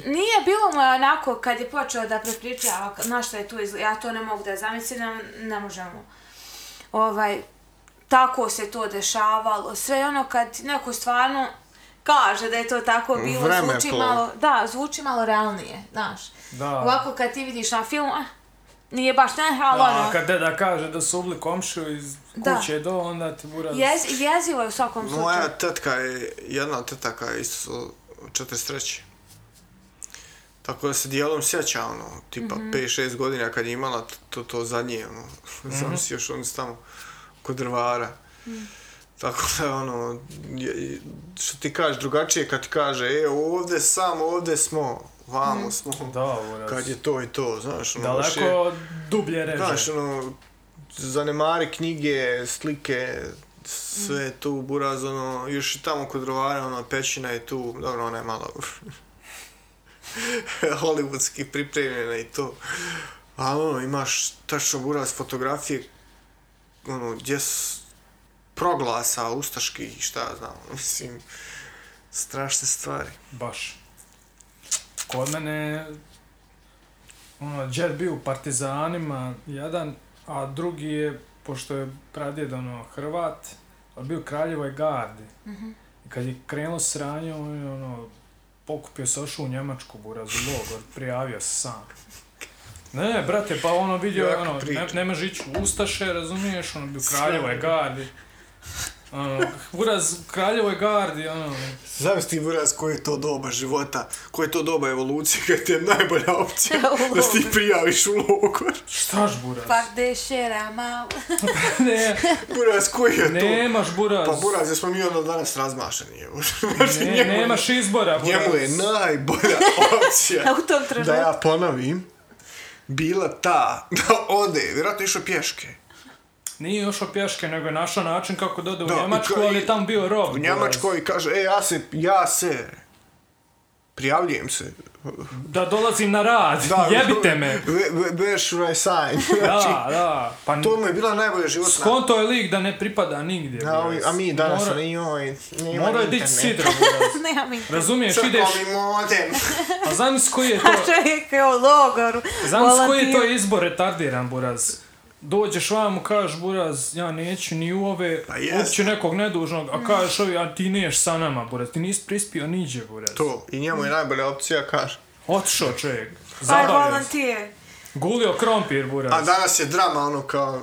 Speaker 2: Nije bilo mu je onako kad je počeo da prepričava k- na što je tu izgleda, ja to ne mogu da zamislim, ne, ne možemo. Ovaj, tako se to dešavalo, sve ono kad neko stvarno kaže da je to tako bilo,
Speaker 3: Vreme
Speaker 2: zvuči
Speaker 3: to.
Speaker 2: malo, da, zvuči malo realnije, znaš.
Speaker 1: Da.
Speaker 2: Ovako kad ti vidiš na filmu, ah, nije baš ne, ali
Speaker 1: Da,
Speaker 2: ono,
Speaker 1: kad deda kaže da su ubli komšiju iz
Speaker 2: Da.
Speaker 1: kuće do, onda ti buraz...
Speaker 2: jez, jezivo je u svakom slučaju.
Speaker 3: Moja tetka je, jedna tetaka je isto 43. Tako da se dijelom sjeća, ono, tipa 5-6 godina kad je imala t- to, to zadnje, ono, znam si još oni su tamo kod drvara. Tako da, ono, je- je- što ti kaže, drugačije kad ti kaže, e, ovdje samo, ovdje smo, vamo smo,
Speaker 1: Da, buraz.
Speaker 3: kad je to i to, znaš, ono, baš je-
Speaker 1: Daleko dublje reže.
Speaker 3: Znaš, ono, zanemari knjige, slike, sve je tu buraz, ono, još i tamo kod rovara, ono, pećina je tu, dobro, ona je malo hollywoodski pripremljena i to. Ali, ono, imaš tačno buraz fotografije, ono, gdje s- proglasa ustaški i šta ja znam, ono, mislim, strašne stvari.
Speaker 1: Baš. Kod mene, ono, Jet bio u Partizanima, jedan, a drugi je, pošto je pradjed, ono, Hrvat, ali bio u Kraljevoj gardi. I kad je krenulo sranje, on je, ono, pokupio se, ošao u Njemačku, buraz, u logor, prijavio se sam. Ne, ne, brate, pa ono vidio, je,
Speaker 3: Jaka
Speaker 1: ono, ne,
Speaker 3: priča.
Speaker 1: ne može ići u Ustaše, razumiješ, ono, bio u Kraljevoj gardi. Ono, buraz u kraljevoj gardi, ono.
Speaker 3: Znaš ti buraz koje je to doba života, koje je to doba evolucije kad ti je najbolja opcija
Speaker 2: U
Speaker 3: da se ti
Speaker 2: logor.
Speaker 3: prijaviš u logor.
Speaker 1: Štaš buraz?
Speaker 2: Pa gde šera malo.
Speaker 1: Ne,
Speaker 3: Buraz koji je to?
Speaker 1: nemaš buraz.
Speaker 3: Pa buraz, jesmo mi ono danas razmašeni. je.
Speaker 1: Ne,
Speaker 3: njemu je-
Speaker 1: nemaš izbora, buraz.
Speaker 3: Njemu je najbolja opcija
Speaker 2: U tom trenutku.
Speaker 3: da ja ponovim bila ta da ode, vjerojatno je išao pješke.
Speaker 1: Nije išao pješke, nego je našao način kako da ode u
Speaker 3: Da, i
Speaker 1: Njemačku,
Speaker 3: kao i-
Speaker 1: ali je tam bio rob.
Speaker 3: U Njemačkoj i kaže, e, ja se, ja se, prijavljujem se.
Speaker 1: Da dolazim na rad, jebite me.
Speaker 3: Ve- ve- Where's my sign?
Speaker 1: Da, da. Pa
Speaker 3: Znači, To mu je bila najbolja životna.
Speaker 1: skonto je lik da ne pripada nigdje.
Speaker 3: A, ovi-
Speaker 1: buraz.
Speaker 3: a mi danas
Speaker 1: Mora-
Speaker 3: Mora... ne joj, nema
Speaker 1: Morao je dići sidra, buraz.
Speaker 2: Nemam internet.
Speaker 1: Razumiješ, ideš,
Speaker 3: Crkovni modem.
Speaker 1: a zamisli koji je to...
Speaker 2: A čovjek je u logoru.
Speaker 1: Znam s koji je
Speaker 2: volontir.
Speaker 1: to izbor retardiran, Buraz. Dođeš vam, kažeš Buraz, ja neću ni u ove,
Speaker 3: Pa jest.
Speaker 1: uopće nekog nedužnog, a kažeš ovi, a ti neš sa nama, Buraz, ti nisi prispio niđe, Buraz.
Speaker 3: to, i njemu je najbolja opcija, kaže.
Speaker 1: Otišao čovjek,
Speaker 2: Pa je
Speaker 1: zabavio se.
Speaker 2: volontir.
Speaker 1: Gulio krompir, Buraz.
Speaker 3: A danas je drama ono kao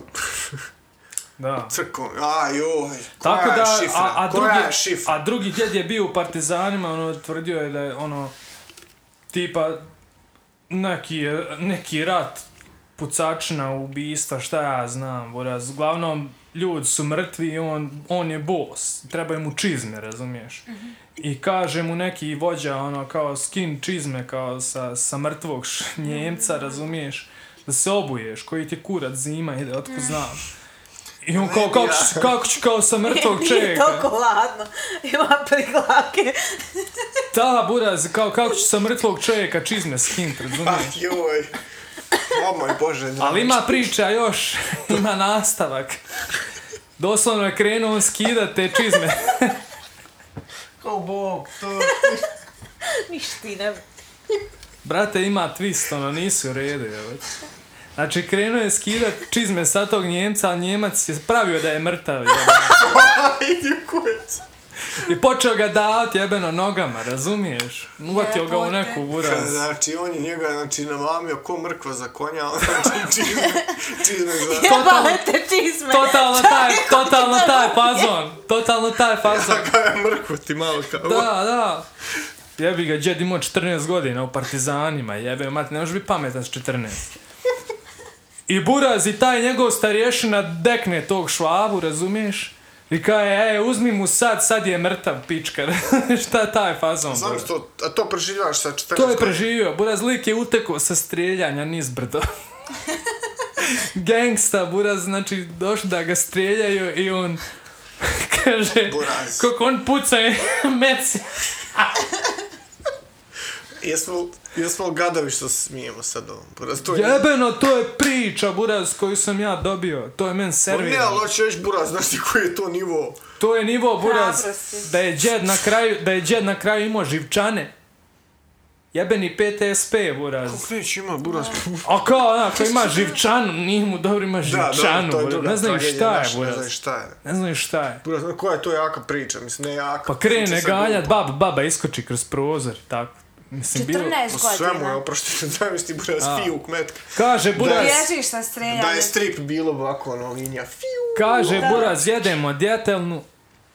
Speaker 1: da.
Speaker 3: crkom, a joj, koja
Speaker 1: Tako da,
Speaker 3: je šifra,
Speaker 1: a, a,
Speaker 3: koja
Speaker 1: drugi,
Speaker 3: je šifra?
Speaker 1: a drugi djed je bio u Partizanima, ono, tvrdio je da je, ono, tipa, neki, je- neki rat pucačna, ubijstva, šta ja znam, buraz. Uglavnom, ljudi su mrtvi i on, on je bos. Trebaju mu čizme, razumiješ?
Speaker 2: Mhm.
Speaker 1: I kaže mu neki vođa, ono, kao skin čizme, kao sa, sa mrtvog š-
Speaker 2: Mhm.
Speaker 1: Njemca, razumiješ? Da se obuješ, koji ti je kurac zima, ide,
Speaker 2: Mhm.
Speaker 1: otko znam. I on kao, kako, ću- kako ću kao sa mrtvog
Speaker 2: Nije
Speaker 1: čovjeka?
Speaker 2: toliko ladno. Ima priglavke.
Speaker 1: Da, buraz, kao, kako ću sa mrtvog čovjeka čizme skint,
Speaker 3: Ah,
Speaker 1: razumiješ?
Speaker 3: joj, o moj bože, drama.
Speaker 1: Ali ima priča još, ima nastavak. Doslovno je krenuo on skidat te čizme.
Speaker 3: Kao bog, to...
Speaker 2: Niština.
Speaker 1: Brate, ima twist, ono, nisu u redu, jel? Znači, krenuo je skidat čizme sa tog Njemca, a Njemac je pravio da je mrtav, jebeno.
Speaker 3: Idi u kurac.
Speaker 1: I počeo ga davat jebeno nogama, razumiješ? Uvatio ga u neku buraz.
Speaker 3: Znači, on je njega, znači, namamio ko mrkva za konja, on znači, čizme, čizme za...
Speaker 2: Jebale te čizme.
Speaker 1: Totalno taj, totalno taj fazon, totalno taj fazon.
Speaker 3: Kao je mrkva ti malo kao...
Speaker 1: Da, da. Jebi ga, džed imao 14 godina u Partizanima, jebe, mate, ne možeš biti pametan s 14. I Buraz i taj njegov starješina dekne tog švabu, razumiješ? I kaže, e, uzmi mu sad, sad je mrtav pička. Šta taj fazon?
Speaker 3: Znam
Speaker 1: Buraz?
Speaker 3: što, a to preživljavaš sa 14
Speaker 1: To je preživio. Buraz lik je utekao sa strijeljanja niz brdo. Gangsta, Buraz, znači, došli da ga strijeljaju i on kaže,
Speaker 3: Buraz.
Speaker 1: kako on puca je meci.
Speaker 3: Jesmo, jesmo gadovi što se smijemo sad ovom, buraz, to je...
Speaker 1: Jebeno, to je priča, buraz, koju sam ja dobio. To je men
Speaker 3: Pa Ne,
Speaker 1: servirano.
Speaker 3: ali hoću reći buraz, znaš ti koji je to nivo?
Speaker 1: To je nivo, buraz,
Speaker 2: Hrabrosti.
Speaker 1: da je džed na kraju, da je džed na kraju imao živčane. Jebeni PTSP, buraz.
Speaker 3: Kleć ima buraz.
Speaker 1: A kao, onako, ima živčanu, nije mu dobro, ima
Speaker 3: Da,
Speaker 1: živčanu,
Speaker 3: dobro, to je
Speaker 1: buraz.
Speaker 3: druga
Speaker 1: Ne znaju
Speaker 3: tragedija,
Speaker 1: šta je,
Speaker 3: znaš, Ne znaju
Speaker 1: buraz.
Speaker 3: šta je.
Speaker 1: Ne znaju šta je.
Speaker 3: Buraz, no, koja je to jaka priča, mislim, ne jaka.
Speaker 1: Pa krene
Speaker 3: priča sa
Speaker 1: ganjat,
Speaker 3: grupom.
Speaker 1: bab, baba iskoči kroz prozor i tako. Mislim, bilo...
Speaker 2: 14
Speaker 3: Po svemu je
Speaker 2: godina.
Speaker 3: oprošteno, znaš ti buraz, fiju kmetka.
Speaker 1: Kaže, buraz...
Speaker 2: Bježiš sa streljanjem.
Speaker 3: Da je strip bilo ovako, ono, linija, fiju.
Speaker 1: Kaže, buraz, jedemo djetelnu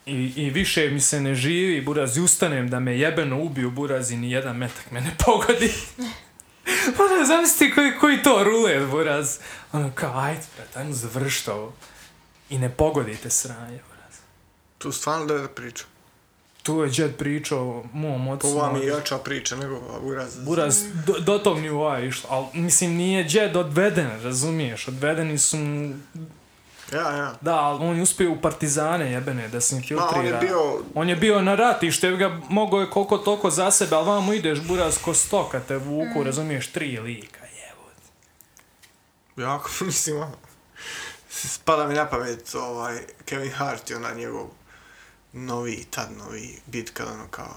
Speaker 1: i, i više mi se ne živi, buraz, i ustanem da me jebeno ubiju, buraz, i nijedan metak me ne pogodi. buraz, zamisli koji, koji to rulet, buraz. Ono, kao, ajde, brat, ajmo završiti ovo. I ne pogodite sranje, buraz.
Speaker 3: Tu stvarno da je priča.
Speaker 1: Tu je džed pričao o mom ocu.
Speaker 3: Ovo vam je
Speaker 1: ono,
Speaker 3: jača priča nego ova buraz.
Speaker 1: Buraz, do, do tog nivoa je išlo, ali mislim nije džed odveden, razumiješ, odvedeni su mu,
Speaker 3: Ja, ja.
Speaker 1: da, ali on je uspio u partizane jebene da se
Speaker 3: Ma,
Speaker 1: infiltrira.
Speaker 3: on je bio...
Speaker 1: On je bio na ratištu, jer ga mogo je koliko toliko za sebe, ali vamo ideš buraz ko stoka te vuku, razumiješ, tri lika, jevo.
Speaker 3: Jako, mislim, ono, spada mi na pamet ovaj Kevin Hart i ona njegov novi, tad novi bit kad ono kao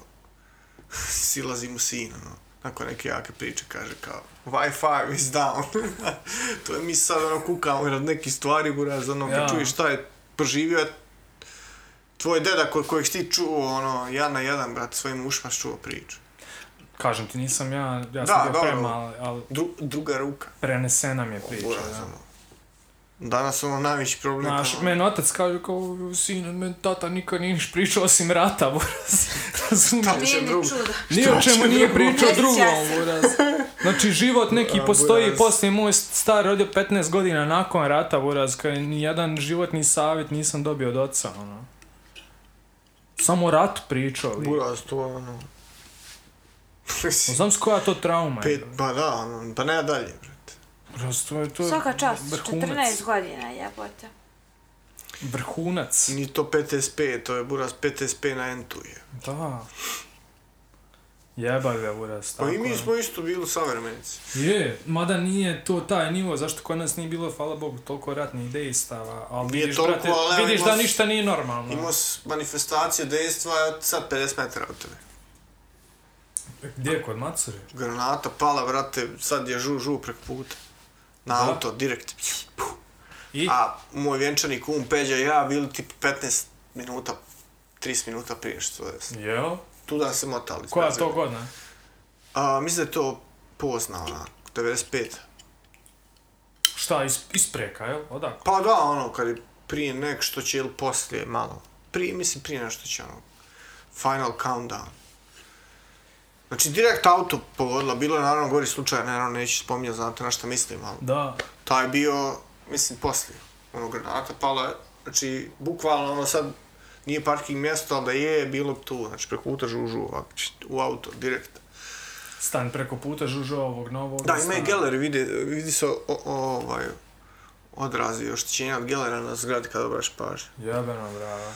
Speaker 3: silazi mu sin, ono, nakon neke jake priče kaže kao Wi-Fi is down. to je mi sad ono kukamo jer od nekih stvari buraz, ono, kad
Speaker 1: Ja.
Speaker 3: čuješ šta je proživio, tvoj deda ko, kojeg si ti čuo, ono, jedan na jedan, brat, svojim ušima si čuo priču.
Speaker 1: Kažem ti, nisam ja, ja
Speaker 3: Da,
Speaker 1: sam bio
Speaker 3: dobro.
Speaker 1: prema, ali, ali
Speaker 3: Dru, druga ruka,
Speaker 1: prenesena mi je priča.
Speaker 3: buraz,
Speaker 1: da.
Speaker 3: ono. Danas ono najveći problem.
Speaker 1: Znaš,
Speaker 3: kao-
Speaker 1: men otac kaže kao, sine, men tata nikad nije niš pričao osim rata, buraz. Razumiješ?
Speaker 2: Nije ni
Speaker 3: drugo?
Speaker 2: čuda.
Speaker 1: Nije o čemu nije pričao
Speaker 2: Sjeća
Speaker 1: drugo,
Speaker 2: se.
Speaker 1: buraz. Znači, život neki
Speaker 3: A,
Speaker 1: postoji,
Speaker 3: buraz.
Speaker 1: poslije moj star rodio 15 godina nakon rata, buraz, kao nijedan životni savjet nisam dobio od oca, ono. Samo o ratu pričao. lik.
Speaker 3: Buraz to ono...
Speaker 1: Znam s koja to trauma
Speaker 3: Pet,
Speaker 1: je.
Speaker 3: pa da, ono, pa ne dalje, brate.
Speaker 1: Buraz, to je to je
Speaker 2: Svaka čast, 14
Speaker 1: vrhunac.
Speaker 2: godina jebote.
Speaker 1: Vrhunac.
Speaker 3: Ni to PTSP, to je Buraz PTSP na entu je.
Speaker 1: Da. Jeba ga, buraz,
Speaker 3: Pa
Speaker 1: tako
Speaker 3: i mi
Speaker 1: je.
Speaker 3: smo isto bili savremenici.
Speaker 1: Je, mada nije to taj nivo, zašto kod nas nije bilo, hvala Bogu, toliko ratnih dejstava, ali
Speaker 3: Nije
Speaker 1: vidiš,
Speaker 3: toliko,
Speaker 1: brate,
Speaker 3: ali evo,
Speaker 1: vidiš
Speaker 3: imao
Speaker 1: da
Speaker 3: s-
Speaker 1: ništa nije normalno.
Speaker 3: Imao s manifestacije dejstva sad 50 metara od tebe.
Speaker 1: Gdje, kod Macure?
Speaker 3: Granata pala, brate, sad je žu žu preko puta. Na
Speaker 1: Da.
Speaker 3: auto, direkt. Puh.
Speaker 1: I?
Speaker 3: A moj vjenčani kum Peđa i ja bili tip 15 minuta, 30 minuta prije što je.
Speaker 1: Jel?
Speaker 3: Tu da se motali.
Speaker 1: Koja
Speaker 3: Znači,
Speaker 1: to godina?
Speaker 3: A, mislim da je to pozna, ona, 95.
Speaker 1: Šta, is, ispreka, jel? Odakle?
Speaker 3: Pa da, ono, kad je prije nek što će ili poslije, malo. Prije, mislim, prije nešto će, ono, final countdown. Znači, direkt auto pogodila, bilo je naravno gori slučaj, naravno neću spominjati, znate na šta mislim, ali
Speaker 1: Da.
Speaker 3: taj je bio, mislim, poslije. Ono, granata pala, je, znači, bukvalno, ono, sad nije parking mjesto, ali da je, bilo bi tu, znači, preko puta žužu, ovak, čit, u auto, direkt.
Speaker 1: Stan preko puta žužo ovog novog.
Speaker 3: Da, ima
Speaker 1: stana.
Speaker 3: i geler, vidi, vidi se o, o, ovaj, odrazi oštećenja od gelera na zgradi kad obraš pažnju.
Speaker 1: Jebeno, brava.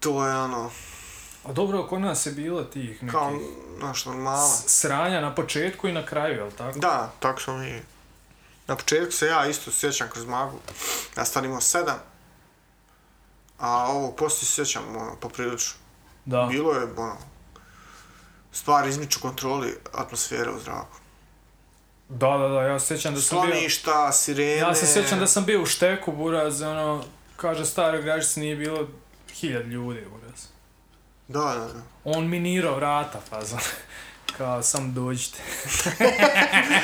Speaker 3: To je ono,
Speaker 1: A dobro, kod nas je bilo tih nekih
Speaker 3: kao naš normala.
Speaker 1: s- sranja na početku i na kraju, jel tako?
Speaker 3: Da, tako smo mi. Na početku se ja isto sjećam kroz magu. Ja stan imao sedam. A ovog poslije se sjećam, ono, poprilično.
Speaker 1: Da.
Speaker 3: Bilo je, ono, stvari izmiču kontroli atmosfere u zraku.
Speaker 1: Da, da, da, ja se sjećam da sam bio...
Speaker 3: Sloništa, sirene...
Speaker 1: Ja se sjećam da sam bio u šteku, buraz, ono, kaže, stara građica nije bilo hiljad ljudi, buraz.
Speaker 3: Da, da, da.
Speaker 1: On minirao vrata, fazon. Kao, sam dođite.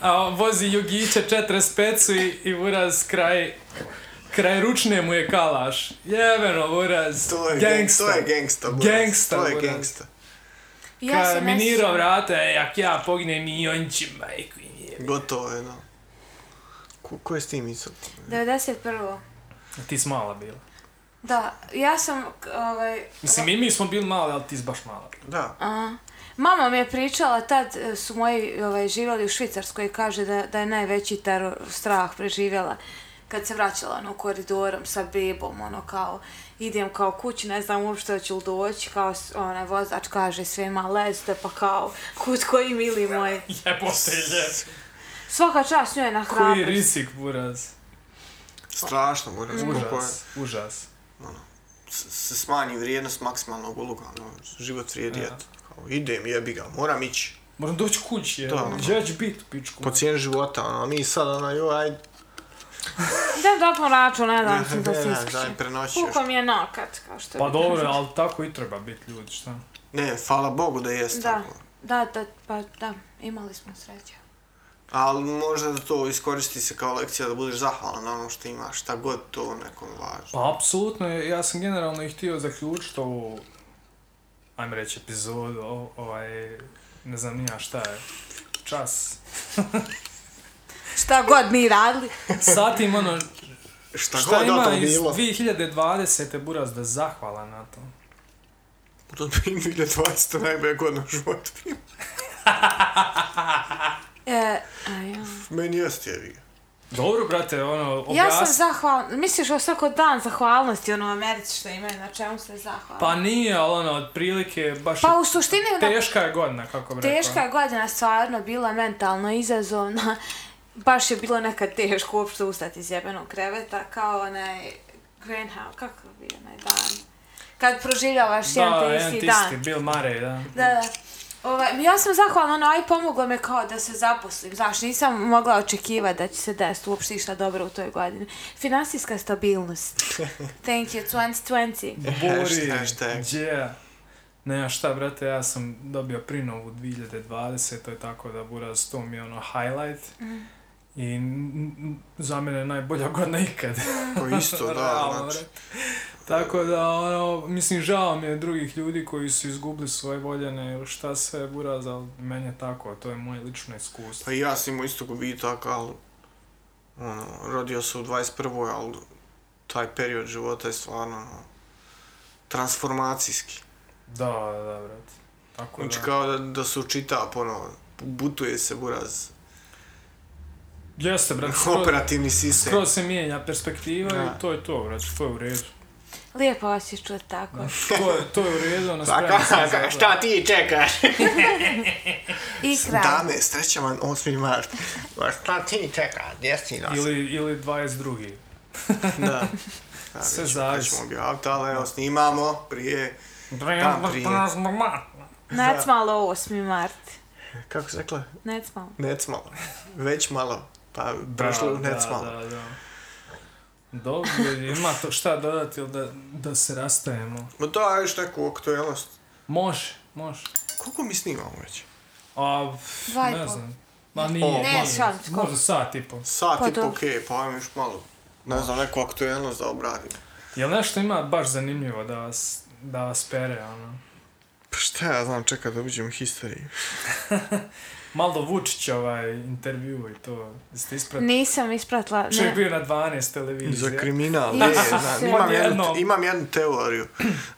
Speaker 1: A on vozi Jugića 45 i, i buraz kraj, kraj ručne mu je kalaš. Jebeno, buraz.
Speaker 3: To je
Speaker 1: gangsta.
Speaker 3: gangsta. To je gangsta.
Speaker 1: Gangsta,
Speaker 3: Buras. To je
Speaker 1: Buras.
Speaker 3: gangsta.
Speaker 2: Ja
Speaker 1: Kad
Speaker 2: se ne
Speaker 1: minirao
Speaker 2: sjećam.
Speaker 1: vrata, e, jak ja pognem i on će majku im jebe.
Speaker 3: Gotovo je, da. Ko, ko je s tim misl?
Speaker 2: 91.
Speaker 1: Ti si mala bila.
Speaker 2: Da, ja sam, k- ovaj,
Speaker 1: Mislim, i mi smo bili mali, ali ti si baš mala. bila.
Speaker 3: Da.
Speaker 2: a, mama mi je pričala, tad e, su moji ovaj, živjeli u Švicarskoj i kaže da, da je najveći teror, strah preživjela kad se vraćala ono koridorom sa bebom, ono kao idem kao kući, ne znam uopšte hoću li doći, kao s- onaj vozač kaže svima lezite pa kao kut koji mili moj.
Speaker 1: Jebote, jeb.
Speaker 2: Svaka čast njoj na
Speaker 1: Koji
Speaker 2: hrabrost.
Speaker 1: risik, buraz.
Speaker 3: Strašno, Buras. Koliko je...
Speaker 1: Užas, užas.
Speaker 3: s- se smanji vrijednost maksimalnog uloga, ono, život vrijedi, eto. Kao, idem, jebi ga, moram ići.
Speaker 1: Moram doći kući, je.
Speaker 3: Da, ono.
Speaker 1: Gdje ću biti, pičku?
Speaker 3: Po cijeni života, ono, a mi sad, ono, joj, ajde,
Speaker 2: Da, da, po račun, ne dam se da
Speaker 3: ne,
Speaker 2: se
Speaker 3: ne,
Speaker 2: ispišem.
Speaker 3: daj, prenoći još.
Speaker 2: Kuko mi je nakat, kao što
Speaker 1: Pa
Speaker 2: bi-
Speaker 1: dobro, ali tako i treba biti ljudi, šta?
Speaker 3: Ne, hvala Bogu da jest
Speaker 2: Da,
Speaker 3: tako.
Speaker 2: da, da, pa da, imali smo sreće.
Speaker 3: Ali možda da to iskoristi se kao lekcija da budeš zahvalan na ono što imaš, šta god to nekom važno.
Speaker 1: Pa apsolutno, ja sam generalno i htio zaključiti ovu, ajmo reći, epizodu, o- ovaj, ne znam nija šta je, čas.
Speaker 2: Šta god mi radili.
Speaker 1: Satim ono,
Speaker 3: Šta,
Speaker 1: šta
Speaker 3: god da
Speaker 1: ima
Speaker 3: to
Speaker 1: iz
Speaker 3: bilo.
Speaker 1: 2020. buraz da zahvala na to.
Speaker 3: To je 2020. najbolja godina u životu.
Speaker 2: E, a ja.
Speaker 3: Meni jest jebi ga.
Speaker 1: Dobro, brate, ono,
Speaker 2: ja sam
Speaker 1: objasni.
Speaker 2: zahvalna, misliš o svako dan zahvalnosti ono u Americi što imaju, na čemu se zahvalna?
Speaker 1: Pa nije, ali ono, otprilike, baš
Speaker 2: Pa
Speaker 1: je
Speaker 2: u suštini na
Speaker 1: teška je godina, kako bi rekao.
Speaker 2: Teška je godina stvarno bila mentalno izazovna. Baš je bilo nekad teško uopšte ustati iz jebenog kreveta, kao onaj Greenhouse, kako bi onaj dan. Kad proživljavaš jedan te isti dan.
Speaker 1: Bill Murray, da.
Speaker 2: Da, da. Ovaj, ja sam zahvalna, ono, aj pomoglo me kao da se zaposlim, znaš, nisam mogla očekivati da će se desiti uopšte išta dobro u toj godini. Finansijska stabilnost. Thank you, 2020.
Speaker 1: Bori,
Speaker 3: hashtag.
Speaker 1: gdje? Ne, a šta, brate, ja sam
Speaker 2: Mm.
Speaker 1: dobio prinovu 2020, to je tako da buraz, to mi je ono highlight. I n- n- za mene najbolja godina ikad.
Speaker 3: Pa isto, da,
Speaker 1: Realno,
Speaker 3: znači.
Speaker 1: brate. Tako da, ono, mislim, žao mi je drugih ljudi koji su izgubili svoje voljene ili šta sve buraz, ali meni je tako, to je moje lično iskustvo.
Speaker 3: Pa i ja sam imao isto gubitak, ali ono, rodio se u 21. ali taj period života je stvarno ono, transformacijski.
Speaker 1: Da, da, brate. Tako
Speaker 3: Znači
Speaker 1: da.
Speaker 3: kao da, da se učita ponovo, butuje se buraz, ono,
Speaker 1: Jeste, brate, skroz,
Speaker 3: operativni sistem.
Speaker 1: skroz se mijenja perspektiva
Speaker 3: Da.
Speaker 1: i to je to, brate, to je u redu.
Speaker 2: Lijepo vas je čut tako.
Speaker 1: To je, to je u redu, ono,
Speaker 3: Pa
Speaker 1: spremno sam za
Speaker 3: ka- šta ti čekaš?
Speaker 2: I kraj.
Speaker 3: Dame, srećan vam 8. mart. Ma šta ti cioè, čekaš, gdje si nas?
Speaker 1: Ili, ili 22.
Speaker 3: Da.
Speaker 1: Sve
Speaker 3: Sad
Speaker 1: zavisi.
Speaker 3: ćemo objaviti, ali evo, snimamo prije,
Speaker 1: Prema
Speaker 3: prije.
Speaker 2: Necmalo 8. mart.
Speaker 3: kako se rekla,
Speaker 2: Necmalo.
Speaker 3: nec malo. Već malo, pa prešlo u nec malo.
Speaker 1: Da, da, da. Dobro, ima to šta dodati ili da, da se rastajemo.
Speaker 3: Ma da, još neku aktualnost.
Speaker 1: Može, može.
Speaker 3: Koliko mi snimamo već?
Speaker 1: A, pff,
Speaker 2: Dva i
Speaker 1: ne
Speaker 2: pol.
Speaker 1: znam. Ma
Speaker 3: O,
Speaker 1: nije,
Speaker 3: Ne,
Speaker 1: malo.
Speaker 2: šalim se, koliko?
Speaker 1: Možda sat i pol.
Speaker 3: Sat i
Speaker 2: Pa
Speaker 3: po,
Speaker 2: dobro.
Speaker 3: okej, pa ajmo još malo. Ne znam, neku aktualnost da obradim.
Speaker 1: Jel nešto ima baš zanimljivo da vas, da vas pere, ono?
Speaker 3: Pa šta ja znam, čekaj da uđem u historiju.
Speaker 1: Malo Vučić ovaj intervju i to. Ste ispratili?
Speaker 2: Nisam ispratila.
Speaker 1: Čovjek
Speaker 2: Ne.
Speaker 1: bio na 12 televizije.
Speaker 3: Za kriminal,
Speaker 2: Ja
Speaker 3: ne,
Speaker 2: sam
Speaker 3: znam,
Speaker 2: se-
Speaker 3: imam, jednu,
Speaker 1: Odjednom.
Speaker 3: imam jednu teoriju.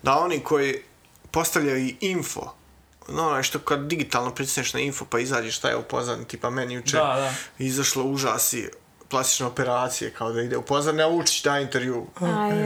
Speaker 3: Da oni koji postavljaju i info, no onaj što kad digitalno pritisneš na info pa izađe šta je u pozadini, tipa meni juče
Speaker 1: Da, da.
Speaker 3: izašlo užasi plastične operacije, kao da ide u pozadini, a Vučić da intervju.
Speaker 2: Ajoj.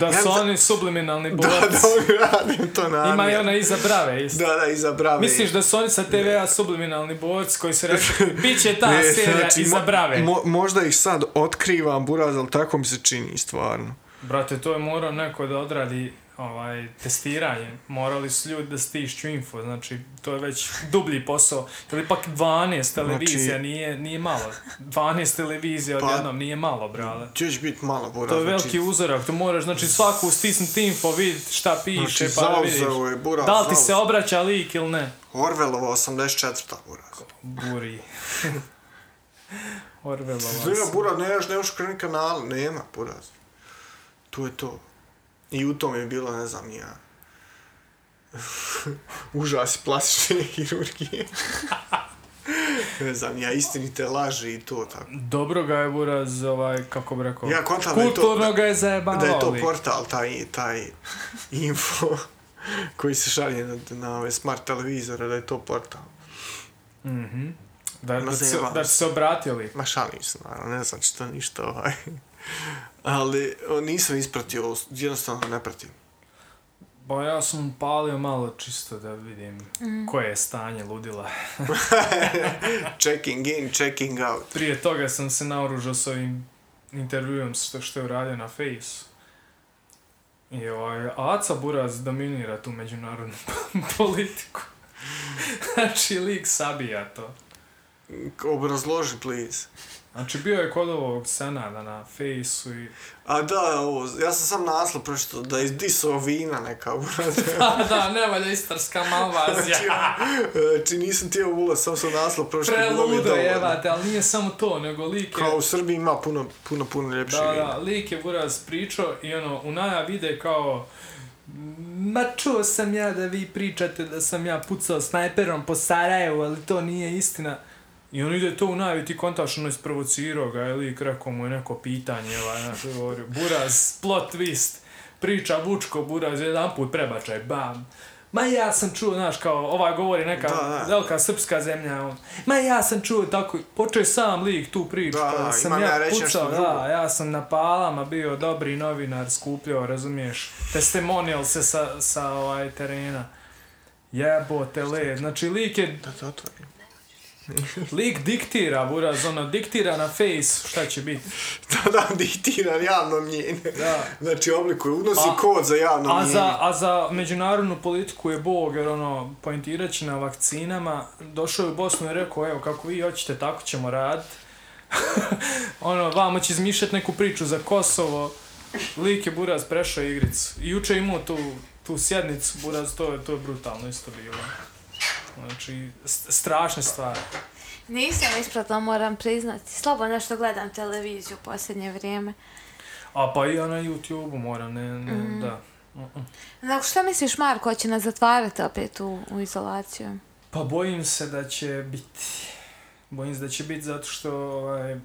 Speaker 1: Da su
Speaker 3: Ja za-
Speaker 1: oni subliminalni
Speaker 3: Da,
Speaker 1: borac.
Speaker 3: da oni rade to na
Speaker 1: Ima i ona iza brave isto.
Speaker 3: Da, da, iza brave.
Speaker 1: Misliš da su oni sa TV-a subliminalni borac koji se rekli, bit će ta
Speaker 3: Ne,
Speaker 1: serija
Speaker 3: znači,
Speaker 1: iza
Speaker 3: mo-
Speaker 1: brave.
Speaker 3: mo- možda ih sad otkrivam, buraz, ali tako mi se čini, stvarno.
Speaker 1: Brate, to je morao neko da odradi ovaj, testiranje. Morali su ljudi da stišću info, znači to je već dublji posao. Ili pak 12 televizija,
Speaker 3: Znači-
Speaker 1: nije, nije malo. 12 televizija
Speaker 3: Pa-
Speaker 1: odjednom nije malo, brale.
Speaker 3: Će će biti malo, buraz.
Speaker 1: To je
Speaker 3: znači,
Speaker 1: veliki uzorak, tu moraš znači svaku stisnuti info, vidjeti šta piše,
Speaker 3: Znači,
Speaker 1: pa da vidiš.
Speaker 3: zauzeo je buraz.
Speaker 1: Da li ti se
Speaker 3: zauzeo.
Speaker 1: obraća lik ili ne?
Speaker 3: Orvelova 84. buraz.
Speaker 1: Buri. Orvelova.
Speaker 3: Nema buraz, ne, još nemaš kreni kanal, nema buraz. Tu je to. I u tom je bilo, ne znam, nija. Užas plastične hirurgije. ne znam, ja istinite laži i to tako.
Speaker 1: Dobro ga je Buraz, ovaj, kako bi rekao,
Speaker 3: Ja kontam da je to-
Speaker 1: kulturno
Speaker 3: da-
Speaker 1: ga je zajebavao.
Speaker 3: Da je to
Speaker 1: lik.
Speaker 3: portal, taj, taj info koji se šalje na, na ove smart televizore, da je to portal.
Speaker 1: Mhm. Da, da,
Speaker 3: Ma
Speaker 1: se,
Speaker 3: zajebavao
Speaker 1: da se obratili.
Speaker 3: Ma šalim se, naravno, ne znači to ništa ovaj. Ali o, nisam ispratio, jednostavno ne pratim.
Speaker 1: Ba Pa ja sam palio malo čisto da vidim koje je stanje ludila.
Speaker 3: Checking in, checking out.
Speaker 1: Prije toga sam se naoružao s ovim intervjuom što, što je uradio na Face. I ovaj, Aca Buraz dominira tu međunarodnu politiku. znači, lik sabija to.
Speaker 3: Obrazloži, please.
Speaker 1: Znači, bio je kod ovog Senada na Face-u i
Speaker 3: A da, ovo, ja sam sam naslov pročito da je diso vina neka uraz.
Speaker 1: da, da, ne valja istarska malvazija.
Speaker 3: Znači nisam tijel ulaz, sam sam naslov pročito. bilo mi je
Speaker 1: Preludo
Speaker 3: dovoljno.
Speaker 1: jevate, ali nije samo to, nego lik je...
Speaker 3: Kao u Srbiji ima puno, puno, puno ljepše
Speaker 1: Da, da,
Speaker 3: vina.
Speaker 1: lik je buraz pričao i ono, u najavi ide kao... Ma čuo sam ja da vi pričate da sam ja pucao snajperom po Sarajevu, ali to nije istina. I on ide to u najavi, ti kontaš, ono isprovocirao ga, je lik rekao mu je neko pitanje, ovaj, znaš, govorio, buraz, plot twist, priča Vučko, buraz, jedan put prebačaj, bam. Ma ja sam čuo, znaš, kao, ovaj govori neka
Speaker 3: Da, da.
Speaker 1: velika srpska zemlja, on, ma ja sam čuo, tako, počeo je sam lik tu priču,
Speaker 3: Da,
Speaker 1: kao
Speaker 3: da,
Speaker 1: sam
Speaker 3: imam
Speaker 1: ja
Speaker 3: ja reći nešto
Speaker 1: pucao,
Speaker 3: drugo.
Speaker 1: da, a ja sam na palama bio dobri novinar, skupljao, razumiješ, testimonial se sa, sa ovaj terena. Jebote le, znači lik je,
Speaker 3: Da, da, to je.
Speaker 1: lik diktira, buraz, ono, diktira na face šta će biti.
Speaker 3: Da, da, diktira javno mnjenje.
Speaker 1: Da.
Speaker 3: Znači oblikuje, unosi
Speaker 1: A-
Speaker 3: kod za javno
Speaker 1: A
Speaker 3: mnjenje.
Speaker 1: za, a za međunarodnu politiku je bog, jer ono, poentirajući na vakcinama, došao je u Bosnu i rekao, evo, kako vi hoćete, tako ćemo raditi. ono, vamo će izmišljati neku priču za Kosovo. Lik je Buraz prešao igricu. I juče je imao tu, tu sjednicu, Buraz, to, je- to je brutalno isto bilo. Znači, st- strašne stvari.
Speaker 2: Nisam ispratila, moram priznati. Slabo nešto gledam televiziju u posljednje vrijeme.
Speaker 1: A pa i ja na YouTube-u moram, ne, ne, da. Mm-mm.
Speaker 2: Dakle, šta misliš, Marko, će nas zatvarati opet u, u izolaciju?
Speaker 1: Pa bojim se da će biti. Bojim se da će biti zato što ovaj,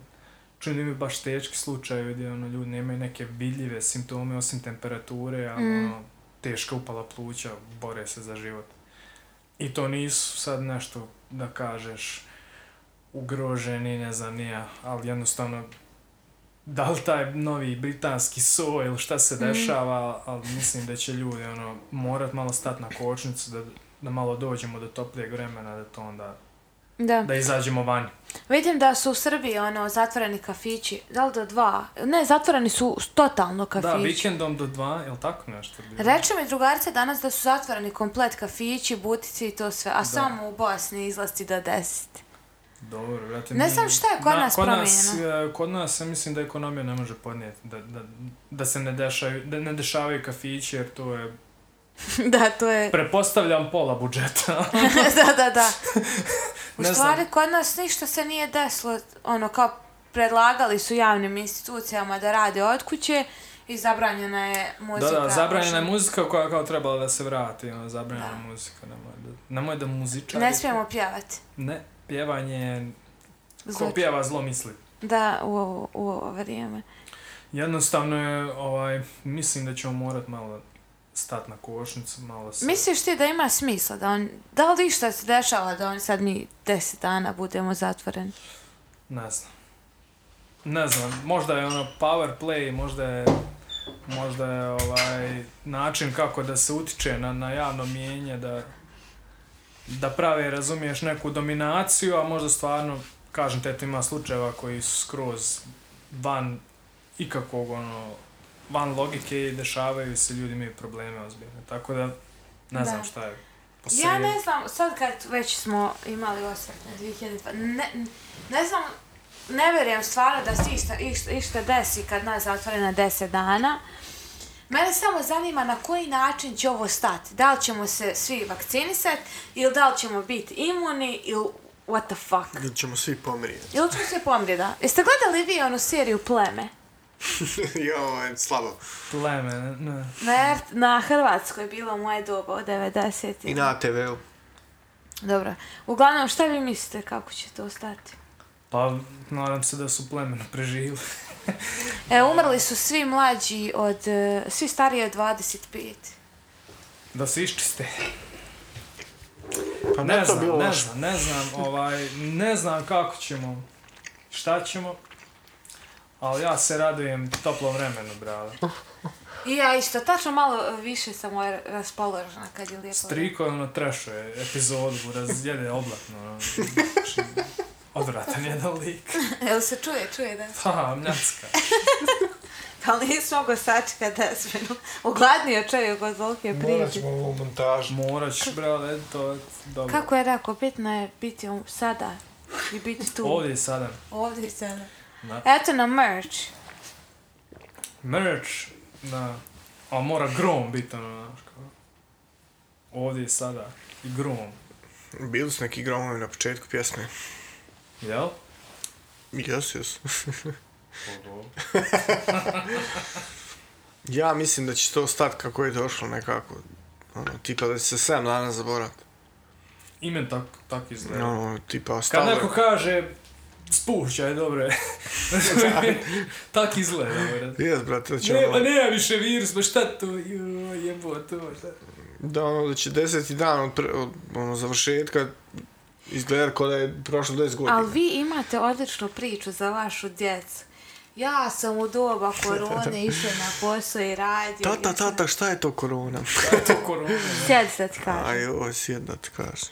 Speaker 1: čini mi baš teški slučaj gdje ono, ljudi nemaju neke vidljive simptome osim temperature, ali ono, teška upala pluća, bore se za život. I to nisu sad nešto da kažeš ugroženi, ne znam ni ja, ali jednostavno da li taj novi britanski soj ili šta
Speaker 2: Mhm.
Speaker 1: se dešava, ali mislim da će ljudi ono, morat malo stati na kočnicu da, da malo dođemo do toplijeg vremena, da to onda,
Speaker 2: Da.
Speaker 1: da izađemo van.
Speaker 2: Vidim da su u Srbiji ono, zatvoreni kafići, da li do dva? Ne, zatvoreni su totalno
Speaker 1: Da,
Speaker 2: kafići.
Speaker 1: vikendom do dva, jel tako nešto? bilo?
Speaker 2: Reče mi drugarice danas da su zatvoreni komplet kafići, butici i to sve, a samo u Bosni izlasti do deset.
Speaker 1: Dobro, brate.
Speaker 2: Ne
Speaker 1: mi-
Speaker 2: znam šta je kod nas
Speaker 1: kod nas, e, kod nas, ja mislim da ekonomija ne može podnijeti, da, da, da se ne, dešaju, da ne dešavaju kafići, jer to je,
Speaker 2: da, to je...
Speaker 1: prepostavljam, pola budžeta.
Speaker 2: da, da, da. U
Speaker 1: Ne znam.
Speaker 2: stvari, kod nas ništa se nije desilo, ono, kao predlagali su javnim institucijama da rade od kuće i zabranjena je muzika.
Speaker 1: da, da, zabranjena je
Speaker 2: Mislim,
Speaker 1: muzika koja kao trebala da se vrati, ono, zabranjena
Speaker 2: Da.
Speaker 1: muzika, nemoj da, nemoj da muzičari...
Speaker 2: Ne smijemo pjevati.
Speaker 1: Ne, pjevanje, ko
Speaker 2: Zvuči.
Speaker 1: pjeva zlo misli.
Speaker 2: Da, u ovo, u ovo vrijeme.
Speaker 1: Jednostavno je, ovaj, mislim da ćemo morat malo stat na košnicu, malo se...
Speaker 2: Misliš ti da ima smisla da on, da li išta se dešava da on sad mi deset dana budemo zatvoreni?
Speaker 1: Ne znam. Ne znam, možda je ono power play, možda je možda je ovaj način kako da se utiče na, na javno mijenje da da prave, razumiješ, neku dominaciju, a možda stvarno, kažem te, eto ima slučajeva koji su skroz van ikakvog, ono, van logike i dešavaju se, ljudi imaju probleme ozbiljne. Tako da, ne
Speaker 2: Da.
Speaker 1: znam šta je.
Speaker 2: Ja
Speaker 1: posrijedi.
Speaker 2: ne znam, sad kad već smo imali osvrt na 2020, ne, ne znam, ne vjerujem stvarno da se išta, išta, išta desi kad nas zatvore na 10 dana. Mene samo zanima na koji način će ovo stati. Da li ćemo se svi vakcinisati ili da li ćemo biti imuni ili what the fuck.
Speaker 3: Ili ćemo svi pomiriti.
Speaker 2: Ili ćemo se pomrije, da? Jeste gledali vi onu seriju Pleme?
Speaker 3: Joj, slabo.
Speaker 1: Pleme, ne, ne.
Speaker 2: Na, R- na Hrvatskoj je bilo moje doba od 90.
Speaker 3: I na TV-u.
Speaker 2: Dobro. Uglavnom, šta vi mislite kako će to stati?
Speaker 1: Pa, nadam se da su plemeno preživjeli.
Speaker 2: E, umrli su svi mlađi od, e, svi stariji od 25.
Speaker 1: Da se iščiste.
Speaker 3: Pa
Speaker 1: ne
Speaker 3: ne to
Speaker 1: znam,
Speaker 3: bilo
Speaker 1: ne
Speaker 3: loše.
Speaker 1: znam, ne znam, ovaj, ne znam kako ćemo, šta ćemo, ali ja se radujem toplom vremenu, brale.
Speaker 2: I ja isto, tačno malo e, više sam ovaj raspoložena kad je lijepo.
Speaker 1: Striko je ono trešuje epizodu, razjede oblatno, ono, znači, odvratan jedan lik.
Speaker 2: Jel se čuje, čuje, da?
Speaker 1: Pa, mljacka.
Speaker 2: Pa nisam mogao sačekati desmenu. Ugladnio čovjek od volke
Speaker 5: Morat
Speaker 2: priđe.
Speaker 5: ćemo ovu montažu.
Speaker 1: Morat ćeš, brale, to je dobro.
Speaker 2: Kako je rekao, bitno je biti u- sada i biti tu.
Speaker 1: Ovdje i sada.
Speaker 2: Ovdje i sada.
Speaker 1: Da.
Speaker 2: Eto na merch.
Speaker 1: Merch, da. A mora grom biti, ono, znaš, kao. Ovdje i sada. I grom.
Speaker 3: Bili su neki gromovi na početku pjesme.
Speaker 1: Jel?
Speaker 3: Jesu, jesu.
Speaker 1: Ovo.
Speaker 3: Ja mislim da će to stat kako je došlo nekako. Ono, tipa da će se 7 dana zaboraviti.
Speaker 1: Ime tak, tak izgleda.
Speaker 3: Ono, tipa
Speaker 1: Kad
Speaker 3: stalo je-
Speaker 1: neko kaže spušćaj, dobro je. tak izgleda, dobro.
Speaker 3: Jes, brate, da će
Speaker 1: Ne,
Speaker 3: ono,
Speaker 1: ma nema više virus, ma šta to, joj, jebo to, šta.
Speaker 3: da, ono, da će deseti dan od, pre, od ono, završetka izgleda kao da je prošlo 10 godina.
Speaker 2: Ali vi imate odličnu priču za vašu djecu. Ja sam u doba korone išla na posao i radio.
Speaker 3: Tata, tata, šta je to korona?
Speaker 1: To korona.
Speaker 2: Sjedi sad kažem.
Speaker 3: Aj, ovo je sjedna ti kažem.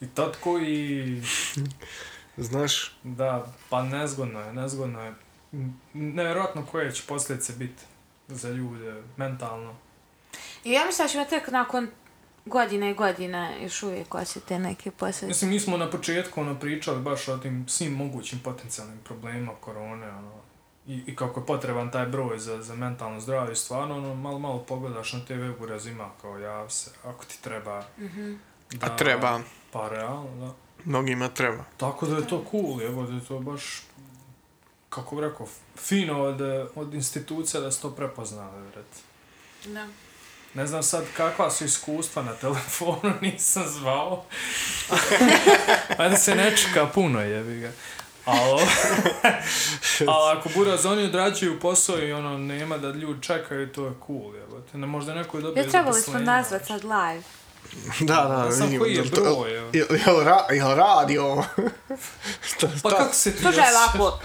Speaker 1: I tatko i,
Speaker 3: Znaš,
Speaker 1: da, pa nezgodno je, nezgodno je. M, Nevjerojatno koje će posljedice biti za ljude, mentalno.
Speaker 2: I ja mislim da ćemo tek nakon godine i godina još uvijek osjeti neke posljedice.
Speaker 1: Mislim, mi smo na početku ono, pričali baš o tim svim mogućim potencijalnim problemima korone, ono, i, i kako je potreban taj broj za, za mentalno zdravlje, stvarno, ono, malo, malo pogledaš na TV uraz ima kao jav se, ako ti treba, Da,
Speaker 3: A treba.
Speaker 1: Pa realno, da.
Speaker 3: Mnogima treba.
Speaker 1: Tako da je to cool, evo da je to baš, kako bi rekao, fino od, od institucija da se to prepoznale, vrat.
Speaker 2: Da.
Speaker 1: Ne znam sad kakva su iskustva na telefonu, nisam zvao. Ajde se ne čeka puno, jebi ga. Alo. Ali ako bude oni odrađuju posao i ono, nema da ljudi čekaju, to je cool, jebote. Ne, možda neko je dobio
Speaker 2: Ja trebali smo
Speaker 1: zaposlenje.
Speaker 2: nazvat sad live.
Speaker 3: Da, da,
Speaker 1: Sad
Speaker 3: vidim.
Speaker 1: koji je
Speaker 3: jel to-
Speaker 1: broj, evo.
Speaker 3: Jel, jel, ra, jel radi ovo? šta, šta?
Speaker 1: Pa kako se ti...
Speaker 2: Slušaj ovako.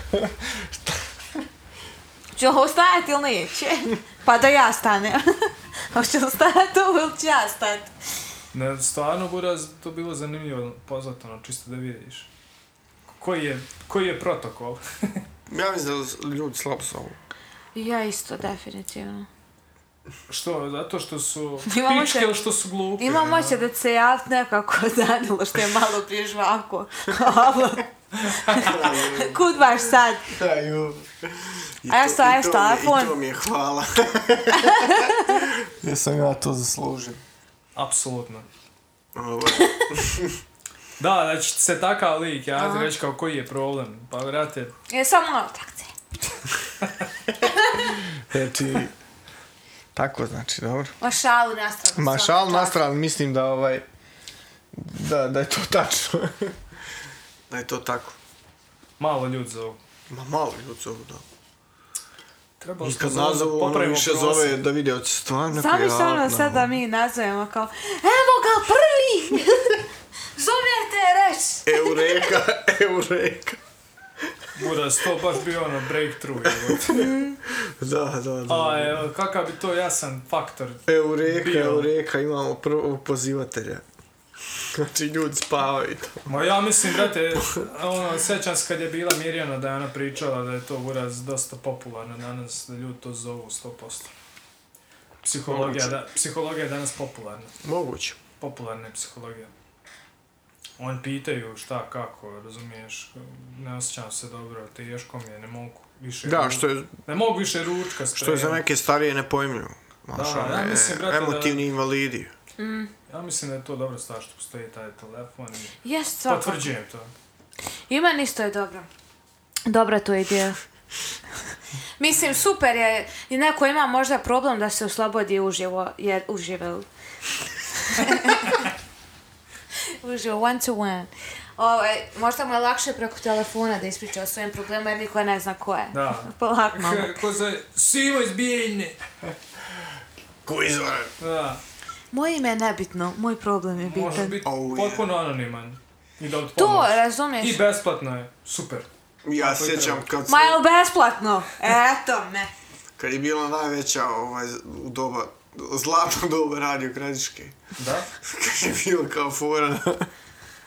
Speaker 2: Će li ostajati ili neće? Pa da ja stanem. Hoće li stajati ovo ili ću ja stati?
Speaker 1: Ne, stvarno bude to bilo zanimljivo pozvat, ono, čisto da vidiš. Koji je, koji je protokol?
Speaker 3: Ja mislim da ljudi slabo su ovo.
Speaker 2: Ja isto, definitivno.
Speaker 1: Što, zato što su
Speaker 2: Imamo
Speaker 1: pičke
Speaker 2: se-
Speaker 1: ili što su glupi?
Speaker 2: Imam
Speaker 1: ono?
Speaker 2: oće da se ja nekako zanilo što je malo prije žvako. Alo. Kud baš sad?
Speaker 3: Daju.
Speaker 2: A ja sam, ja sam
Speaker 3: I to
Speaker 2: telefon.
Speaker 3: mi je hvala. Jesam ja to zaslužio.
Speaker 1: Apsolutno.
Speaker 3: Ovo,
Speaker 1: Da, znači se takav lik, ja ti reći kao koji je problem. Pa vrate,
Speaker 2: Je samo malo takce.
Speaker 3: Znači, tako znači, dobro.
Speaker 2: Mašalu nastavno.
Speaker 3: Ma šal na stranu, mislim da ovaj... Da, da je to tačno. da je to tako.
Speaker 1: malo ljudi zovu.
Speaker 3: Ma malo ljudi zovu, da.
Speaker 1: Trebalo
Speaker 3: I
Speaker 1: smo
Speaker 3: kad
Speaker 1: zovu da
Speaker 3: nazovu, ono
Speaker 1: popravimo
Speaker 3: više
Speaker 1: prosjek.
Speaker 3: zove da vidi, hoće stvarno
Speaker 2: Sami
Speaker 3: koji
Speaker 2: se
Speaker 3: je
Speaker 2: ono
Speaker 3: alat na
Speaker 2: sad da mi nazovemo kao Evo ga prvi! Zovete reč!
Speaker 3: ovo. Eureka, eureka.
Speaker 1: Bude da se to baš bio ono breakthrough. jebote.
Speaker 3: Da, da, da.
Speaker 1: A evo, kakav bi to jasan faktor.
Speaker 3: Eureka,
Speaker 1: Bio.
Speaker 3: Eureka, imamo prvog pozivatelja. Znači, ljudi spavaju i to.
Speaker 1: Ma ja mislim, brate, ono, sjećam se kad je bila Mirjana da je ona pričala da je to uraz dosta popularno danas, da ljudi to zovu 100%. Psihologija, da, psihologija je danas popularna.
Speaker 3: Moguće.
Speaker 1: popularne psihologije. On pitaju šta, kako, razumiješ, ne osjećam se dobro, teško mi je, ne mogu više...
Speaker 3: Da, što je,
Speaker 1: Ne mogu više ručka spremati.
Speaker 3: što je za neke starije nepojmljivo. Znaš,
Speaker 1: Da, ja
Speaker 3: one
Speaker 1: mislim, brate, da-
Speaker 3: emotivni invalidi.
Speaker 1: Ja mislim da je to dobro stvar što postoji taj telefon i
Speaker 2: Jes, svakako.
Speaker 1: potvrđujem to.
Speaker 2: I meni isto je dobro. Dobra tu ideja. Mislim, super je, i neko ima možda problem da se oslobodi uživo, jer uživo. uživo, one to one. Ovaj, možda mu je lakše preko telefona da ispriča o svojim problemima jer niko ne zna ko je.
Speaker 1: Da.
Speaker 2: Polako.
Speaker 1: Ko za sivo iz bijeljne.
Speaker 3: Ko izvore?
Speaker 1: Da,
Speaker 2: Moje ime je nebitno, moj problem je bitan.
Speaker 1: može biti
Speaker 3: Oh, yeah.
Speaker 1: potpuno anoniman. I da
Speaker 2: To,
Speaker 1: pomoć.
Speaker 2: razumiješ?
Speaker 1: I besplatno je, super.
Speaker 3: Ja
Speaker 1: Kako je
Speaker 3: sjećam kad,
Speaker 2: Ma
Speaker 3: se-
Speaker 2: jel besplatno? Eto me.
Speaker 3: kad je bila najveća ovaj, u doba, zlatno doba radio Gradiške.
Speaker 1: Da?
Speaker 3: Kad je bilo kao fora da-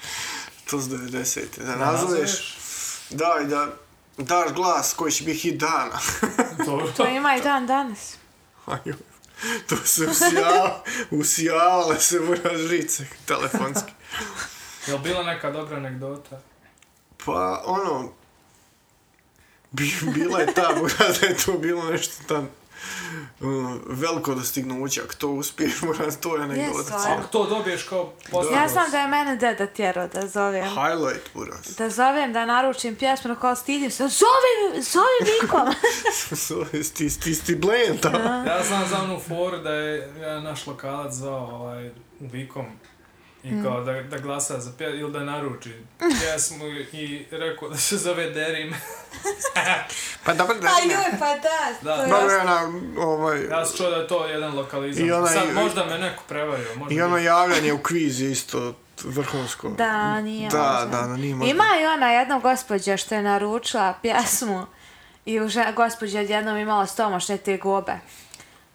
Speaker 3: to s 90. Da nazoveš, da, i da daš glas koji će biti hit dana.
Speaker 1: Dobro.
Speaker 2: To ima i dan danas.
Speaker 3: Ajoj, to se usijala, usijala se moja žice telefonski.
Speaker 1: Jel bila neka dobra anegdota?
Speaker 3: Pa, ono, bi, bila je ta, mora da je to bilo nešto tam ono, veliko dostignuće, ako to uspiješ, mora to je anegdota.
Speaker 2: stvarno.
Speaker 1: Ako to dobiješ kao posljednost.
Speaker 2: Ja znam da je mene deda tjerao da zovem.
Speaker 3: Highlight, buras.
Speaker 2: Da zovem, da naručim pjesmu, kao stidim se, zove, zove nikom.
Speaker 3: Sti, sti, sti blen tamo.
Speaker 1: Ja znam za onu foru da je jedan naš lokalac zvao ovaj, Vikom i
Speaker 3: Mm.
Speaker 1: kao da, da glasa za pjesmu ili da naruči pjesmu i rekao da se zove Derim.
Speaker 3: Pa dobro, da
Speaker 2: Pa joj, pa da.
Speaker 1: Da,
Speaker 2: to je-
Speaker 3: Dobro je ona, ovaj,
Speaker 1: Ja sam čuo da je to jedan lokalizam.
Speaker 3: I onaj-
Speaker 1: Sad možda me neko prevario. Možda
Speaker 3: i ono javljanje u kviz je isto vrhunsko.
Speaker 2: Da, nije
Speaker 3: Da,
Speaker 2: možda.
Speaker 3: da, da, nije možda.
Speaker 2: Ima i ona jedna gospođa što je naručila pjesmu i uža, gospođa odjednom imala stomašne te gobe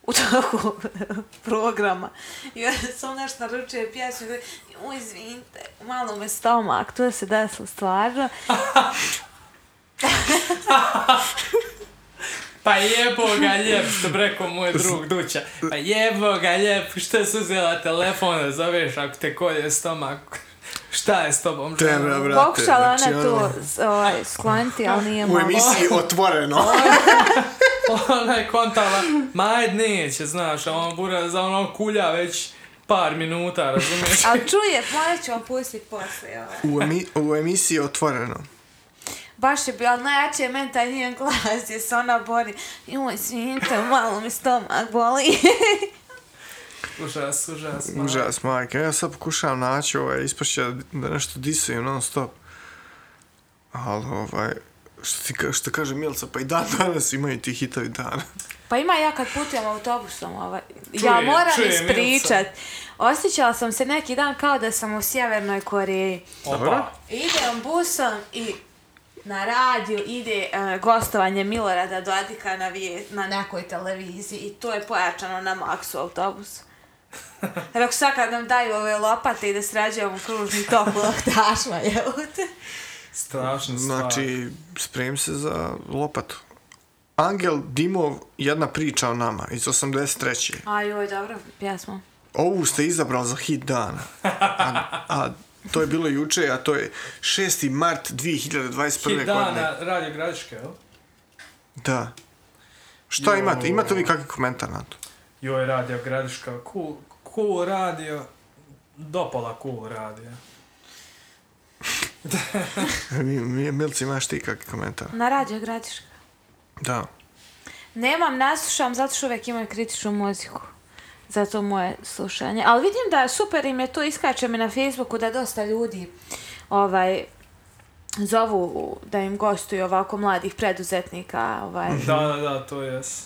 Speaker 2: u toku programa. I onda sam nešto naručuje pjesmu i "Uj, izvinite, malo me stomak, tu se desilo stvarno.
Speaker 7: Pa jebo ga ljep, što bi rekao moj drug Duća. Pa jebo ga ljep, što si uzela telefon da zoveš ako te kolje stomak. Šta je s tobom?
Speaker 3: Te, bra, brate.
Speaker 2: Pokušala
Speaker 3: znači,
Speaker 2: ona
Speaker 3: ono,
Speaker 2: to s- ovaj, skloniti, ali nije
Speaker 3: U
Speaker 2: mogla.
Speaker 3: emisiji otvoreno.
Speaker 7: Ona je kontala, ma ajde neće, znaš, a on bura za ono kulja već
Speaker 1: ono par minuta, razumiješ?
Speaker 2: Ali čuje, morat ću vam pustit poslije. ovaj.
Speaker 3: U, emi, u emisiji Otvoreno.
Speaker 2: Baš je bio, ali najjače je meni taj njen glas gdje se ona bori. Joj, svinite, malo mi stomak boli.
Speaker 1: Užas, užas. ma.
Speaker 3: Užas, majke. Ja sad pokušavam naći ovaj, ispašće da nešto disujem non stop. Ali ovaj, što, ti, ka- što kaže Milica, pa i dan danas imaju ti hitovi dana.
Speaker 2: Pa ima ja kad putujem autobusom, ovaj, ja
Speaker 1: Čuje,
Speaker 2: moram
Speaker 1: čuje,
Speaker 2: ispričat. Osjećala sam se neki dan kao da sam u Sjevernoj Koreji.
Speaker 3: Dobro.
Speaker 1: Opa.
Speaker 2: Idem busom i na radiju ide e, gostovanje Milorada Dodika na, vije, na nekoj televiziji i to je pojačano na maksu autobusu. Rekao sad kad nam daju ove lopate i da srađujemo kružni tok loktašma, jebote.
Speaker 1: Strašna stvar.
Speaker 3: Znači, spremim se za lopatu. Angel Dimov, jedna priča o nama, iz 83.
Speaker 2: A joj, dobro, pjesma.
Speaker 3: Ovu ste izabrali za hit dana. A, a to je bilo juče, a to je 6. mart 2021.
Speaker 1: Hit
Speaker 3: godine.
Speaker 1: dana, radio Gradiške, jel?
Speaker 3: Da. Šta imate? Imate li kakvi komentar na to?
Speaker 1: Joj, radio Gradiška, cool, cool radio, dopola cool radio.
Speaker 3: Mhm. Mi- mi- Milci, imaš ti kakvi komentar?
Speaker 2: Na radiju Gradiška.
Speaker 3: Da.
Speaker 2: Nemam, naslušam zato što uvijek imam kritičnu muziku. Zato moje slušanje. Ali vidim da super im je to, iskače mi na Facebooku da dosta ljudi ovaj, zovu da im gostuju ovako mladih preduzetnika. Ovaj.
Speaker 1: Da, da, da, to jes.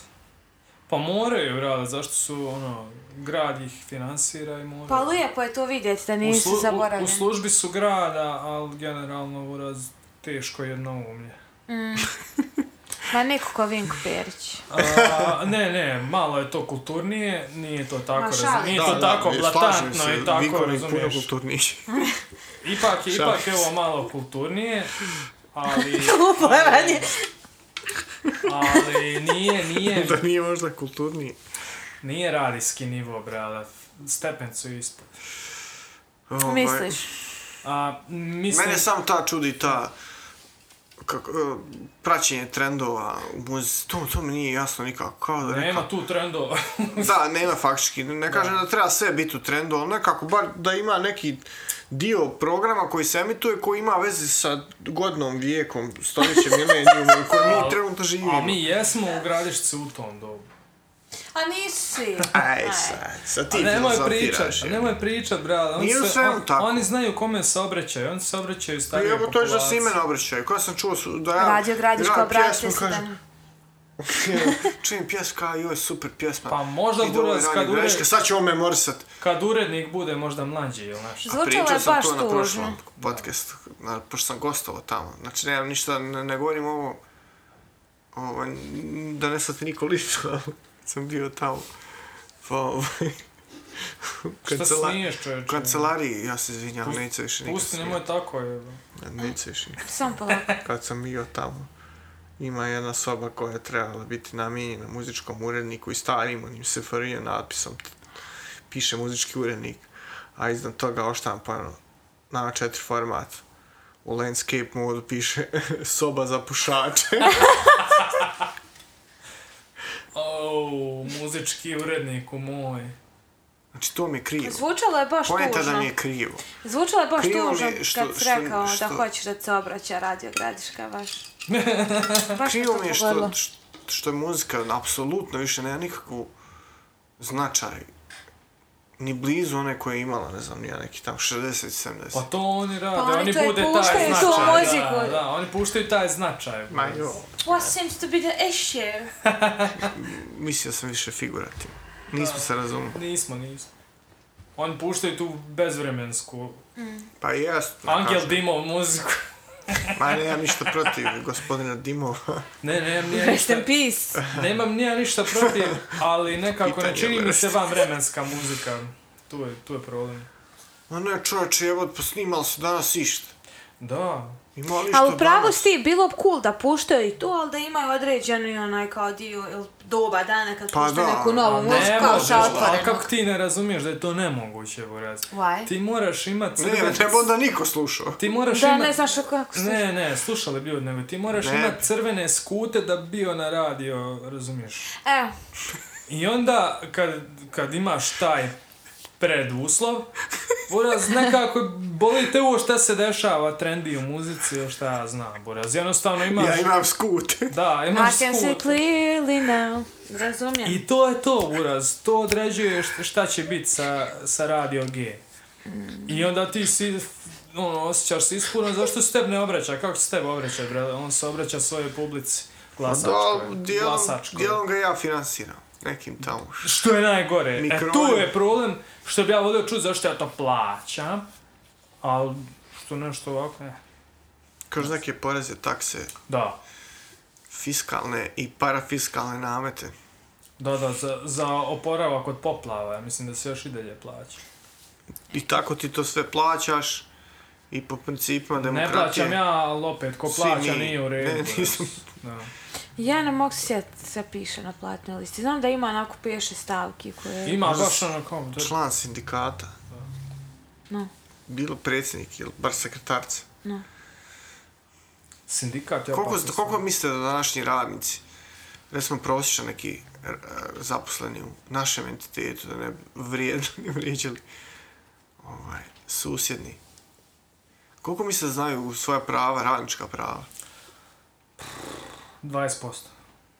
Speaker 1: Pa moraju rada, zašto su, ono, grad ih finansira i moraju.
Speaker 2: Pa lijepo je to vidjeti da
Speaker 1: U
Speaker 2: nisu
Speaker 1: slu- u-
Speaker 2: zaboravljeni.
Speaker 1: U službi su grada, ali generalno uraz teško jednoumlje.
Speaker 2: Ma neko ko Vinko Perić.
Speaker 1: A, ne, ne, malo je to kulturnije, nije to tako,
Speaker 2: Ma,
Speaker 1: razumiješ,
Speaker 2: šalim.
Speaker 1: nije E, to tako
Speaker 3: slažem
Speaker 1: blatantno
Speaker 3: se,
Speaker 1: i tako,
Speaker 3: Vinkovi puno
Speaker 1: razumiješ.
Speaker 3: kulturniji.
Speaker 1: Ipak, je-
Speaker 3: Šalim
Speaker 1: ipak je ovo malo kulturnije, ali,
Speaker 2: Uporanje.
Speaker 1: ali nije, nije,
Speaker 3: da nije možda kulturniji.
Speaker 1: nije radijski nivo, brada, stepencu ispod.
Speaker 3: Ovaj,
Speaker 2: Misliš?
Speaker 1: A, mislim,
Speaker 3: Mene samo ta čudi, ta kako, e, praćenje trendova u muzici, to, to mi nije jasno nikako. Kao da
Speaker 1: nema tu trendova.
Speaker 3: Da, nema faktički. Ne kažem da treba sve biti u trendu, ali nekako bar da ima neki dio programa koji se emituje koji ima veze sa godinom, vijekom, stoljećem, milenijumom u kojem mi
Speaker 1: Al-
Speaker 3: trenutno živimo.
Speaker 1: A mi jesmo u gradišci u tom dobu.
Speaker 2: A nisu svi.
Speaker 3: Aj, sad, sad ti
Speaker 1: A nemoj
Speaker 3: filozofiraš.
Speaker 1: pričat, nemoj pričat, brada. Oni,
Speaker 3: Nije u
Speaker 1: se,
Speaker 3: svemu
Speaker 1: on-
Speaker 3: tako.
Speaker 1: oni znaju kome se obraćaju, oni se obraćaju
Speaker 3: je.
Speaker 1: starijoj
Speaker 3: Evo to je da se
Speaker 1: populaciji.
Speaker 3: imena obraćaju. Kada sam čuo su, da ja...
Speaker 2: Radio Gradiško,
Speaker 3: ja
Speaker 2: obrate
Speaker 3: pjesmu
Speaker 2: se da...
Speaker 3: kažem, Čujem pjesma, joj, super pjesma.
Speaker 1: Pa možda
Speaker 3: Ide ovaj
Speaker 1: Buras
Speaker 3: Radio
Speaker 1: kad ure-
Speaker 3: Gradiška, Sad ću ovo memorisat.
Speaker 1: Kad urednik bude možda mlađi, jel naš?
Speaker 2: Zvučalo
Speaker 3: Pričao
Speaker 2: je
Speaker 3: sam
Speaker 2: baš
Speaker 3: to na
Speaker 2: tužno.
Speaker 3: prošlom podcastu, na, pošto sam gostovao tamo. Znači, nemam ništa, ne, ne govorim ovo, ovo, n- da ne svati niko lično, ali sam bio tamo. Pa, ovaj, u
Speaker 1: Šta
Speaker 3: kancela-
Speaker 1: smiješ
Speaker 3: u
Speaker 1: čovječe?
Speaker 3: kancelariji, ja se izvinjam, neću više nikad
Speaker 1: Pusti,
Speaker 3: smijat.
Speaker 1: nemoj tako je.
Speaker 3: Neću više nikad.
Speaker 2: Samo polako.
Speaker 3: Kad sam bio tamo, ima jedna soba koja je trebala biti namijenjena muzičkom uredniku i starim onim sefarijem natpisom t- piše muzički urednik, a iznad toga oštampano na četiri formata. U landscape modu piše soba za pušače.
Speaker 1: Oh, muzički uredniku moj.
Speaker 3: Znači to mi je krivo.
Speaker 2: Zvučalo je baš
Speaker 3: Pojenta
Speaker 2: tužno.
Speaker 3: da mi je krivo.
Speaker 2: Zvučalo je baš
Speaker 3: Krivo mi
Speaker 2: tužno
Speaker 3: je što-
Speaker 2: kad si
Speaker 3: što-
Speaker 2: rekao
Speaker 3: što-
Speaker 2: da hoćeš da se obraća Radio Gradiška, baš. baš
Speaker 3: Krivo mi je što,
Speaker 2: pogodilo.
Speaker 3: što, što je muzika apsolutno više nema nikakvu značaj ni blizu one koje je imala, ne znam, nija neki tamo 60-70.
Speaker 1: Pa to oni rade,
Speaker 2: oni
Speaker 1: oni,
Speaker 2: to i
Speaker 1: bude taj
Speaker 2: puštaju tu
Speaker 1: značaj. Da,
Speaker 2: muziku.
Speaker 1: da, oni puštaju taj značaj.
Speaker 3: Ma jo,
Speaker 2: What seems to be the issue?
Speaker 3: mislio sam više figurativno. Nismo se razumili.
Speaker 1: Nismo, nismo. Oni puštaju tu bezvremensku
Speaker 3: Pa jasno.
Speaker 1: Angel
Speaker 3: kažem.
Speaker 1: Dimov muziku.
Speaker 3: Ma nemam ništa protiv gospodina Dimova.
Speaker 1: Ne, ne, ne.
Speaker 2: Rest in peace.
Speaker 1: Nemam ni ja ništa protiv, ali nekako ne
Speaker 3: Pitanje
Speaker 1: čini mi
Speaker 3: vrste.
Speaker 1: se van vremenska muzika. Tu je, tu je problem.
Speaker 3: Ma ne čovječe, evo, pa snimali su danas išta.
Speaker 1: Da.
Speaker 3: Ima li
Speaker 2: Ali
Speaker 3: što
Speaker 2: u pravu
Speaker 3: danas?
Speaker 2: si ti, bilo bi cool da puštaju i to, ali da imaju određeni onaj kao dio ili doba dana kad
Speaker 3: Pa
Speaker 2: puštaju
Speaker 3: da,
Speaker 2: neku novu
Speaker 3: ali
Speaker 2: muziku,
Speaker 1: Ne
Speaker 2: kao
Speaker 1: možeš,
Speaker 2: sa
Speaker 1: ali
Speaker 2: otvorenog.
Speaker 1: kako ti ne razumiješ da je to nemoguće, Boraz?
Speaker 2: Why?
Speaker 1: Ti moraš imat
Speaker 3: Ne,
Speaker 1: crven...
Speaker 3: ne bi onda niko slušao.
Speaker 1: Ti moraš
Speaker 2: Da,
Speaker 1: imat...
Speaker 2: ne znaš kako se...
Speaker 1: Ne, ne, slušali bi ljudi, nego ti moraš
Speaker 3: Ne.
Speaker 1: imat crvene skute da bi bio na radio, razumiješ?
Speaker 2: Evo,
Speaker 1: I onda kad, kad imaš taj preduslov. Buraz, nekako boli te uvo šta se dešava trendi u muzici ili šta ja znam, Buraz. Jednostavno imaš...
Speaker 3: Ja imam skut.
Speaker 1: Da,
Speaker 2: I
Speaker 1: imaš
Speaker 2: can see
Speaker 1: skut.
Speaker 2: clearly now. Razumijem.
Speaker 1: I to je to, Buraz. To određuje št- šta će biti sa, sa Radio G. I onda ti si, ono, osjećaš se ispuno, zašto se tebi ne obraća? Kako se tebi obraća, brale? On se obraća svojoj publici.
Speaker 3: Pa Da,
Speaker 1: Glasačkoj.
Speaker 3: dijelom,
Speaker 1: glasačkoj.
Speaker 3: dijelom ga ja finansiram. Nekim tamo.
Speaker 1: Što je najgore. E,
Speaker 3: Mikrojom.
Speaker 1: tu je problem što bi ja volio čuti zašto ja to plaćam. Ali što nešto ovako, ne.
Speaker 3: Kroz neke poreze, takse,
Speaker 1: Da.
Speaker 3: fiskalne i parafiskalne namete.
Speaker 1: Da, da, za, za oporavak od poplava, ja mislim da se još i dalje plaća.
Speaker 3: I tako ti to sve plaćaš i po principima
Speaker 1: Ne
Speaker 3: demokratije.
Speaker 1: plaćam ja, ali opet, ko
Speaker 3: Svi
Speaker 1: plaća
Speaker 3: mi.
Speaker 1: nije u redu.
Speaker 3: Ne, nisam.
Speaker 1: Da.
Speaker 2: Ja ne mogu se sjetiti šta piše na platnoj listi. Znam da ima onako peše stavki koje...
Speaker 1: Ima baš ono kom, to je
Speaker 3: Član sindikata.
Speaker 2: No.
Speaker 3: Bilo predsjednik ili bar sekretarca.
Speaker 1: sindikat. Ja
Speaker 3: Koliko,
Speaker 1: pa mislim.
Speaker 3: koliko mislite da današnji radnici, recimo prosječan neki e, zaposleni u našem entitetu, da ne bi vrijedno ne vrijeđali, ovaj, susjedni, koliko mislite da znaju svoja prava, radnička prava?
Speaker 1: 20%.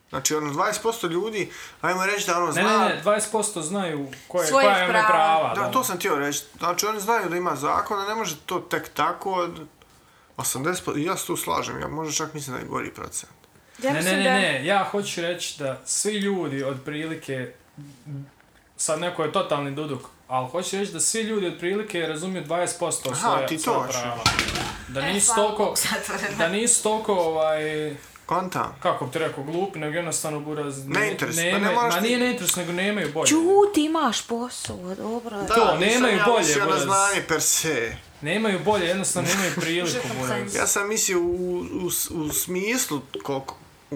Speaker 3: Znači, ono, 20% ljudi, ajmo reći da ono zna...
Speaker 1: Ne, ne, ne, 20% znaju koje,
Speaker 2: Svojih
Speaker 1: koja je prava.
Speaker 2: prava.
Speaker 1: prava
Speaker 3: Da, to sam htio reći. Znači, oni znaju da ima zakon, a ne može to tek tako... 80%, ja se tu slažem, ja možda čak mislim da je gori procent.
Speaker 2: Ja
Speaker 1: ne, ne,
Speaker 2: mislim
Speaker 1: ne,
Speaker 2: da-
Speaker 1: ne, ja hoću reći da svi ljudi otprilike, sad neko je totalni duduk, ali hoću reći da svi ljudi otprilike razumiju 20% svoja,
Speaker 3: Aha, ti to
Speaker 1: svoja
Speaker 3: hoćeš.
Speaker 1: prava. Da
Speaker 2: E,
Speaker 1: nisu
Speaker 2: hvala
Speaker 1: toliko,
Speaker 2: Bogu, zatvoreno.
Speaker 1: da nisu toliko, ovaj,
Speaker 3: Kontam.
Speaker 1: kako bi ti rekao, glupi, nego jednostavno buraz... ne-
Speaker 3: Neinteres-
Speaker 1: nemaju-
Speaker 3: ma ne moraš
Speaker 1: ma
Speaker 3: ti-
Speaker 1: nije neinteres, nego nemaju bolje.
Speaker 2: Čuti, imaš posao, dobro. je.
Speaker 1: To,
Speaker 3: nisam
Speaker 1: nemaju
Speaker 3: ja
Speaker 1: bolje,
Speaker 3: mislio na
Speaker 1: bolje.
Speaker 3: znanje per se.
Speaker 1: Nemaju bolje, jednostavno nemaju priliku,
Speaker 2: Žrtvom
Speaker 1: buraz.
Speaker 2: klanjstva.
Speaker 3: Ja sam mislio u, u, u smislu koliko, u,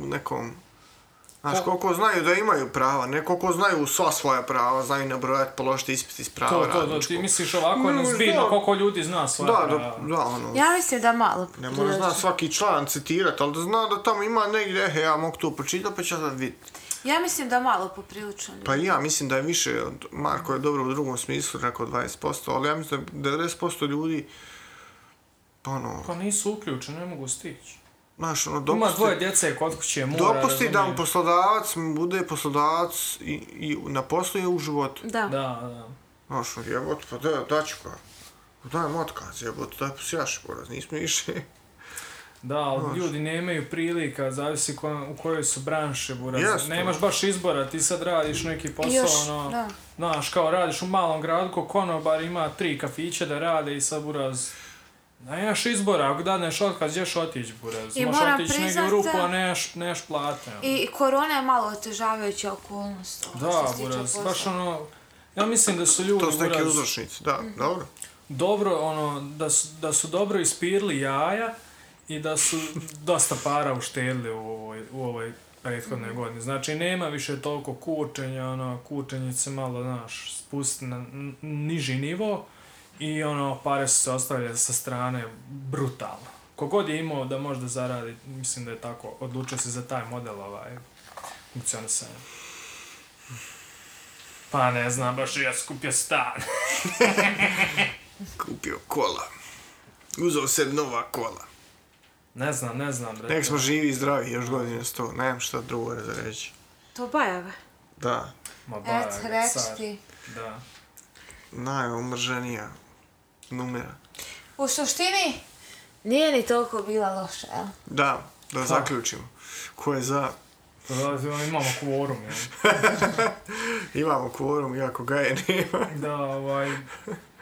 Speaker 3: u nekom, znaš, koliko znaju da imaju prava, ne koliko znaju sva svoja prava, znaju nabrojati, položiti ispit iz prava
Speaker 1: To, to, to,
Speaker 3: radničkog.
Speaker 1: ti misliš ovako,
Speaker 3: Ne,
Speaker 1: no,
Speaker 3: da.
Speaker 1: zbiljno, koliko ljudi zna svoja
Speaker 3: Da,
Speaker 1: prava.
Speaker 3: da, da, ono,
Speaker 2: Ja mislim da malo.
Speaker 3: ne mora zna svaki član citirat, ali da zna da tamo ima negdje, ehe, ja mogu to pročitati, pa ću ja sad vidjeti.
Speaker 2: Ja mislim da malo poprilično. ljudi.
Speaker 3: Pa i ja mislim da je više, od- Marko je dobro u drugom smislu rekao 20%, ali ja mislim da je 90% ljudi, pa ono,
Speaker 1: Pa nisu uključeni, ne mogu stići.
Speaker 3: znaš, ono,
Speaker 1: Ima
Speaker 3: dopusti,
Speaker 1: dvoje djece kod kuće, mora...
Speaker 3: Dopusti da mu
Speaker 1: razumiješ.
Speaker 3: poslodavac bude poslodavac i, i na poslu i u životu.
Speaker 2: Da.
Speaker 1: Da, da.
Speaker 3: Znaš, jebot, pa da, daću ga. Daj mu otkaz, jebot, daj posijaš, poraz, nismo više.
Speaker 1: Da, ali ljudi nemaju prilika, zavisi ko, u kojoj su branše, buraz.
Speaker 3: Jasno.
Speaker 1: Nemaš baš izbora, ti sad radiš neki
Speaker 2: I
Speaker 1: posao,
Speaker 2: Još,
Speaker 1: ono...
Speaker 2: da.
Speaker 1: Znaš, kao radiš u malom gradu, ko konobar ima tri kafiće da rade i sad, buraz... Nemaš izbora, ako dadneš otkaz, ćeš otići, buraz.
Speaker 2: I
Speaker 1: Možeš
Speaker 2: moram
Speaker 1: otići negdje
Speaker 2: priznat
Speaker 1: u rupu,
Speaker 2: da-
Speaker 1: a nemaš, nemaš plate. ono.
Speaker 2: I korona je malo otežavajuća okolnost. ovo, što
Speaker 1: Da,
Speaker 2: se tiče
Speaker 1: buraz,
Speaker 2: posla.
Speaker 1: baš ono... Ja mislim da su ljudi,
Speaker 3: To su neki
Speaker 1: buraz,
Speaker 3: uzročnici, da, dobro.
Speaker 1: dobro, ono, da su, da su dobro ispirili jaja i da su dosta para uštedili u ovoj, u ovoj prethodnoj godini. Znači, nema više toliko kučenja, ono, kučenje se malo, znaš, spusti na n- niži nivo i, ono, pare su se ostavljale sa strane brutalno. Kogod je imao da možda zaradi, mislim da je tako, odlučio se za taj model, ovaj, funkcionisanja. Pa ne znam, baš ja skupio stan.
Speaker 3: Kupio kola. Uzeo se nova kola.
Speaker 1: Ne znam, ne znam, bre.
Speaker 3: Nek smo živi i zdravi još godine sto, nemam šta drugo za reći.
Speaker 2: To bajava.
Speaker 3: Da,
Speaker 1: Ma ba,
Speaker 2: Et, reći
Speaker 1: car,
Speaker 2: ti.
Speaker 1: Da.
Speaker 3: najomrženija numera.
Speaker 2: U suštini, nije ni toliko bila loša, jel?
Speaker 3: Da, da zaključimo. Ko je za...
Speaker 1: Da, imamo kvorum, jel?
Speaker 3: Imamo kvorum, iako ga je nema.
Speaker 1: Da, ovaj...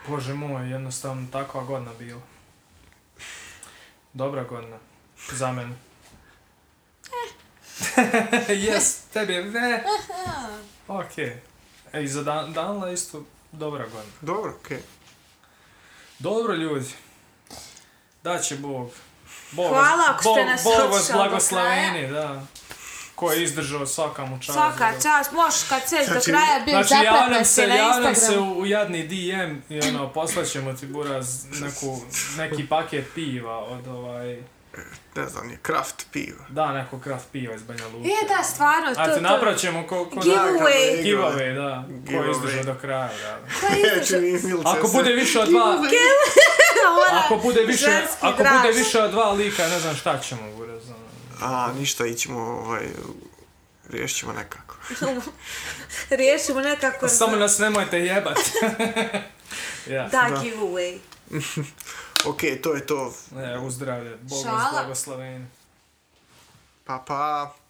Speaker 1: Bože moj, jednostavno takva godina bila. Dobra godina. Za mene.
Speaker 2: Eh.
Speaker 1: Jes, tebi je ne. Okej. E, i za dan, Danla isto dobra godina.
Speaker 3: Dobro, okej.
Speaker 1: Dobro, ljudi. Daće Bog. Bog vas-
Speaker 2: Hvala ako ste
Speaker 1: Bog-
Speaker 2: nas
Speaker 1: Bog vas
Speaker 2: slušali do
Speaker 1: blagoslaveni, da. Ko je izdržao svakamu čast.
Speaker 2: Svaka
Speaker 1: da.
Speaker 2: čast, možeš kad seš do
Speaker 3: Znači-
Speaker 2: kraja bio
Speaker 1: Znači, javljam
Speaker 2: zapletan
Speaker 1: se,
Speaker 2: se na
Speaker 1: javljam se
Speaker 2: Instagramu.
Speaker 1: u, u jadni DM i ono, poslaćemo ti buraz neku, neki paket piva od ovaj...
Speaker 3: ne znam, je kraft pivo.
Speaker 1: Da, neko kraft piva iz Banja Luka.
Speaker 2: Je, E, da, stvarno, to,
Speaker 1: A
Speaker 2: to.
Speaker 1: ti napraćemo ko, ko
Speaker 2: Giveaway.
Speaker 1: da,
Speaker 3: Giveaway.
Speaker 1: giveaway, da. Ko
Speaker 3: Giveaway.
Speaker 1: izdrža do kraja, da.
Speaker 2: Pa izdrž-
Speaker 3: Čini Milče
Speaker 1: Ako
Speaker 3: se-
Speaker 1: bude više od dva,
Speaker 2: Ona,
Speaker 1: ako bude više,
Speaker 2: ženski
Speaker 1: ako
Speaker 2: draž.
Speaker 1: bude više od dva lika, ne znam šta ćemo, buraz. ono.
Speaker 3: A, ništa, ićemo, ovaj, riješit ćemo nekako.
Speaker 2: Riješimo nekako...
Speaker 1: Pa Samo nas nemojte jebat. ja,
Speaker 2: Da, giveaway.
Speaker 3: Okej, to je to.
Speaker 1: ne, uzdravlje, Bog vas
Speaker 2: Šala.
Speaker 1: blagosloveni.
Speaker 3: Pa, pa.